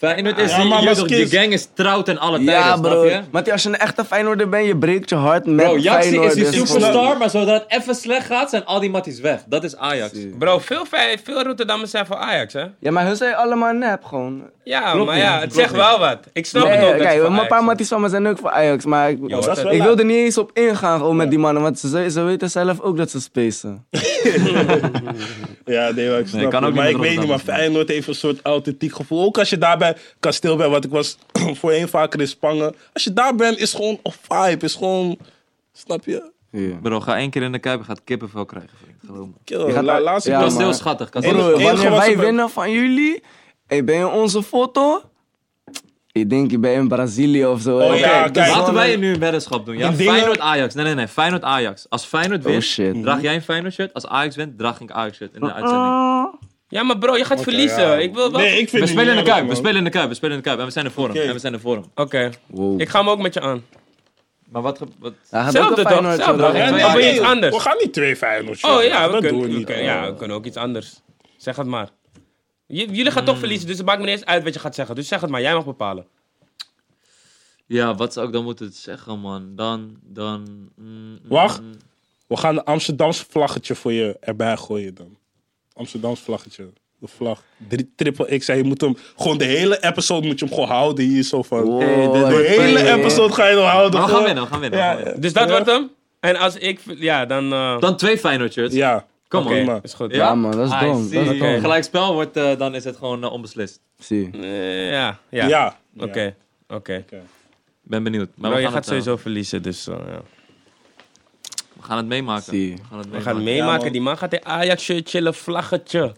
Speaker 2: Feyenoord is
Speaker 3: Ja,
Speaker 2: die,
Speaker 3: maar
Speaker 2: je
Speaker 3: als
Speaker 2: toch,
Speaker 3: kids-
Speaker 2: de gang is trouwd en alle tijden,
Speaker 4: Ja,
Speaker 2: snap je?
Speaker 4: bro. Maar als je een echte Feyenoorder bent, je breekt je hart met
Speaker 2: Bro, Jaxi is
Speaker 4: Feyenoord.
Speaker 2: die
Speaker 4: dus gewoon-
Speaker 2: superstar, maar zodra het even slecht gaat, zijn al die matties weg. Dat is Ajax.
Speaker 1: Bro, veel, fe- veel Rotterdammers zijn voor Ajax, hè?
Speaker 4: Ja, maar hun zijn allemaal nep, gewoon.
Speaker 1: Ja,
Speaker 2: Klopt
Speaker 1: maar
Speaker 2: niet,
Speaker 1: ja, het
Speaker 2: klopt
Speaker 1: zegt
Speaker 2: niet.
Speaker 1: wel wat. Ik snap
Speaker 4: Nee,
Speaker 1: het ook. dat ze
Speaker 4: kijk,
Speaker 1: voor
Speaker 4: een
Speaker 1: Ajax
Speaker 4: paar
Speaker 1: zijn.
Speaker 4: matties van me zijn ook voor Ajax, maar ik,
Speaker 1: dat
Speaker 3: Dat is wel
Speaker 4: ik
Speaker 3: laat.
Speaker 4: wil er niet eens op ingaan gewoon met die mannen, want ze, ze weten zelf ook dat ze spacen.
Speaker 3: Ja, nee, maar ik snap
Speaker 2: kan ook
Speaker 3: het.
Speaker 2: niet
Speaker 3: Maar
Speaker 2: met
Speaker 3: ik weet niet, maar
Speaker 2: Rotterdam.
Speaker 3: Feyenoord heeft een soort authentiek gevoel. Ook als je daar bij Kasteel bent, wat ik was voorheen vaker in Spangen. Als je daar bent, is gewoon een vibe, is gewoon... Snap je?
Speaker 4: Ja.
Speaker 2: Bro, ga één keer in de Kuip en gaat kippenvel krijgen, vriend. Geloof me.
Speaker 3: Kill,
Speaker 4: gaat
Speaker 3: la,
Speaker 4: daar-
Speaker 3: laatste
Speaker 4: ja,
Speaker 3: keer-
Speaker 2: Dat
Speaker 4: maar-
Speaker 2: is heel schattig. Dat is
Speaker 3: Bro,
Speaker 2: heel-
Speaker 3: enige
Speaker 4: Wanneer
Speaker 3: wat
Speaker 4: wij
Speaker 3: ze-
Speaker 4: winnen van jullie, hey, ben je onze foto? Ik denk, je bent in Brazilië of zo. dus-
Speaker 3: Oh
Speaker 4: hè?
Speaker 3: ja, kijk.
Speaker 2: Laten
Speaker 4: zon-
Speaker 2: wij nu een weddenschap doen. Ja?
Speaker 3: Ik denk dat-
Speaker 2: Feyenoord-Ajax. Nee, nee, nee. Feyenoord-Ajax. Als Feyenoord
Speaker 4: Oh,
Speaker 2: wint,
Speaker 4: shit.
Speaker 2: draag jij een Feyenoord-shirt. Als Ajax wint, draag ik een Ajax-shirt in
Speaker 3: Oh,
Speaker 2: de uitzending.
Speaker 1: Ja, maar bro, je gaat verliezen.
Speaker 3: ja.
Speaker 1: Ik wil wel...
Speaker 3: Nee, ik vind
Speaker 2: We
Speaker 3: het
Speaker 2: spelen in de
Speaker 3: niet
Speaker 2: Kuip.
Speaker 3: erg,
Speaker 2: We
Speaker 3: man.
Speaker 2: spelen in de Kuip. We spelen in de Kuip. En we zijn er voor hem. En we zijn er voor hem.
Speaker 1: Oké.
Speaker 4: Wow.
Speaker 1: Ik ga hem ook met je aan.
Speaker 2: Maar wat... ge- wat...
Speaker 4: Hij had
Speaker 1: Zelfde
Speaker 4: ook een
Speaker 1: toch?
Speaker 4: Feyenoord shirt
Speaker 1: Zelfde.
Speaker 4: aan.
Speaker 1: Ja, Of
Speaker 3: Nee, nee,
Speaker 1: wil je
Speaker 3: nee,
Speaker 1: iets anders?
Speaker 3: We gaan niet twee Feyenoord shots.
Speaker 1: Oh ja, we,
Speaker 3: dat
Speaker 1: kunnen,
Speaker 3: doen we
Speaker 1: we
Speaker 3: niet.
Speaker 1: kunnen-
Speaker 3: allemaal.
Speaker 1: ja, we kunnen ook iets anders. Zeg het maar. J- jullie gaan toch verliezen, dus het maakt me niet eens uit wat je gaat zeggen. Dus zeg het maar, jij mag bepalen.
Speaker 2: Ja, wat zou ik dan moeten zeggen, man? Dan... dan mm, mm,
Speaker 3: Wacht.
Speaker 2: mm.
Speaker 3: We gaan een Amsterdamse vlaggetje voor je erbij gooien dan. Amsterdams vlaggetje. De vlag. Drie, triple X. En je moet hem gewoon de hele episode moet je hem gewoon houden. Hier zo van.
Speaker 4: Wow,
Speaker 2: Hey, dit-
Speaker 4: wat
Speaker 3: De hele
Speaker 4: fijn.
Speaker 3: episode ga je nog houden.
Speaker 2: Maar we gaan
Speaker 3: gewoon.
Speaker 2: winnen, we gaan winnen. we gaan winnen.
Speaker 1: Dus dat wordt hem. En als ik... ver- Ja, dan... eh,
Speaker 2: Dan twee Feyenoord-shirts.
Speaker 3: Ja.
Speaker 2: Kom
Speaker 1: Oké,
Speaker 2: on.
Speaker 3: man.
Speaker 1: is goed.
Speaker 2: Ja?
Speaker 4: Ja, man, dat is
Speaker 2: I
Speaker 4: dom. Dat
Speaker 2: see.
Speaker 4: is dom.
Speaker 2: Gelijk spel wordt, eh, dan is het gewoon eh, onbeslist.
Speaker 4: Zie.
Speaker 1: Eh, ja, ja.
Speaker 3: Ja. ja.
Speaker 1: Oké, oké.
Speaker 2: Ben benieuwd. Maar
Speaker 1: Bro,
Speaker 2: we
Speaker 1: je
Speaker 2: gaan
Speaker 1: gaat
Speaker 2: het, eh,
Speaker 1: sowieso verliezen, dus... eh, ja.
Speaker 2: We gaan het meemaken.
Speaker 4: Zie.
Speaker 2: We gaan het
Speaker 1: We gaan
Speaker 2: meemaken.
Speaker 1: meemaken,
Speaker 3: man.
Speaker 1: die man gaat in Ajax shirt chillen, vlaggetje.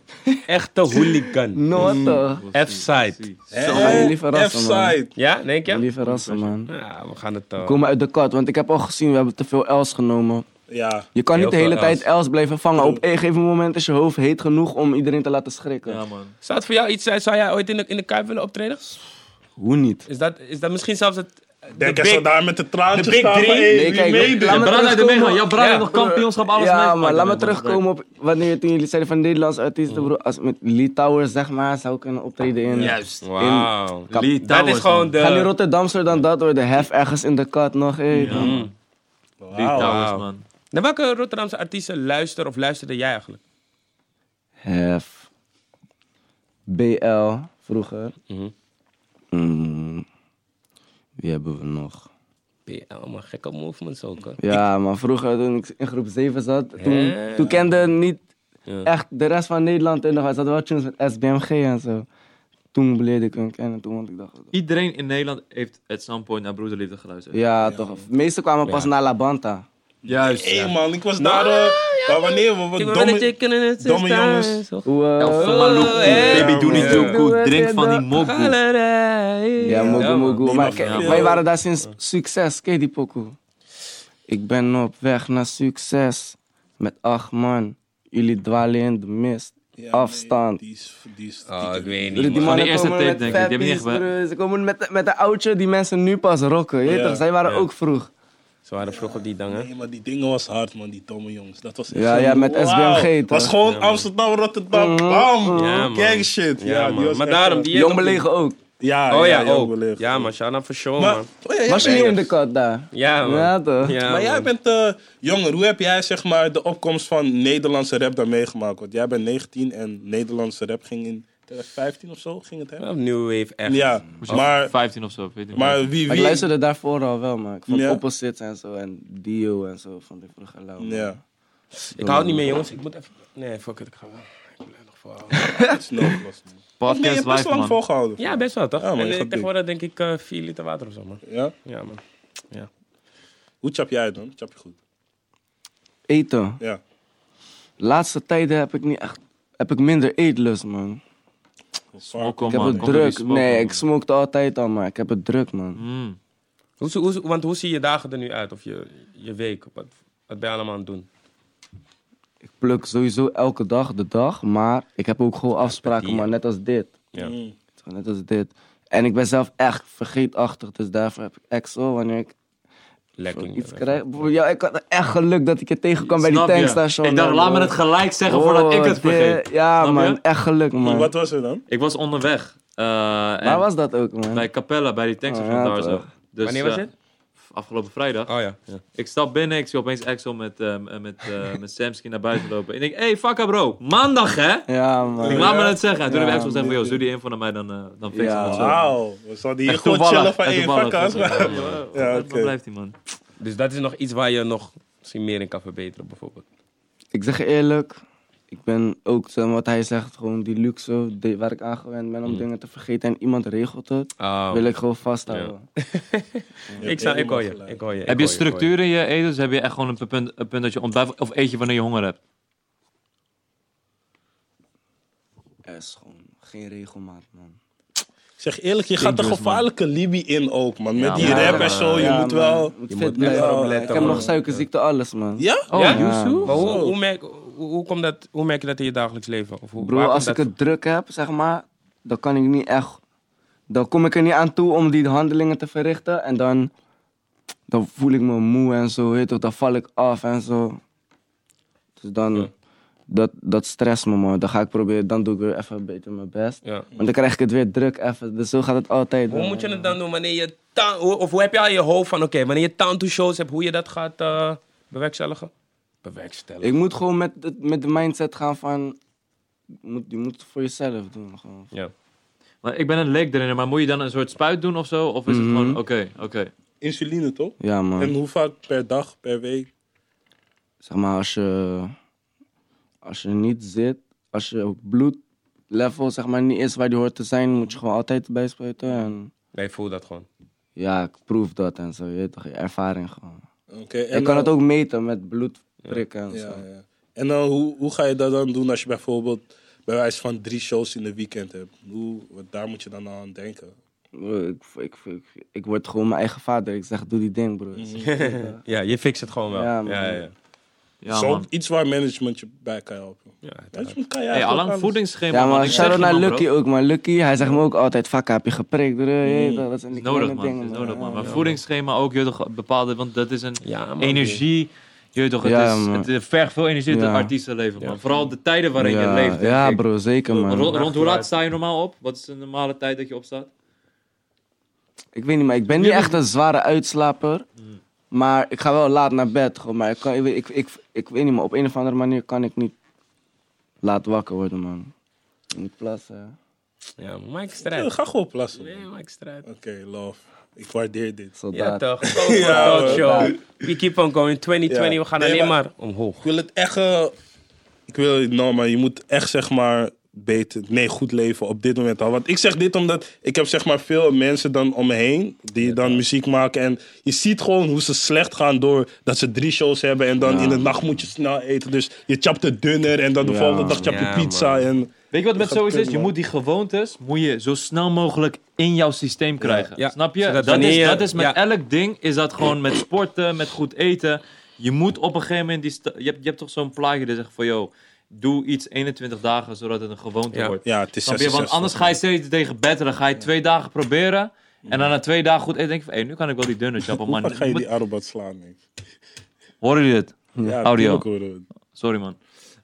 Speaker 1: Echte hooligan.
Speaker 4: Noord
Speaker 3: Mm.
Speaker 4: toch?
Speaker 1: F-side.
Speaker 2: Zie.
Speaker 3: Hè?
Speaker 4: gaan jullie verrassen,
Speaker 3: F-side.
Speaker 1: Ja, denk je?
Speaker 4: Jullie verrassen, man.
Speaker 1: Ja, we gaan het... eh,
Speaker 4: Kom uit de kat, want ik heb al gezien, we hebben te veel els genomen.
Speaker 3: Ja.
Speaker 4: Je kan
Speaker 1: Heel
Speaker 4: niet de
Speaker 1: veel
Speaker 4: hele tijd
Speaker 1: els.
Speaker 4: els blijven vangen. Op een gegeven moment is je hoofd heet genoeg om iedereen te laten schrikken.
Speaker 2: Ja, man.
Speaker 1: Zou het voor jou iets zijn? Zou jij ooit in de, in de Kuip willen optreden?
Speaker 4: Hoe niet?
Speaker 1: Is dat, is dat misschien zelfs het... De
Speaker 3: Denk, hij zo
Speaker 1: big,
Speaker 3: daar met de traantjes
Speaker 1: de big
Speaker 3: staan van,
Speaker 1: three.
Speaker 3: hey,
Speaker 4: Nee,
Speaker 3: wie
Speaker 4: kijk,
Speaker 3: meedoet?
Speaker 4: laat
Speaker 2: Ja,
Speaker 4: me
Speaker 2: Brad heeft er
Speaker 4: terugkomen.
Speaker 2: meegemaakt. Ja, Brad
Speaker 1: Ja,
Speaker 2: heeft nog
Speaker 4: broer.
Speaker 2: kampioenschap, alles
Speaker 4: Ja,
Speaker 2: meegemaakt.
Speaker 4: maar laat me
Speaker 2: Dat is
Speaker 4: terugkomen op wanneer toen jullie zeiden van Nederlandse artiesten, broer. Als met Lee Towers, zeg maar, zou ik kunnen optreden in...
Speaker 2: Juist.
Speaker 1: Wauw.
Speaker 4: Kap-
Speaker 2: Lee
Speaker 1: Dat is
Speaker 2: Towers,
Speaker 1: gewoon
Speaker 2: man.
Speaker 1: de...
Speaker 4: Gaan die Rotterdamster dan dat door de hef ergens in de kat nog, hé.
Speaker 2: Ja, man. Lee Towers,
Speaker 3: Wauw.
Speaker 1: Wauw.
Speaker 2: man.
Speaker 1: Naar Nou, welke Rotterdamse artiesten luister of luisterde jij eigenlijk?
Speaker 4: Hef. BL, vroeger.
Speaker 1: Mhm.
Speaker 4: Mm, Wie hebben we nog?
Speaker 1: BL, maar gekke movements ook. hoor.
Speaker 4: Ja, maar vroeger toen ik in groep 7 zat, toen,
Speaker 1: Ja.
Speaker 4: toen kende niet
Speaker 1: Ja.
Speaker 4: echt de rest van Nederland in de Ze hadden wel tunes met SBMG en zo. Toen leerde ik hun kennen, toen want ik dacht...
Speaker 2: Iedereen in Nederland heeft at some point naar Broederliefde geluisterd.
Speaker 4: Ja, toch. De meeste kwamen pas naar La Banta.
Speaker 2: Juist.
Speaker 3: Hé man, ik was daar. eh, maar wanneer? We, we
Speaker 1: Ik ben een
Speaker 3: domme,
Speaker 1: chicken in het
Speaker 3: domme jongens.
Speaker 4: Wow.
Speaker 1: hey.
Speaker 2: eh, Baby, doe niet
Speaker 4: Doe
Speaker 2: doekoe.
Speaker 4: het
Speaker 2: Drink
Speaker 4: in
Speaker 2: van die
Speaker 4: de
Speaker 2: mokkoe.
Speaker 4: Ja, mogu mogu. Maar
Speaker 3: Ja, man.
Speaker 4: wij waren daar sinds succes. Ken je die pokoe? Ik ben op weg naar succes. Met acht man. Jullie dwalen in de mist.
Speaker 3: Ja,
Speaker 4: Afstand.
Speaker 3: nee, die is- die is-
Speaker 1: Oh, ik weet
Speaker 4: Broer,
Speaker 1: niet, man.
Speaker 2: Van
Speaker 4: Die
Speaker 2: die
Speaker 4: mannen
Speaker 2: eerste
Speaker 4: komen
Speaker 2: tape,
Speaker 4: met
Speaker 2: denk ik. Die hebben niet
Speaker 4: fatties,
Speaker 2: echt
Speaker 4: broer. Ze komen met, met de oudje die mensen nu pas rocken. Je weet
Speaker 3: Ja,
Speaker 4: toch? Zij waren
Speaker 1: ja.
Speaker 4: ook vroeg.
Speaker 1: Ze waren vroeg op die dangen.
Speaker 3: Nee, maar die dingen was hard, man. Die domme jongens. Dat was echt
Speaker 4: Ja,
Speaker 3: zo-
Speaker 4: ja, met
Speaker 3: Wauw.
Speaker 4: SBMG toch? Mm-hmm.
Speaker 3: was gewoon Amsterdam, Rotterdam, bam.
Speaker 1: Ja, man.
Speaker 3: Gang shit. Ja,
Speaker 1: Ja,
Speaker 3: die
Speaker 1: man.
Speaker 3: was
Speaker 1: Maar
Speaker 3: echt,
Speaker 1: daarom,
Speaker 3: eh,
Speaker 1: die...
Speaker 4: Jong belegen ook.
Speaker 3: Ja,
Speaker 1: Oh ja,
Speaker 3: jong
Speaker 1: ook.
Speaker 3: beleefd.
Speaker 1: Ja, man. Shana for sure,
Speaker 3: Maar,
Speaker 1: man.
Speaker 3: oh ja, ja,
Speaker 4: Was je
Speaker 3: maar-
Speaker 4: niet in de kat daar?
Speaker 1: Ja, man.
Speaker 4: Ja, toch?
Speaker 1: Ja,
Speaker 3: maar
Speaker 1: man.
Speaker 3: jij bent eh, jonger. Hoe heb jij zeg maar, de opkomst van Nederlandse rap daar meegemaakt? Want jij bent 19 en Nederlandse rap ging in 2015 of zo. Ging het hè?
Speaker 1: Wel New Wave, echt.
Speaker 3: Ja, maar,
Speaker 2: 15 of zo, 14.
Speaker 3: maar wie...
Speaker 4: Maar
Speaker 3: wie
Speaker 4: ik luisterde daarvoor al wel, maar ik vond
Speaker 3: Ja.
Speaker 4: Opposite en zo en Dio en zo vond ik vroeger lauw.
Speaker 3: Ja,
Speaker 1: Ik hou het niet meer, jongens. Ik moet even... Nee, fuck it. Ik ga wel. Ik blijf nog volhouden.
Speaker 3: het is nog los. Of nee, je
Speaker 2: Podcast
Speaker 3: hebt best
Speaker 2: live,
Speaker 3: lang
Speaker 2: man.
Speaker 3: volgehouden.
Speaker 1: Ja, best wel, toch?
Speaker 3: Ja, man,
Speaker 1: en,
Speaker 3: je
Speaker 1: eh,
Speaker 3: gaat
Speaker 1: tegenwoordig denk ik eh 4 liter water of zo, man.
Speaker 3: Ja?
Speaker 1: Ja, man.
Speaker 3: Hoe chap jij het dan? Chap je goed?
Speaker 4: Eten.
Speaker 3: Ja.
Speaker 4: Laatste tijden heb ik niet echt, heb ik minder eetlust, man.
Speaker 2: Smokkel,
Speaker 4: Ik heb
Speaker 2: man.
Speaker 4: het
Speaker 2: Oh, Kom door die
Speaker 4: druk.
Speaker 2: smokkel,
Speaker 4: Nee,
Speaker 2: man.
Speaker 4: ik smokte altijd al, maar ik heb het druk, man.
Speaker 2: Mm.
Speaker 1: Hoe, zie- hoe, zie- want hoe zien je dagen er nu uit? Of je, je week? Wat, wat ben je allemaal aan het doen?
Speaker 4: Ik pluk sowieso elke dag de dag, maar ik heb ook gewoon afspraken,
Speaker 1: hier.
Speaker 4: maar net als dit.
Speaker 1: Ja.
Speaker 3: Mm.
Speaker 4: Net als dit. En ik ben zelf echt vergeetachtig, dus daarvoor heb ik extra wanneer ik
Speaker 1: Lekker.
Speaker 4: iets krijg. Broer, Ja, ik had echt geluk dat ik je tegenkwam bij die
Speaker 2: Snap je?
Speaker 4: tankstation.
Speaker 2: Ik dacht,
Speaker 4: man,
Speaker 2: laat me
Speaker 4: broer.
Speaker 2: het gelijk zeggen voordat ik het
Speaker 4: Oh, dit-
Speaker 2: vergeet.
Speaker 4: Ja,
Speaker 2: Snap je?
Speaker 4: man. Echt geluk, man.
Speaker 3: Wat was er dan?
Speaker 2: Ik was onderweg. eh,
Speaker 4: Waar
Speaker 2: en
Speaker 4: was dat ook, man?
Speaker 2: Bij Capella, bij die tankstation
Speaker 4: Oh, ja,
Speaker 2: daar zo.
Speaker 4: toch.
Speaker 2: Dus,
Speaker 1: Wanneer was
Speaker 2: eh,
Speaker 1: dit?
Speaker 2: Afgelopen vrijdag.
Speaker 1: Oh ja. ja.
Speaker 2: Ik stap binnen, ik zie opeens Axel met, eh, m- eh, met, eh, met Samsky naar buiten lopen. En ik denk, hey, fuck up, bro. Maandag, hè?
Speaker 4: Ja, man.
Speaker 2: Ik laat me het zeggen. En toen
Speaker 4: Ja,
Speaker 2: heb ik Axel gezegd, van, yo, doe die info naar mij, dan, eh, dan fix ik
Speaker 4: Ja.
Speaker 2: het zo.
Speaker 3: Wauw. We zouden hier
Speaker 2: Echt
Speaker 3: gewoon chillen
Speaker 2: toevallig.
Speaker 3: van
Speaker 2: echt
Speaker 3: één
Speaker 2: toevallig.
Speaker 3: vakantie.
Speaker 2: Ja,
Speaker 3: Ja,
Speaker 2: Waar
Speaker 3: oké.
Speaker 2: blijft die man?
Speaker 1: Dus dat is nog iets waar je nog misschien meer in kan verbeteren, bijvoorbeeld.
Speaker 4: Ik zeg je eerlijk, ik ben ook, zeg maar, wat hij zegt, gewoon die luxe die- waar ik aan gewend ben om dingen te vergeten en iemand regelt het,
Speaker 1: Oh.
Speaker 4: wil ik gewoon vasthouden.
Speaker 1: ik, zou, ik hoor je. Ik hoor je ik
Speaker 2: Heb je
Speaker 1: hoor ik hoor
Speaker 2: structuur in je eten? Dus heb je echt gewoon een punt, een punt dat je ontbijt of eet je wanneer je honger hebt?
Speaker 4: Er is gewoon geen regelmaat, man.
Speaker 3: Ik zeg eerlijk, je gaat de
Speaker 2: Dangerous, man.
Speaker 3: gevaarlijke Libi in ook, man. Met
Speaker 2: Ja,
Speaker 3: die
Speaker 2: man.
Speaker 3: rap en zo, Oh, je
Speaker 4: Ja,
Speaker 3: moet
Speaker 4: man.
Speaker 3: wel...
Speaker 4: Moet
Speaker 5: Je
Speaker 4: fit
Speaker 5: moet
Speaker 4: blijven.
Speaker 5: even
Speaker 4: Ja,
Speaker 5: opletten,
Speaker 4: Ik heb
Speaker 5: man.
Speaker 4: nog suikerziekte, alles, man.
Speaker 3: Ja?
Speaker 2: Oh,
Speaker 1: Ja?
Speaker 4: Ja,
Speaker 1: Maar hoe,
Speaker 4: zo.
Speaker 1: hoe, merk, hoe, hoe komt dat, hoe merk je dat in je dagelijks leven? Of hoe, waar
Speaker 4: Bro,
Speaker 1: komt
Speaker 4: als ik
Speaker 1: dat-
Speaker 4: het druk heb, zeg maar, dan kan ik niet echt. Dan kom ik er niet aan toe om die handelingen te verrichten. En dan, dan voel ik me moe en zo, weet je, toch, dan val ik af en zo. Dus dan, dat, dat stress me, man. Dan ga ik proberen, dan doe ik weer even beter mijn best.
Speaker 1: Ja.
Speaker 4: Want dan krijg ik het weer druk even. Dus zo gaat het altijd.
Speaker 1: Hoe
Speaker 4: man.
Speaker 1: moet je het dan doen wanneer je taal, hoe- of hoe heb je al in je hoofd van, oké, wanneer je taal to shows hebt, hoe je dat gaat eh bewerkstelligen? Bewerkstelligen.
Speaker 4: Ik moet gewoon met, het- met de mindset gaan van. je moet- Je moet het voor jezelf doen. Gewoon.
Speaker 1: Ja.
Speaker 2: Maar ik ben een leek erin, maar moet je dan een soort spuit doen of zo? Of is
Speaker 4: Mhm.
Speaker 2: het gewoon, oké, oké.
Speaker 3: Insuline, toch?
Speaker 4: Ja, man.
Speaker 3: En hoe vaak per dag, per week?
Speaker 4: zeg maar, als je, als je niet zit, als je bloedlevel zeg maar, niet is waar die hoort te zijn, moet je gewoon altijd bij spuiten. En
Speaker 1: Nee, ik voel dat gewoon.
Speaker 4: ja, ik proef dat en zo, je weet toch, je ervaring gewoon.
Speaker 3: Oké. nou-
Speaker 4: je kan het ook meten met bloedprikken en zo.
Speaker 3: Ja, ja. En dan, hoe, hoe ga je dat dan doen als je bijvoorbeeld bij wijze van drie shows in de weekend hebt? Hoe, wat- daar moet je dan aan denken.
Speaker 4: Bro, Ik, ik, ik, ik word gewoon mijn eigen vader. Ik zeg, doe die
Speaker 2: Mhm.
Speaker 4: ding, broer.
Speaker 1: ja, je fixt het gewoon wel.
Speaker 4: Ja,
Speaker 1: Ja,
Speaker 4: man.
Speaker 1: ja, ja.
Speaker 2: Ja,
Speaker 3: Zo,
Speaker 2: man.
Speaker 3: iets waar management je bij kan helpen. Management kan je
Speaker 2: Hey,
Speaker 3: eigenlijk
Speaker 2: allang
Speaker 3: alles.
Speaker 2: voedingsschema,
Speaker 4: Ja,
Speaker 2: man.
Speaker 4: maar nou
Speaker 2: Ik zeg je,
Speaker 4: shout-out naar
Speaker 2: man, bro.
Speaker 4: Lucky ook, maar Lucky, hij zegt me ook altijd, fuck, heb je geprikt, broer. Je weet toch, Dat zijn die
Speaker 2: Mhm. Is nodig,
Speaker 4: kleine
Speaker 2: man.
Speaker 4: dingen,
Speaker 2: Is
Speaker 4: man.
Speaker 2: nodig, man.
Speaker 4: Ja,
Speaker 2: Maar voedingsschema ook, je weet toch, bepaalde, want dat is een
Speaker 1: Ja, man.
Speaker 2: energie. Je weet toch, het,
Speaker 4: Ja,
Speaker 2: is,
Speaker 4: man.
Speaker 2: het eh, vergt veel energie uit
Speaker 4: Ja.
Speaker 2: het artiestenleven, man. Vooral de tijden waarin
Speaker 4: ja,
Speaker 2: je leeft. denk
Speaker 4: Ja,
Speaker 2: ik.
Speaker 4: bro, zeker, man.
Speaker 2: Rond, rond hoe laat sta je normaal op? Wat is de normale tijd dat je opstaat?
Speaker 4: Ik weet niet, maar ik ben niet echt een zware uitslaper.
Speaker 2: Hmm.
Speaker 4: Maar ik ga wel laat naar bed. Gewoon, maar ik, kan, ik, weet- ik, ik, ik weet niet, maar op een of andere manier kan ik niet laat wakker worden, man. Ik moet plassen. hè.
Speaker 1: Ja, Mike
Speaker 3: Ja,
Speaker 1: Strijd.
Speaker 3: ga gewoon plassen.
Speaker 1: Nee, Mike Strijd.
Speaker 3: Oké, love. Ik waardeer dit.
Speaker 1: Ja,
Speaker 4: Soldaat.
Speaker 1: toch? Go
Speaker 3: Ja,
Speaker 1: for
Speaker 3: man.
Speaker 1: it, yo. We keep on going. 2020,
Speaker 3: Ja.
Speaker 1: we gaan
Speaker 3: Nee,
Speaker 1: alleen
Speaker 3: maar-
Speaker 1: maar omhoog.
Speaker 3: Ik wil het echt... eh, ik wil het nou, maar je moet echt zeg maar beter... Nee, goed leven op dit moment al. Want ik zeg dit omdat ik heb zeg maar veel mensen dan om me heen... die dan muziek maken. En je ziet gewoon hoe ze slecht gaan door... dat ze drie shows hebben en dan in de nacht moet je snel eten. Dus je chapt het dunner en dan de
Speaker 4: Ja.
Speaker 3: volgende dag chap je
Speaker 1: Ja,
Speaker 3: pizza.
Speaker 1: man.
Speaker 3: En,
Speaker 2: Weet je wat met
Speaker 3: Dat
Speaker 2: zoiets
Speaker 3: kan,
Speaker 2: is? Je
Speaker 3: man.
Speaker 2: moet die gewoontes moet je zo snel mogelijk in jouw systeem krijgen.
Speaker 1: Ja.
Speaker 2: Snap je?
Speaker 1: Zodat
Speaker 2: Dat is,
Speaker 1: wanneer je-
Speaker 2: dat is met
Speaker 1: ja.
Speaker 2: elk ding, is dat gewoon met sporten, met goed eten. Je moet op een gegeven moment, die sta- je, hebt, je hebt toch zo'n plaatje die zegt van, yo, doe iets 21 dagen, zodat het een gewoonte
Speaker 1: Ja.
Speaker 2: wordt.
Speaker 3: ja, het is
Speaker 2: Snap je? Want
Speaker 3: 66.
Speaker 2: anders ga je steeds tegen betteren. Ga je twee dagen proberen. En dan na twee dagen goed eten denk je van, hé, nu kan ik wel die dunne chappen,
Speaker 3: Hoe
Speaker 2: man.
Speaker 3: vaak ga je
Speaker 2: Moet-
Speaker 3: die arrobat slaan? denk ik?
Speaker 2: Horen jullie dit?
Speaker 4: Hm.
Speaker 3: Ja,
Speaker 2: Audio.
Speaker 3: tuurlijk, hoor, hoor.
Speaker 2: Sorry, man.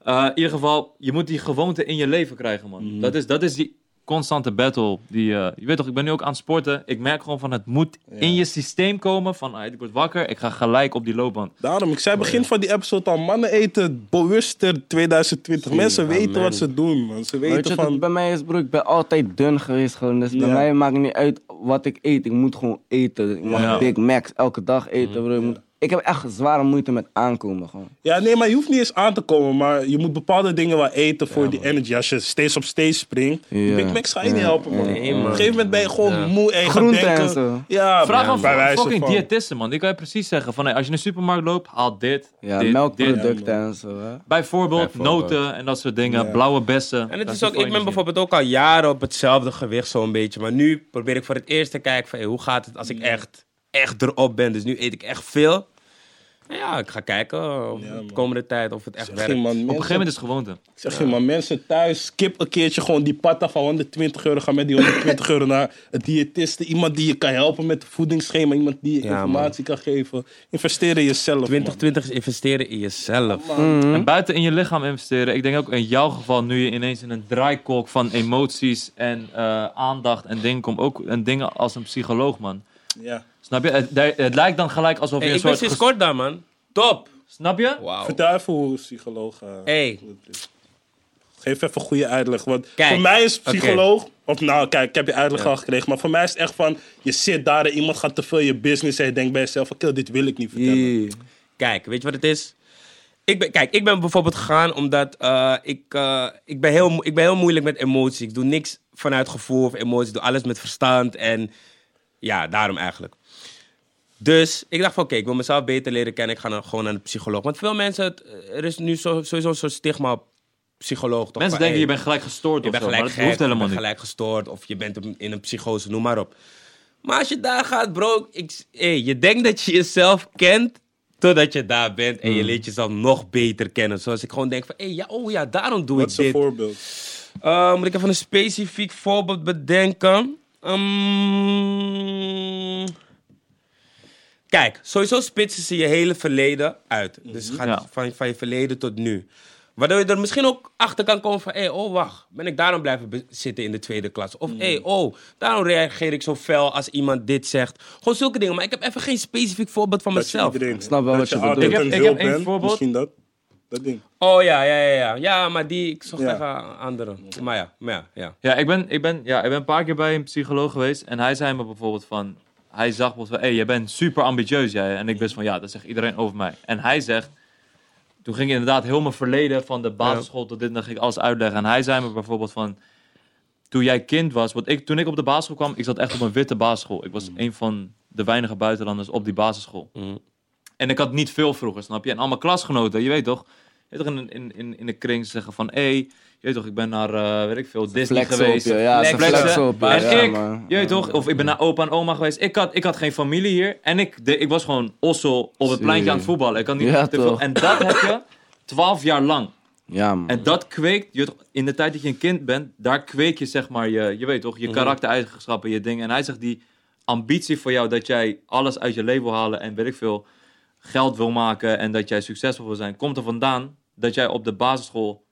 Speaker 2: Eh, in ieder geval, je moet die gewoonte in je leven krijgen, man.
Speaker 3: Mhm.
Speaker 2: Dat, is, dat is die constante battle. Die, eh, je weet toch, ik ben nu ook aan het sporten. Ik merk gewoon van, het moet in je systeem komen. Van, ah, ik word wakker, ik ga gelijk op die loopband.
Speaker 3: Daarom, ik zei begin van die episode al, mannen eten bewuster 2020. Mensen weten wat ze doen, man. Ze
Speaker 4: Weet je
Speaker 3: weten
Speaker 4: wat het
Speaker 3: van...
Speaker 4: bij mij is, bro? Ik ben altijd dun geweest gewoon. Dus bij
Speaker 3: Ja.
Speaker 4: mij maakt niet uit wat ik eet. Ik moet gewoon eten. Ik mag
Speaker 2: Ja. Hmm,
Speaker 4: Big Macs elke dag eten, bro. Ik, moet- ik heb echt zware moeite met aankomen, gewoon.
Speaker 3: Ja, nee, maar je hoeft niet eens aan te komen, maar je moet bepaalde dingen wel eten voor die energy. Als je steeds op steeds springt,
Speaker 4: Ja.
Speaker 3: Big Macs ga je niet
Speaker 4: Ja.
Speaker 3: helpen, man.
Speaker 1: Nee,
Speaker 3: Op
Speaker 1: man.
Speaker 3: een gegeven moment ben je gewoon
Speaker 1: Ja.
Speaker 3: moe en je gaat
Speaker 4: Groenten en
Speaker 3: denken-
Speaker 4: zo.
Speaker 3: Ja,
Speaker 2: Vraag
Speaker 3: man,
Speaker 2: aan
Speaker 3: bij wijze
Speaker 2: fucking
Speaker 3: van.
Speaker 2: diëtisten, man. Die kan je precies zeggen van, hé, als je in de supermarkt loopt, haal dit,
Speaker 4: Ja,
Speaker 2: dit, dit.
Speaker 4: melkproducten en zo, hè.
Speaker 2: Bijvoorbeeld,
Speaker 1: Bijvoorbeeld.
Speaker 2: noten en dat soort dingen. Blauwe bessen.
Speaker 1: En het
Speaker 2: Daar
Speaker 1: is ook,
Speaker 2: zit veel
Speaker 1: ik ben
Speaker 2: energie in.
Speaker 1: bijvoorbeeld ook al jaren op hetzelfde gewicht zo'n beetje. Maar nu probeer ik voor het eerst te kijken van, hey, hoe gaat het als ik echt, echt erop ben. Dus nu eet ik echt veel. Nou ja, ik ga kijken of
Speaker 3: Ja, man.
Speaker 1: de komende tijd of het echt
Speaker 3: Zeg
Speaker 1: werkt.
Speaker 3: je, man,
Speaker 2: Op een
Speaker 3: mensen-
Speaker 2: gegeven moment is het gewoonte.
Speaker 3: ik zeg je, man, mensen thuis, skip een keertje gewoon die patta van 120 euro. Ga met die 120 euro naar een diëtiste. Iemand die je kan helpen met het voedingsschema. Iemand die je
Speaker 1: Ja, man.
Speaker 3: informatie kan geven. Investeer in jezelf, man.
Speaker 1: 2020 is investeren in jezelf.
Speaker 2: En buiten in je lichaam investeren. Ik denk ook in jouw geval, nu je ineens in een draaikolk van emoties en eh, aandacht en dingen komt. Ook en dingen als een psycholoog, man.
Speaker 3: Ja.
Speaker 2: Snap je? Het, het lijkt dan gelijk alsof je
Speaker 1: Hey,
Speaker 2: een
Speaker 1: ik ben
Speaker 2: soort.
Speaker 1: sinds
Speaker 2: ges-
Speaker 1: kort daar, man. Top.
Speaker 2: Snap je?
Speaker 1: Wauw.
Speaker 3: Vertel even hoe een psycholoog. eh,
Speaker 1: Hey.
Speaker 3: Geef even een goede uitleg. Want
Speaker 1: Kijk,
Speaker 3: voor mij is
Speaker 1: oké.
Speaker 3: psycholoog. Of nou, kijk, ik heb je uitleg al gekregen. Maar voor mij is het echt van. Je zit daar en iemand gaat te veel je business. En je denkt bij jezelf: van, kill, dit wil ik niet vertellen.
Speaker 4: Jee.
Speaker 1: Kijk, weet je wat het is? Ik ben, kijk, ik ben bijvoorbeeld gegaan omdat eh, ik, eh, ik, ben heel, mo- ik ben heel moeilijk met emoties. Ik doe niks vanuit gevoel of emoties. Ik doe alles met verstand en ja, daarom eigenlijk. Dus ik dacht van, oké, ik wil mezelf beter leren kennen. Ik ga naar, gewoon naar de psycholoog. Want veel mensen, het, er is nu zo, sowieso een soort stigma op psycholoog toch
Speaker 2: Mensen
Speaker 1: van,
Speaker 2: denken, je
Speaker 1: hey,
Speaker 2: bent gelijk gestoord
Speaker 1: je
Speaker 2: of
Speaker 1: bent
Speaker 2: zo, maar
Speaker 1: gelijk
Speaker 2: dat
Speaker 1: gek,
Speaker 2: hoeft
Speaker 1: je
Speaker 2: helemaal
Speaker 1: bent
Speaker 2: niet.
Speaker 1: gelijk gestoord of je bent in een psychose, noem maar op. Maar als je daar gaat, bro, ik, hey, je denkt dat je jezelf kent totdat je daar bent en
Speaker 2: Mm.
Speaker 1: je leert jezelf nog beter kennen. Zoals ik gewoon denk van, hey, ja, oh ja, daarom doe
Speaker 3: Wat
Speaker 1: ik
Speaker 3: is
Speaker 1: dit.
Speaker 3: een voorbeeld?
Speaker 1: Eh, moet ik even een specifiek voorbeeld bedenken? Ehm, kijk, sowieso spitsen ze je hele verleden uit.
Speaker 3: Mhm.
Speaker 1: Dus het gaat
Speaker 2: Ja.
Speaker 1: van, van je verleden tot nu. Waardoor je er misschien ook achter kan komen van... hé, hey, oh wacht, ben ik daarom blijven be- zitten in de tweede klas?
Speaker 3: Mhm.
Speaker 1: Of hé, hey, oh, daarom reageer ik zo fel als iemand dit zegt. Gewoon zulke dingen. Maar ik heb even geen specifiek voorbeeld van
Speaker 3: Dat je
Speaker 1: mezelf.
Speaker 3: iedereen-
Speaker 4: snap wel
Speaker 3: dat
Speaker 4: wat je
Speaker 3: altijd
Speaker 4: bedoelt.
Speaker 2: Ik heb-
Speaker 3: een
Speaker 2: ik
Speaker 3: heel
Speaker 2: heb één
Speaker 3: bent,
Speaker 2: voorbeeld.
Speaker 3: Misschien dat. Dat ding.
Speaker 1: Oh ja, ja, ja, ja. Ja, maar die... Ik zocht
Speaker 3: Ja.
Speaker 1: even een andere. Maar ja, maar ja, ja.
Speaker 2: Ja, ik ben, ik, ben, ja, ik ben een paar keer bij een psycholoog geweest. En hij zei me bijvoorbeeld van... Hij zag bijvoorbeeld van... Hé, hey, jij bent super ambitieus, jij. En ik wist van... Ja, dat zegt iedereen over mij. En hij zegt... Toen ging ik inderdaad heel mijn verleden van de basisschool tot dit... En dan ging ik alles uitleggen. En hij zei me bijvoorbeeld van... Toen jij kind was... Want ik, toen ik op de basisschool kwam... Ik zat echt op een witte basisschool. Ik was
Speaker 4: Mm.
Speaker 2: een van de weinige buitenlanders op die basisschool.
Speaker 1: Mm.
Speaker 2: En ik had niet veel vroeger, snap je? En allemaal klasgenoten, je weet toch... Je weet toch in, in, in, in de kring zeggen van... Hé, je weet toch, ik ben naar, eh, weet ik veel, Disney
Speaker 4: Flex op
Speaker 2: geweest.
Speaker 4: je, ja, ze
Speaker 2: Flexen.
Speaker 4: flex op je.
Speaker 2: En
Speaker 4: ja,
Speaker 2: ik,
Speaker 4: man.
Speaker 2: je weet toch, of ik ben naar opa en oma geweest. Ik had, ik had geen familie hier. En ik, de, ik was gewoon ossel op het
Speaker 4: Zie.
Speaker 2: pleintje aan het voetballen. Ik had niet
Speaker 4: Ja,
Speaker 2: te veel.
Speaker 4: toch.
Speaker 2: En dat heb je twaalf jaar lang.
Speaker 4: Ja, man.
Speaker 2: En dat kweekt, je, weet toch, in de tijd dat je een kind bent, daar kweek je zeg maar je, je weet toch,
Speaker 4: Mhm.
Speaker 2: je karaktereigenschappen, je dingen. En hij zegt die ambitie voor jou dat jij alles uit je leven wil halen en weet ik veel geld wil maken en dat jij succesvol wil zijn, komt er vandaan dat jij op de basisschool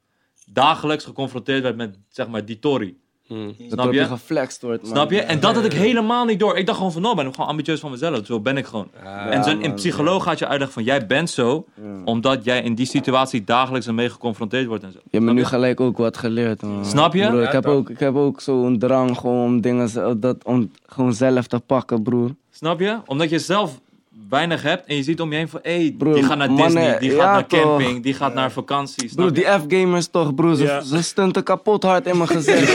Speaker 2: dagelijks geconfronteerd werd met zeg maar die Tory.
Speaker 4: Dat
Speaker 2: snap
Speaker 4: op
Speaker 2: je?
Speaker 4: je geflext wordt, man.
Speaker 2: Snap je? En dat had ik helemaal niet door. Ik dacht gewoon van, nou ben ik gewoon ambitieus van mezelf. Zo ben ik gewoon. en zo'n een
Speaker 4: man.
Speaker 2: psycholoog gaat je uitleggen van, jij bent zo, omdat jij in die situatie dagelijks ermee geconfronteerd wordt en zo.
Speaker 4: Je hebt me nu gelijk ook wat geleerd, man.
Speaker 2: Snap je?
Speaker 4: Broer,
Speaker 2: Ja,
Speaker 4: ik, heb ook, ik heb ook zo'n drang gewoon om dingen ze- dat, om, gewoon zelf te pakken, broer.
Speaker 2: Snap je? Omdat je zelf weinig hebt en je ziet om je heen van, hé,
Speaker 4: Broer,
Speaker 2: die gaat naar
Speaker 4: mannen,
Speaker 2: Disney, die gaat
Speaker 4: ja,
Speaker 2: naar camping,
Speaker 4: toch.
Speaker 2: die gaat naar vakantie. Snap
Speaker 4: Broer,
Speaker 2: je?
Speaker 4: die F-gamers toch, broer. Ze,
Speaker 3: Ja.
Speaker 4: ze stunten kapot hard in mijn gezicht.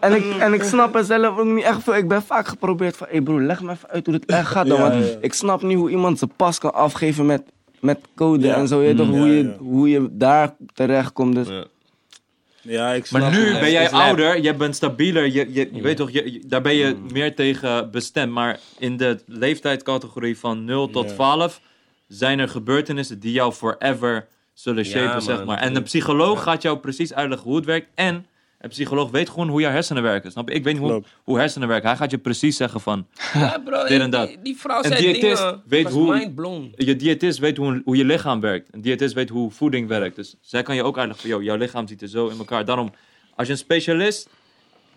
Speaker 4: en, ik, en ik snap er zelf ook niet echt veel. Ik ben vaak geprobeerd van, hé hey broer, leg me even uit hoe het echt gaat. Dan,
Speaker 3: Ja,
Speaker 4: want
Speaker 3: ja.
Speaker 4: ik snap niet hoe iemand zijn pas kan afgeven met, met code
Speaker 3: Ja. Mm,
Speaker 4: en zo. Je weet toch,
Speaker 3: Ja,
Speaker 4: hoe, je,
Speaker 3: ja.
Speaker 4: hoe je daar terecht komt. Dus,
Speaker 3: Ja, ik snap
Speaker 2: Maar
Speaker 3: het.
Speaker 2: nu ben jij
Speaker 1: is lijp.
Speaker 2: ouder, je bent stabieler, je, je, je weet toch, je, je- daar ben je
Speaker 3: Mm.
Speaker 2: meer tegen bestemd. Maar in de leeftijdscategorie van 0 tot
Speaker 3: Ja.
Speaker 2: 12 zijn er gebeurtenissen die jou forever zullen
Speaker 1: Ja,
Speaker 2: shapen,
Speaker 1: man.
Speaker 2: zeg maar. En de psycholoog gaat jou precies uitleggen hoe het werkt. En een psycholoog weet gewoon hoe jouw hersenen werken, snap je? Ik weet niet hoe,
Speaker 3: Klopt.
Speaker 2: hoe hersenen werken. Hij gaat je precies zeggen van,
Speaker 1: Ja, bro,
Speaker 2: Dit en
Speaker 1: die-
Speaker 2: dat.
Speaker 1: Die, die vrouw
Speaker 2: Een
Speaker 1: zei
Speaker 2: diëtist
Speaker 1: dingen.
Speaker 2: weet
Speaker 1: was
Speaker 2: hoe-
Speaker 1: mindblown.
Speaker 2: je diëtist weet hoe, hoe je lichaam werkt. Een diëtist weet hoe voeding werkt. Dus zij kan je ook uitleggen van, yo, jouw lichaam zit er zo in elkaar. Daarom, als je een specialist...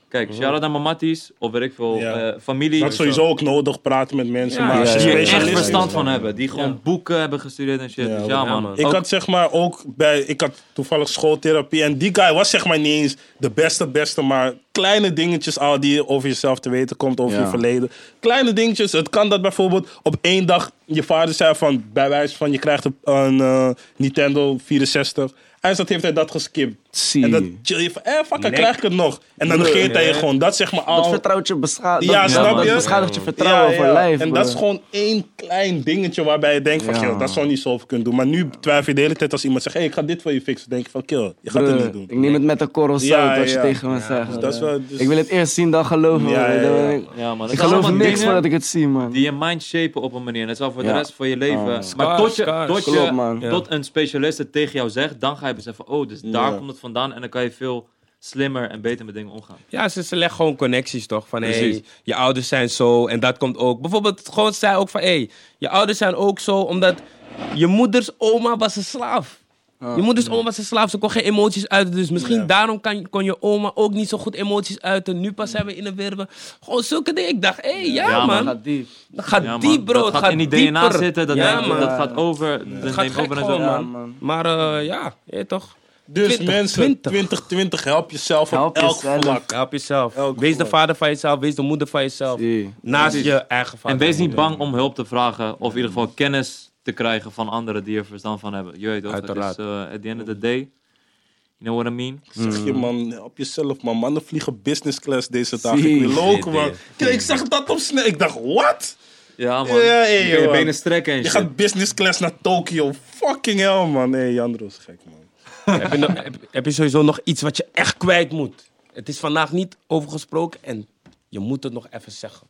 Speaker 2: Kijk, shout-out naar mijn matties, of weet ik veel,
Speaker 3: Ja.
Speaker 2: eh, familie.
Speaker 3: Dat is sowieso ook nodig praten met mensen.
Speaker 1: Ja,
Speaker 3: maar
Speaker 1: ja,
Speaker 3: als je
Speaker 2: Die er
Speaker 3: specialist
Speaker 2: echt
Speaker 3: bent-
Speaker 2: verstand van hebben. Die gewoon
Speaker 1: Ja.
Speaker 2: boeken hebben gestudeerd en shit.
Speaker 3: Ja,
Speaker 2: Dus
Speaker 3: ja,
Speaker 2: ja, man.
Speaker 1: man.
Speaker 3: Ik
Speaker 2: Ook-
Speaker 3: had zeg maar ook bij, ik had toevallig schooltherapie en die guy was zeg maar niet eens de beste beste, maar kleine dingetjes al die je over jezelf te weten komt, over
Speaker 4: Ja.
Speaker 3: je verleden. Kleine dingetjes, het kan dat bijvoorbeeld op één dag je vader zei van, bij wijze van je krijgt een, een, eh, Nintendo 64. En dat heeft hij dat geskipt.
Speaker 4: Zie.
Speaker 3: En dan chill je van, eh fuck, dan
Speaker 1: Lek.
Speaker 3: krijg ik het nog. En dan negeert hij je gewoon, dat zeg maar
Speaker 4: dat
Speaker 3: al.
Speaker 4: vertrouwt je beschadigd.
Speaker 3: Ja,
Speaker 4: dat,
Speaker 3: snap
Speaker 4: dat
Speaker 3: je?
Speaker 4: beschadigt je vertrouwen
Speaker 3: Ja,
Speaker 4: voor
Speaker 3: ja.
Speaker 4: lijf.
Speaker 3: En
Speaker 4: broer.
Speaker 3: dat is gewoon één klein dingetje waarbij je denkt van,
Speaker 4: Ja.
Speaker 3: kill, dat zou niet zoveel kunnen doen. Maar nu twijfel je de hele tijd als iemand zegt, hey, ik ga dit voor je fixen. denk je van, kill, je gaat het
Speaker 4: Broer,
Speaker 3: niet doen.
Speaker 4: Eh, Ik neem het met de korrel zout,
Speaker 3: Ja,
Speaker 4: wat je
Speaker 3: ja.
Speaker 4: tegen me zegt.
Speaker 3: dat is wel- dus-
Speaker 4: Ik wil het eerst zien, dan geloven.
Speaker 3: Ja,
Speaker 4: broer.
Speaker 3: ja,
Speaker 4: Dan
Speaker 3: ja.
Speaker 4: ben ik-
Speaker 2: ja, man.
Speaker 4: Ik
Speaker 2: Het zijn
Speaker 4: geloof
Speaker 2: allemaal
Speaker 4: niks
Speaker 2: dingen
Speaker 4: voordat ik het zie, man.
Speaker 2: Die je mind shapen op een manier. Dat is al voor de
Speaker 4: Ja.
Speaker 2: rest van je leven.
Speaker 4: Oh.
Speaker 2: maar tot je,
Speaker 1: Schaars.
Speaker 2: tot, je,
Speaker 4: Klopt, man.
Speaker 2: tot een specialist het tegen jou zegt, dan ga je beseffen, oh, dus daar komt het vandaan. En dan kan je veel slimmer en beter met dingen omgaan.
Speaker 1: Ja, ze, ze leggen gewoon connecties toch? Van hé,
Speaker 2: Precies.
Speaker 1: hey, je ouders zijn zo en dat komt ook. Bijvoorbeeld, gewoon zei ook van hé, hey, je ouders zijn ook zo omdat je moeders oma was een slaaf.
Speaker 2: Ah.
Speaker 1: Je moeders oma was een slaaf, ze kon geen emoties uiten. Dus misschien
Speaker 3: Ja.
Speaker 1: daarom kan, kon je oma ook niet zo goed emoties uiten. Nu pas zijn we in de wereld. Gewoon zulke dingen. Ik dacht, hé, hey, ja,
Speaker 2: Ja, man.
Speaker 1: man.
Speaker 4: Gaat diep.
Speaker 1: Dat gaat
Speaker 2: Ja, man.
Speaker 1: diep, bro.
Speaker 2: Dat
Speaker 1: het
Speaker 2: gaat, in die
Speaker 1: dieper.
Speaker 2: DNA zitten. Dat,
Speaker 1: ja,
Speaker 2: neemt-
Speaker 1: man.
Speaker 2: dat gaat over. Dat
Speaker 1: Het gaat
Speaker 2: neemt
Speaker 1: gek
Speaker 2: over en zo.
Speaker 1: gewoon, man.
Speaker 4: man.
Speaker 1: Maar eh, ja, je toch?
Speaker 3: Dus
Speaker 1: 20,
Speaker 3: mensen,
Speaker 1: 20.
Speaker 3: 2020, help jezelf op
Speaker 4: Help
Speaker 3: elk
Speaker 4: jezelf.
Speaker 3: vlak.
Speaker 1: Help jezelf.
Speaker 3: Elk
Speaker 1: wees de
Speaker 3: geval.
Speaker 1: vader van jezelf, wees de moeder van jezelf.
Speaker 4: Zie.
Speaker 1: Naast je eigen vader.
Speaker 2: En wees niet bang om hulp te vragen. Of in ieder geval kennis te krijgen van anderen die er verstand van hebben. Je weet toch? dat
Speaker 1: Uiteraard.
Speaker 2: is, eh, at the end of the day. You know what I mean?
Speaker 3: Ik
Speaker 4: Hmm.
Speaker 3: Zeg je man, help jezelf man. Mannen vliegen business class deze dagen. Ik
Speaker 4: Zie.
Speaker 3: wil ook man.
Speaker 1: Zie
Speaker 3: Kill, ik zag dat op snel. Ik dacht, wat?
Speaker 2: Ja, man.
Speaker 3: Ja, ja,
Speaker 2: je kan je
Speaker 3: man.
Speaker 2: benen strekken en
Speaker 3: Je
Speaker 2: shit.
Speaker 3: gaat business class naar Tokio. Fucking hell man. Nee, Jandro is gek man.
Speaker 1: heb, je nog- heb- heb je sowieso nog iets wat je echt kwijt moet? Het is vandaag niet over gesproken en je moet het nog even zeggen.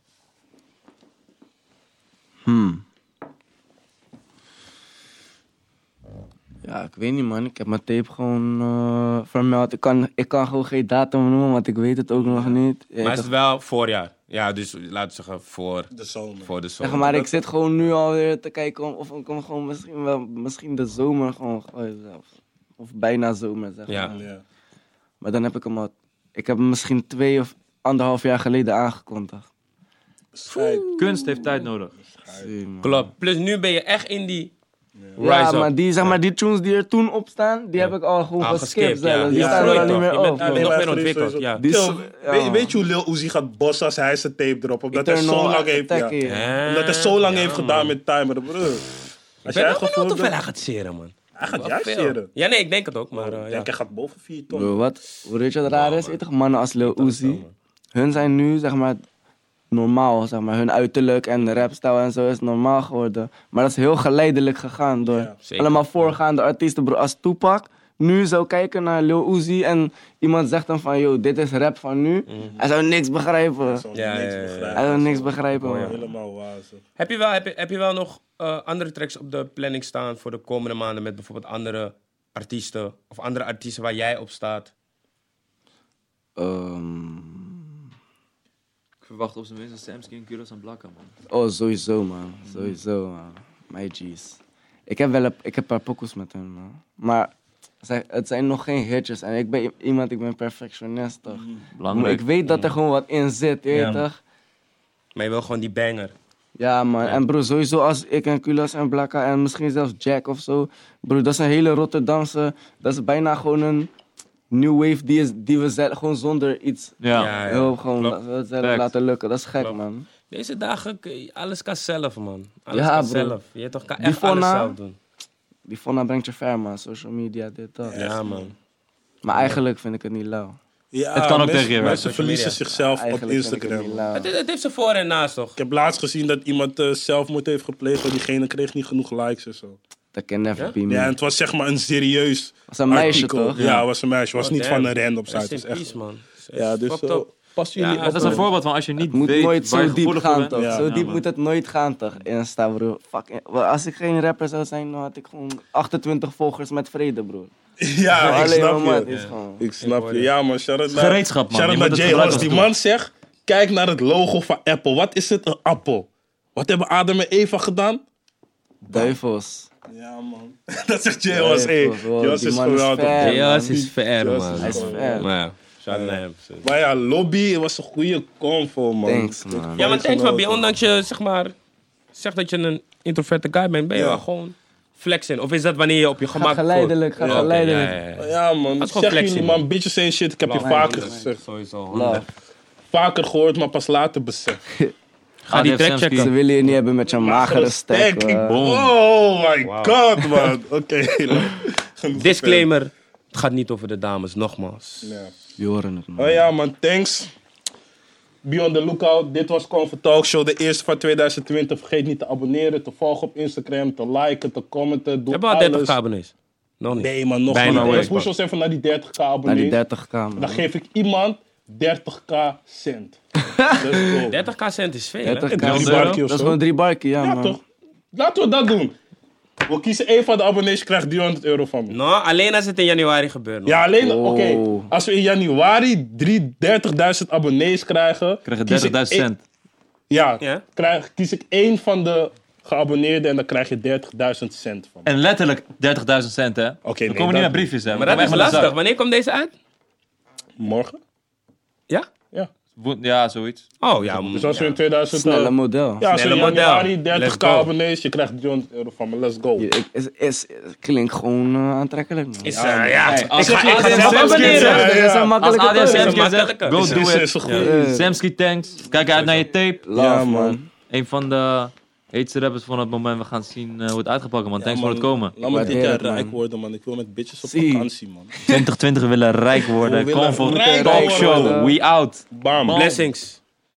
Speaker 4: Ja, ik weet niet man. Ik heb mijn tape gewoon eh, vermeld. Ik kan, ik kan gewoon geen datum noemen, want ik weet het ook nog niet. Ja,
Speaker 1: Maar
Speaker 4: ik-
Speaker 1: is het wel voorjaar? Ja, dus laten we zeggen voor
Speaker 3: De zomer.
Speaker 1: voor de
Speaker 4: zeg
Speaker 1: zomer.
Speaker 4: maar, ik zit gewoon nu alweer te kijken om- of ik hem gewoon misschien wel, misschien de zomer gewoon gooi zelf. Of bijna zomer, zeg
Speaker 1: Ja.
Speaker 4: maar.
Speaker 3: Ja.
Speaker 4: Maar dan heb ik hem al, ik heb hem misschien twee of anderhalf jaar geleden aangekondigd.
Speaker 3: Scheid.
Speaker 2: Kunst heeft tijd nodig.
Speaker 4: Zie, man.
Speaker 1: Klopt. Plus nu ben je echt in die
Speaker 4: Ja,
Speaker 1: rise
Speaker 4: maar
Speaker 1: up.
Speaker 4: die, zeg maar die tunes die er toen op staan, die heb ik al gewoon
Speaker 1: Al
Speaker 4: geskipt
Speaker 1: geskipt, ja.
Speaker 4: zelf. Die
Speaker 1: Je
Speaker 4: staan er
Speaker 1: groeit
Speaker 4: al niet
Speaker 1: toch?
Speaker 4: meer
Speaker 1: Je bent
Speaker 4: op.
Speaker 1: alleen
Speaker 4: man.
Speaker 1: nog
Speaker 3: maar
Speaker 1: meer ontwikkeld, ja.
Speaker 4: Die
Speaker 3: Yo,
Speaker 4: is-
Speaker 3: weet,
Speaker 4: ja.
Speaker 3: weet je hoe Lil Uzi gaat bossen als hij zijn tape erop? Omdat hij
Speaker 4: Eternal
Speaker 3: zo lang heeft, ja.
Speaker 4: Attack, ja.
Speaker 1: Hè?
Speaker 3: Omdat hij zo lang
Speaker 1: Ja,
Speaker 3: heeft
Speaker 1: man.
Speaker 3: gedaan met Timer, broer.
Speaker 1: Ik
Speaker 3: Als
Speaker 1: ben wel
Speaker 3: jij
Speaker 1: benieuwd
Speaker 3: gevoeld
Speaker 1: of hij
Speaker 3: hebt,
Speaker 1: gaat zeren, man.
Speaker 3: hij gaat
Speaker 1: Wel
Speaker 3: juist
Speaker 1: veel.
Speaker 3: zeren.
Speaker 1: Ja, nee, ik denk het ook, maar eh,
Speaker 3: Ik
Speaker 1: ja.
Speaker 3: denk, hij gaat boven vier ton.
Speaker 4: Bro, wat? Hoe weet je wat raar is? Weet je toch, mannen als Lil
Speaker 1: wel,
Speaker 4: Uzi,
Speaker 1: man.
Speaker 4: hun zijn nu, zeg maar, normaal, zeg maar. Hun uiterlijk en de rapstijl en zo is normaal geworden. Maar dat is heel geleidelijk gegaan door
Speaker 3: Ja,
Speaker 1: zeker.
Speaker 4: allemaal voorgaande artiesten, bro. Als Tupac nu zou kijken naar Lil Uzi en iemand zegt dan van, yo, dit is rap van nu.
Speaker 1: Mhm.
Speaker 4: Hij zou niks begrijpen.
Speaker 3: Zo,
Speaker 1: Ja,
Speaker 3: niks
Speaker 1: ja, ja, ja.
Speaker 4: Hij zou
Speaker 3: begrijpen.
Speaker 4: niks begrijpen, man.
Speaker 3: Helemaal wazig.
Speaker 1: Heb je wel, heb je, heb je wel nog eh, andere tracks op de planning staan voor de komende maanden met bijvoorbeeld andere artiesten of andere artiesten waar jij op staat?
Speaker 4: Ehm,
Speaker 2: Ik verwacht op zijn minst een Samsky, Kuros en Blakka, man.
Speaker 4: oh, sowieso, man. Sowieso, man. My G's. Ik heb wel een, ik heb een paar pokoes met hem, man. Maar zij- het zijn nog geen hitjes. En ik ben i- iemand, ik ben perfectionist, toch? Maar
Speaker 2: Belangrijk.
Speaker 4: ik weet dat er gewoon wat in zit, je weet
Speaker 1: Mm. Ja.
Speaker 4: toch?
Speaker 1: Maar je wil gewoon die banger.
Speaker 4: Ja, man. En bro, sowieso als ik en Kulas en Blakka en misschien zelfs Jack of zo. Bro, dat is een hele Rotterdamse... Dat is bijna gewoon een new wave die, is, die we zelf... Gewoon zonder iets...
Speaker 2: Ja.
Speaker 1: Ja,
Speaker 4: heel gewoon
Speaker 1: klopt.
Speaker 4: dat we het zelf
Speaker 2: Facts.
Speaker 4: laten lukken. Dat is gek,
Speaker 1: Klopt.
Speaker 4: man.
Speaker 1: Deze dagen, kun je- alles kan zelf, man. Alles
Speaker 4: Ja,
Speaker 1: kan
Speaker 4: bro.
Speaker 1: zelf. Je toch kan
Speaker 4: Die
Speaker 1: echt alles
Speaker 4: Fonna-
Speaker 1: zelf doen.
Speaker 4: Die Fonna brengt je ver, man. Social media, dit, dat.
Speaker 1: Ja, man.
Speaker 4: Maar eigenlijk vind ik het niet lauw.
Speaker 3: Ja,
Speaker 2: Het kan ook
Speaker 3: mensen-
Speaker 2: tegen je werken.
Speaker 3: Mensen verliezen
Speaker 1: Social
Speaker 3: zichzelf op
Speaker 4: Eigenlijk vind ik het
Speaker 3: Instagram.
Speaker 4: niet
Speaker 3: man.
Speaker 4: lauw.
Speaker 1: Het, het heeft zijn voor en naast, toch?
Speaker 3: Ik heb laatst gezien dat iemand eh, zelfmoord heeft gepleegd, maar diegene kreeg niet genoeg likes en zo.
Speaker 4: Dat kan never
Speaker 1: Ja?
Speaker 4: be me.
Speaker 3: Ja, en het was zeg maar een serieus
Speaker 4: Hmm. was een meisje,
Speaker 3: artikel.
Speaker 4: toch?
Speaker 3: Ja, het was een meisje. Het was
Speaker 1: Oh,
Speaker 3: niet
Speaker 1: damn.
Speaker 3: van een random site.
Speaker 1: Rest
Speaker 3: Het
Speaker 1: in
Speaker 3: was echt...
Speaker 1: peace, man.
Speaker 3: Ja, dus
Speaker 1: Fucked
Speaker 3: eh,
Speaker 1: up.
Speaker 3: passen
Speaker 1: Ja,
Speaker 3: jullie
Speaker 1: dat
Speaker 3: op.
Speaker 2: dat is een
Speaker 3: man.
Speaker 2: voorbeeld van als je niet
Speaker 4: Het moet
Speaker 2: weet
Speaker 4: nooit
Speaker 2: waar je
Speaker 4: zo diep
Speaker 2: gevoelig voor
Speaker 4: gaan,
Speaker 2: bent.
Speaker 4: toch?
Speaker 3: Ja,
Speaker 4: zo
Speaker 2: ja,
Speaker 4: diep
Speaker 2: man.
Speaker 4: moet het nooit gaan, toch? Insta, bro. Fucking. Als ik geen rapper zou zijn, dan had ik gewoon 28 volgers met vrede, bro.
Speaker 3: Ja, ik
Speaker 4: Alleen maar
Speaker 3: snap
Speaker 4: man, het
Speaker 3: je.
Speaker 4: is gewoon...
Speaker 3: Ik snap
Speaker 1: hoor
Speaker 3: je.
Speaker 1: je.
Speaker 3: Ja, man. Shout out naar,
Speaker 2: Gereedschap, man.
Speaker 3: shout
Speaker 2: Je
Speaker 3: out
Speaker 2: moet
Speaker 3: naar
Speaker 2: het
Speaker 3: Jay.
Speaker 2: gebruik
Speaker 3: Als
Speaker 2: als
Speaker 3: die
Speaker 2: doel.
Speaker 3: man zegt, kijk naar het logo van Apple. Wat is het, een appel? Wat hebben Adam en Eva gedaan?
Speaker 4: Duivels.
Speaker 3: Ja, man. dat zegt Jay Ross. Hey,
Speaker 4: Duivels, wow,
Speaker 3: Jay Ross
Speaker 4: die
Speaker 3: is
Speaker 4: man is
Speaker 3: geweldig.
Speaker 4: fair. Ja,
Speaker 1: Jas
Speaker 4: man.
Speaker 1: is ver,
Speaker 3: Jas
Speaker 1: man.
Speaker 3: is
Speaker 4: Hij is
Speaker 3: gewoon-
Speaker 4: ver.
Speaker 1: Maar Nou ja, shout naar hem.
Speaker 3: Maar ja, Lobby was een goede convo, man.
Speaker 4: Thanks, man.
Speaker 1: Ja, maar thanks,
Speaker 3: Genoten.
Speaker 1: man. Ondanks je, zeg maar, zegt dat je een introverte guy bent, ben je
Speaker 3: Ja.
Speaker 1: wel gewoon flex in. Of is dat wanneer je op je gemak voelt?
Speaker 4: geleidelijk, ga
Speaker 1: Ja, oké,
Speaker 4: geleidelijk.
Speaker 1: ja, ja, ja.
Speaker 3: Ja, man.
Speaker 1: Dat
Speaker 3: Ik
Speaker 1: is gewoon
Speaker 3: zeg
Speaker 1: flexie,
Speaker 3: jullie, man. Bitches en shit. Ik heb je
Speaker 1: Love,
Speaker 3: vaker
Speaker 1: man.
Speaker 3: gezegd.
Speaker 1: Sowieso.
Speaker 4: Love.
Speaker 1: honderd.
Speaker 3: Vaker gehoord, maar pas later beseft.
Speaker 1: Ga die track
Speaker 2: Samsky.
Speaker 1: checken.
Speaker 4: Ze willen je niet hebben met je magere stek,
Speaker 3: ik-
Speaker 4: hoor.
Speaker 3: Oh my
Speaker 1: Wow.
Speaker 3: god, man. Oké. genoeg
Speaker 1: Disclaimer. eh, Het gaat niet over de dames, nogmaals.
Speaker 3: verder. Ja.
Speaker 4: Die horen het, man.
Speaker 3: Oh ja, man, thanks. Be on the lookout. Dit was Comfort Talk Show, de eerste van 2020. Vergeet niet te abonneren, te volgen op Instagram, te liken, te commenten. Doe
Speaker 1: Hebben we al 30
Speaker 3: alles.
Speaker 1: abonnees? Nog niet.
Speaker 3: Nee, man, nog
Speaker 1: Bijna
Speaker 3: niet.
Speaker 1: hoor.
Speaker 3: Eerst push ons even naar die 30k
Speaker 4: Naar
Speaker 3: abonnees.
Speaker 4: die 30k, man.
Speaker 3: Dan geef ik iemand 30k cent. Let's go.
Speaker 1: 30k cent is veel, hè? eh,
Speaker 4: 30k.
Speaker 3: Ja, drie
Speaker 4: Dat
Speaker 3: barkie of
Speaker 4: is
Speaker 3: zo.
Speaker 4: gewoon drie barkie, ja,
Speaker 3: Ja,
Speaker 4: man.
Speaker 3: toch? Laten we dat doen. We kiezen één van de abonnees, je krijgt 300 euro van me.
Speaker 1: Nou, alleen als het in januari gebeurt. man.
Speaker 3: Ja, alleen,
Speaker 4: Oh.
Speaker 3: oké. Als we in januari drie 30.000 abonnees krijgen...
Speaker 2: Krijg je
Speaker 3: kies ik
Speaker 2: 30.000
Speaker 3: één-
Speaker 2: cent.
Speaker 3: Ja,
Speaker 1: Ja?
Speaker 3: Krijg, kies ik één van de geabonneerden en dan krijg je 30.000 cent van. me.
Speaker 2: En letterlijk 30.000 cent, hè? Oké,
Speaker 3: nee,
Speaker 2: We komen niet
Speaker 3: dat-
Speaker 2: met briefjes, hè?
Speaker 1: Maar dat is lastig.
Speaker 2: lastig.
Speaker 1: Wanneer komt deze uit?
Speaker 3: Morgen?
Speaker 1: Ja?
Speaker 3: Ja.
Speaker 2: Ja, zoiets.
Speaker 1: Oh, ja. man.
Speaker 3: Dus als we in 2000...
Speaker 4: Snelle
Speaker 3: eh,
Speaker 4: model.
Speaker 3: ja, als we in
Speaker 1: Snelle model.
Speaker 3: januari
Speaker 1: Let's
Speaker 3: 30k
Speaker 1: go.
Speaker 3: abonnees, je krijgt 300 euro van me. Let's go.
Speaker 4: Je- ik- is, is, is- klinkt gewoon eh, aantrekkelijk, man.
Speaker 1: Is, eh, ja.
Speaker 2: Hey, als
Speaker 1: Ik ga- ik ga
Speaker 2: ADM
Speaker 1: zelf
Speaker 2: Samsky
Speaker 1: abonneren.
Speaker 2: zegt-
Speaker 3: Ja,
Speaker 4: Dat
Speaker 3: ja.
Speaker 4: is een
Speaker 2: Als
Speaker 4: makkelijke
Speaker 2: ADM
Speaker 4: keuze.
Speaker 1: Samsky
Speaker 2: Samsky
Speaker 1: zegt,
Speaker 2: zegt, go
Speaker 1: is-
Speaker 3: Dus Dit
Speaker 2: do
Speaker 3: is, is
Speaker 2: it.
Speaker 3: een goede.
Speaker 4: Eh,
Speaker 2: Samsky tanks. Kijk uit naar je tape.
Speaker 4: love,
Speaker 3: Ja, man.
Speaker 2: Een van de heetste rappers van het moment. We gaan zien eh, hoe het uitgepakt wordt. man. Thanks voor het komen.
Speaker 3: Laat me dit
Speaker 4: waardeer
Speaker 3: jaar
Speaker 4: het, man.
Speaker 3: rijk worden, man. Ik wil met bitches op
Speaker 4: Zie.
Speaker 3: vakantie, man.
Speaker 2: 2020 willen rijk worden.
Speaker 3: We willen
Speaker 2: Convo
Speaker 3: rijk
Speaker 2: Talk
Speaker 3: worden.
Speaker 2: Show. We out.
Speaker 3: Bam.
Speaker 1: Blessings.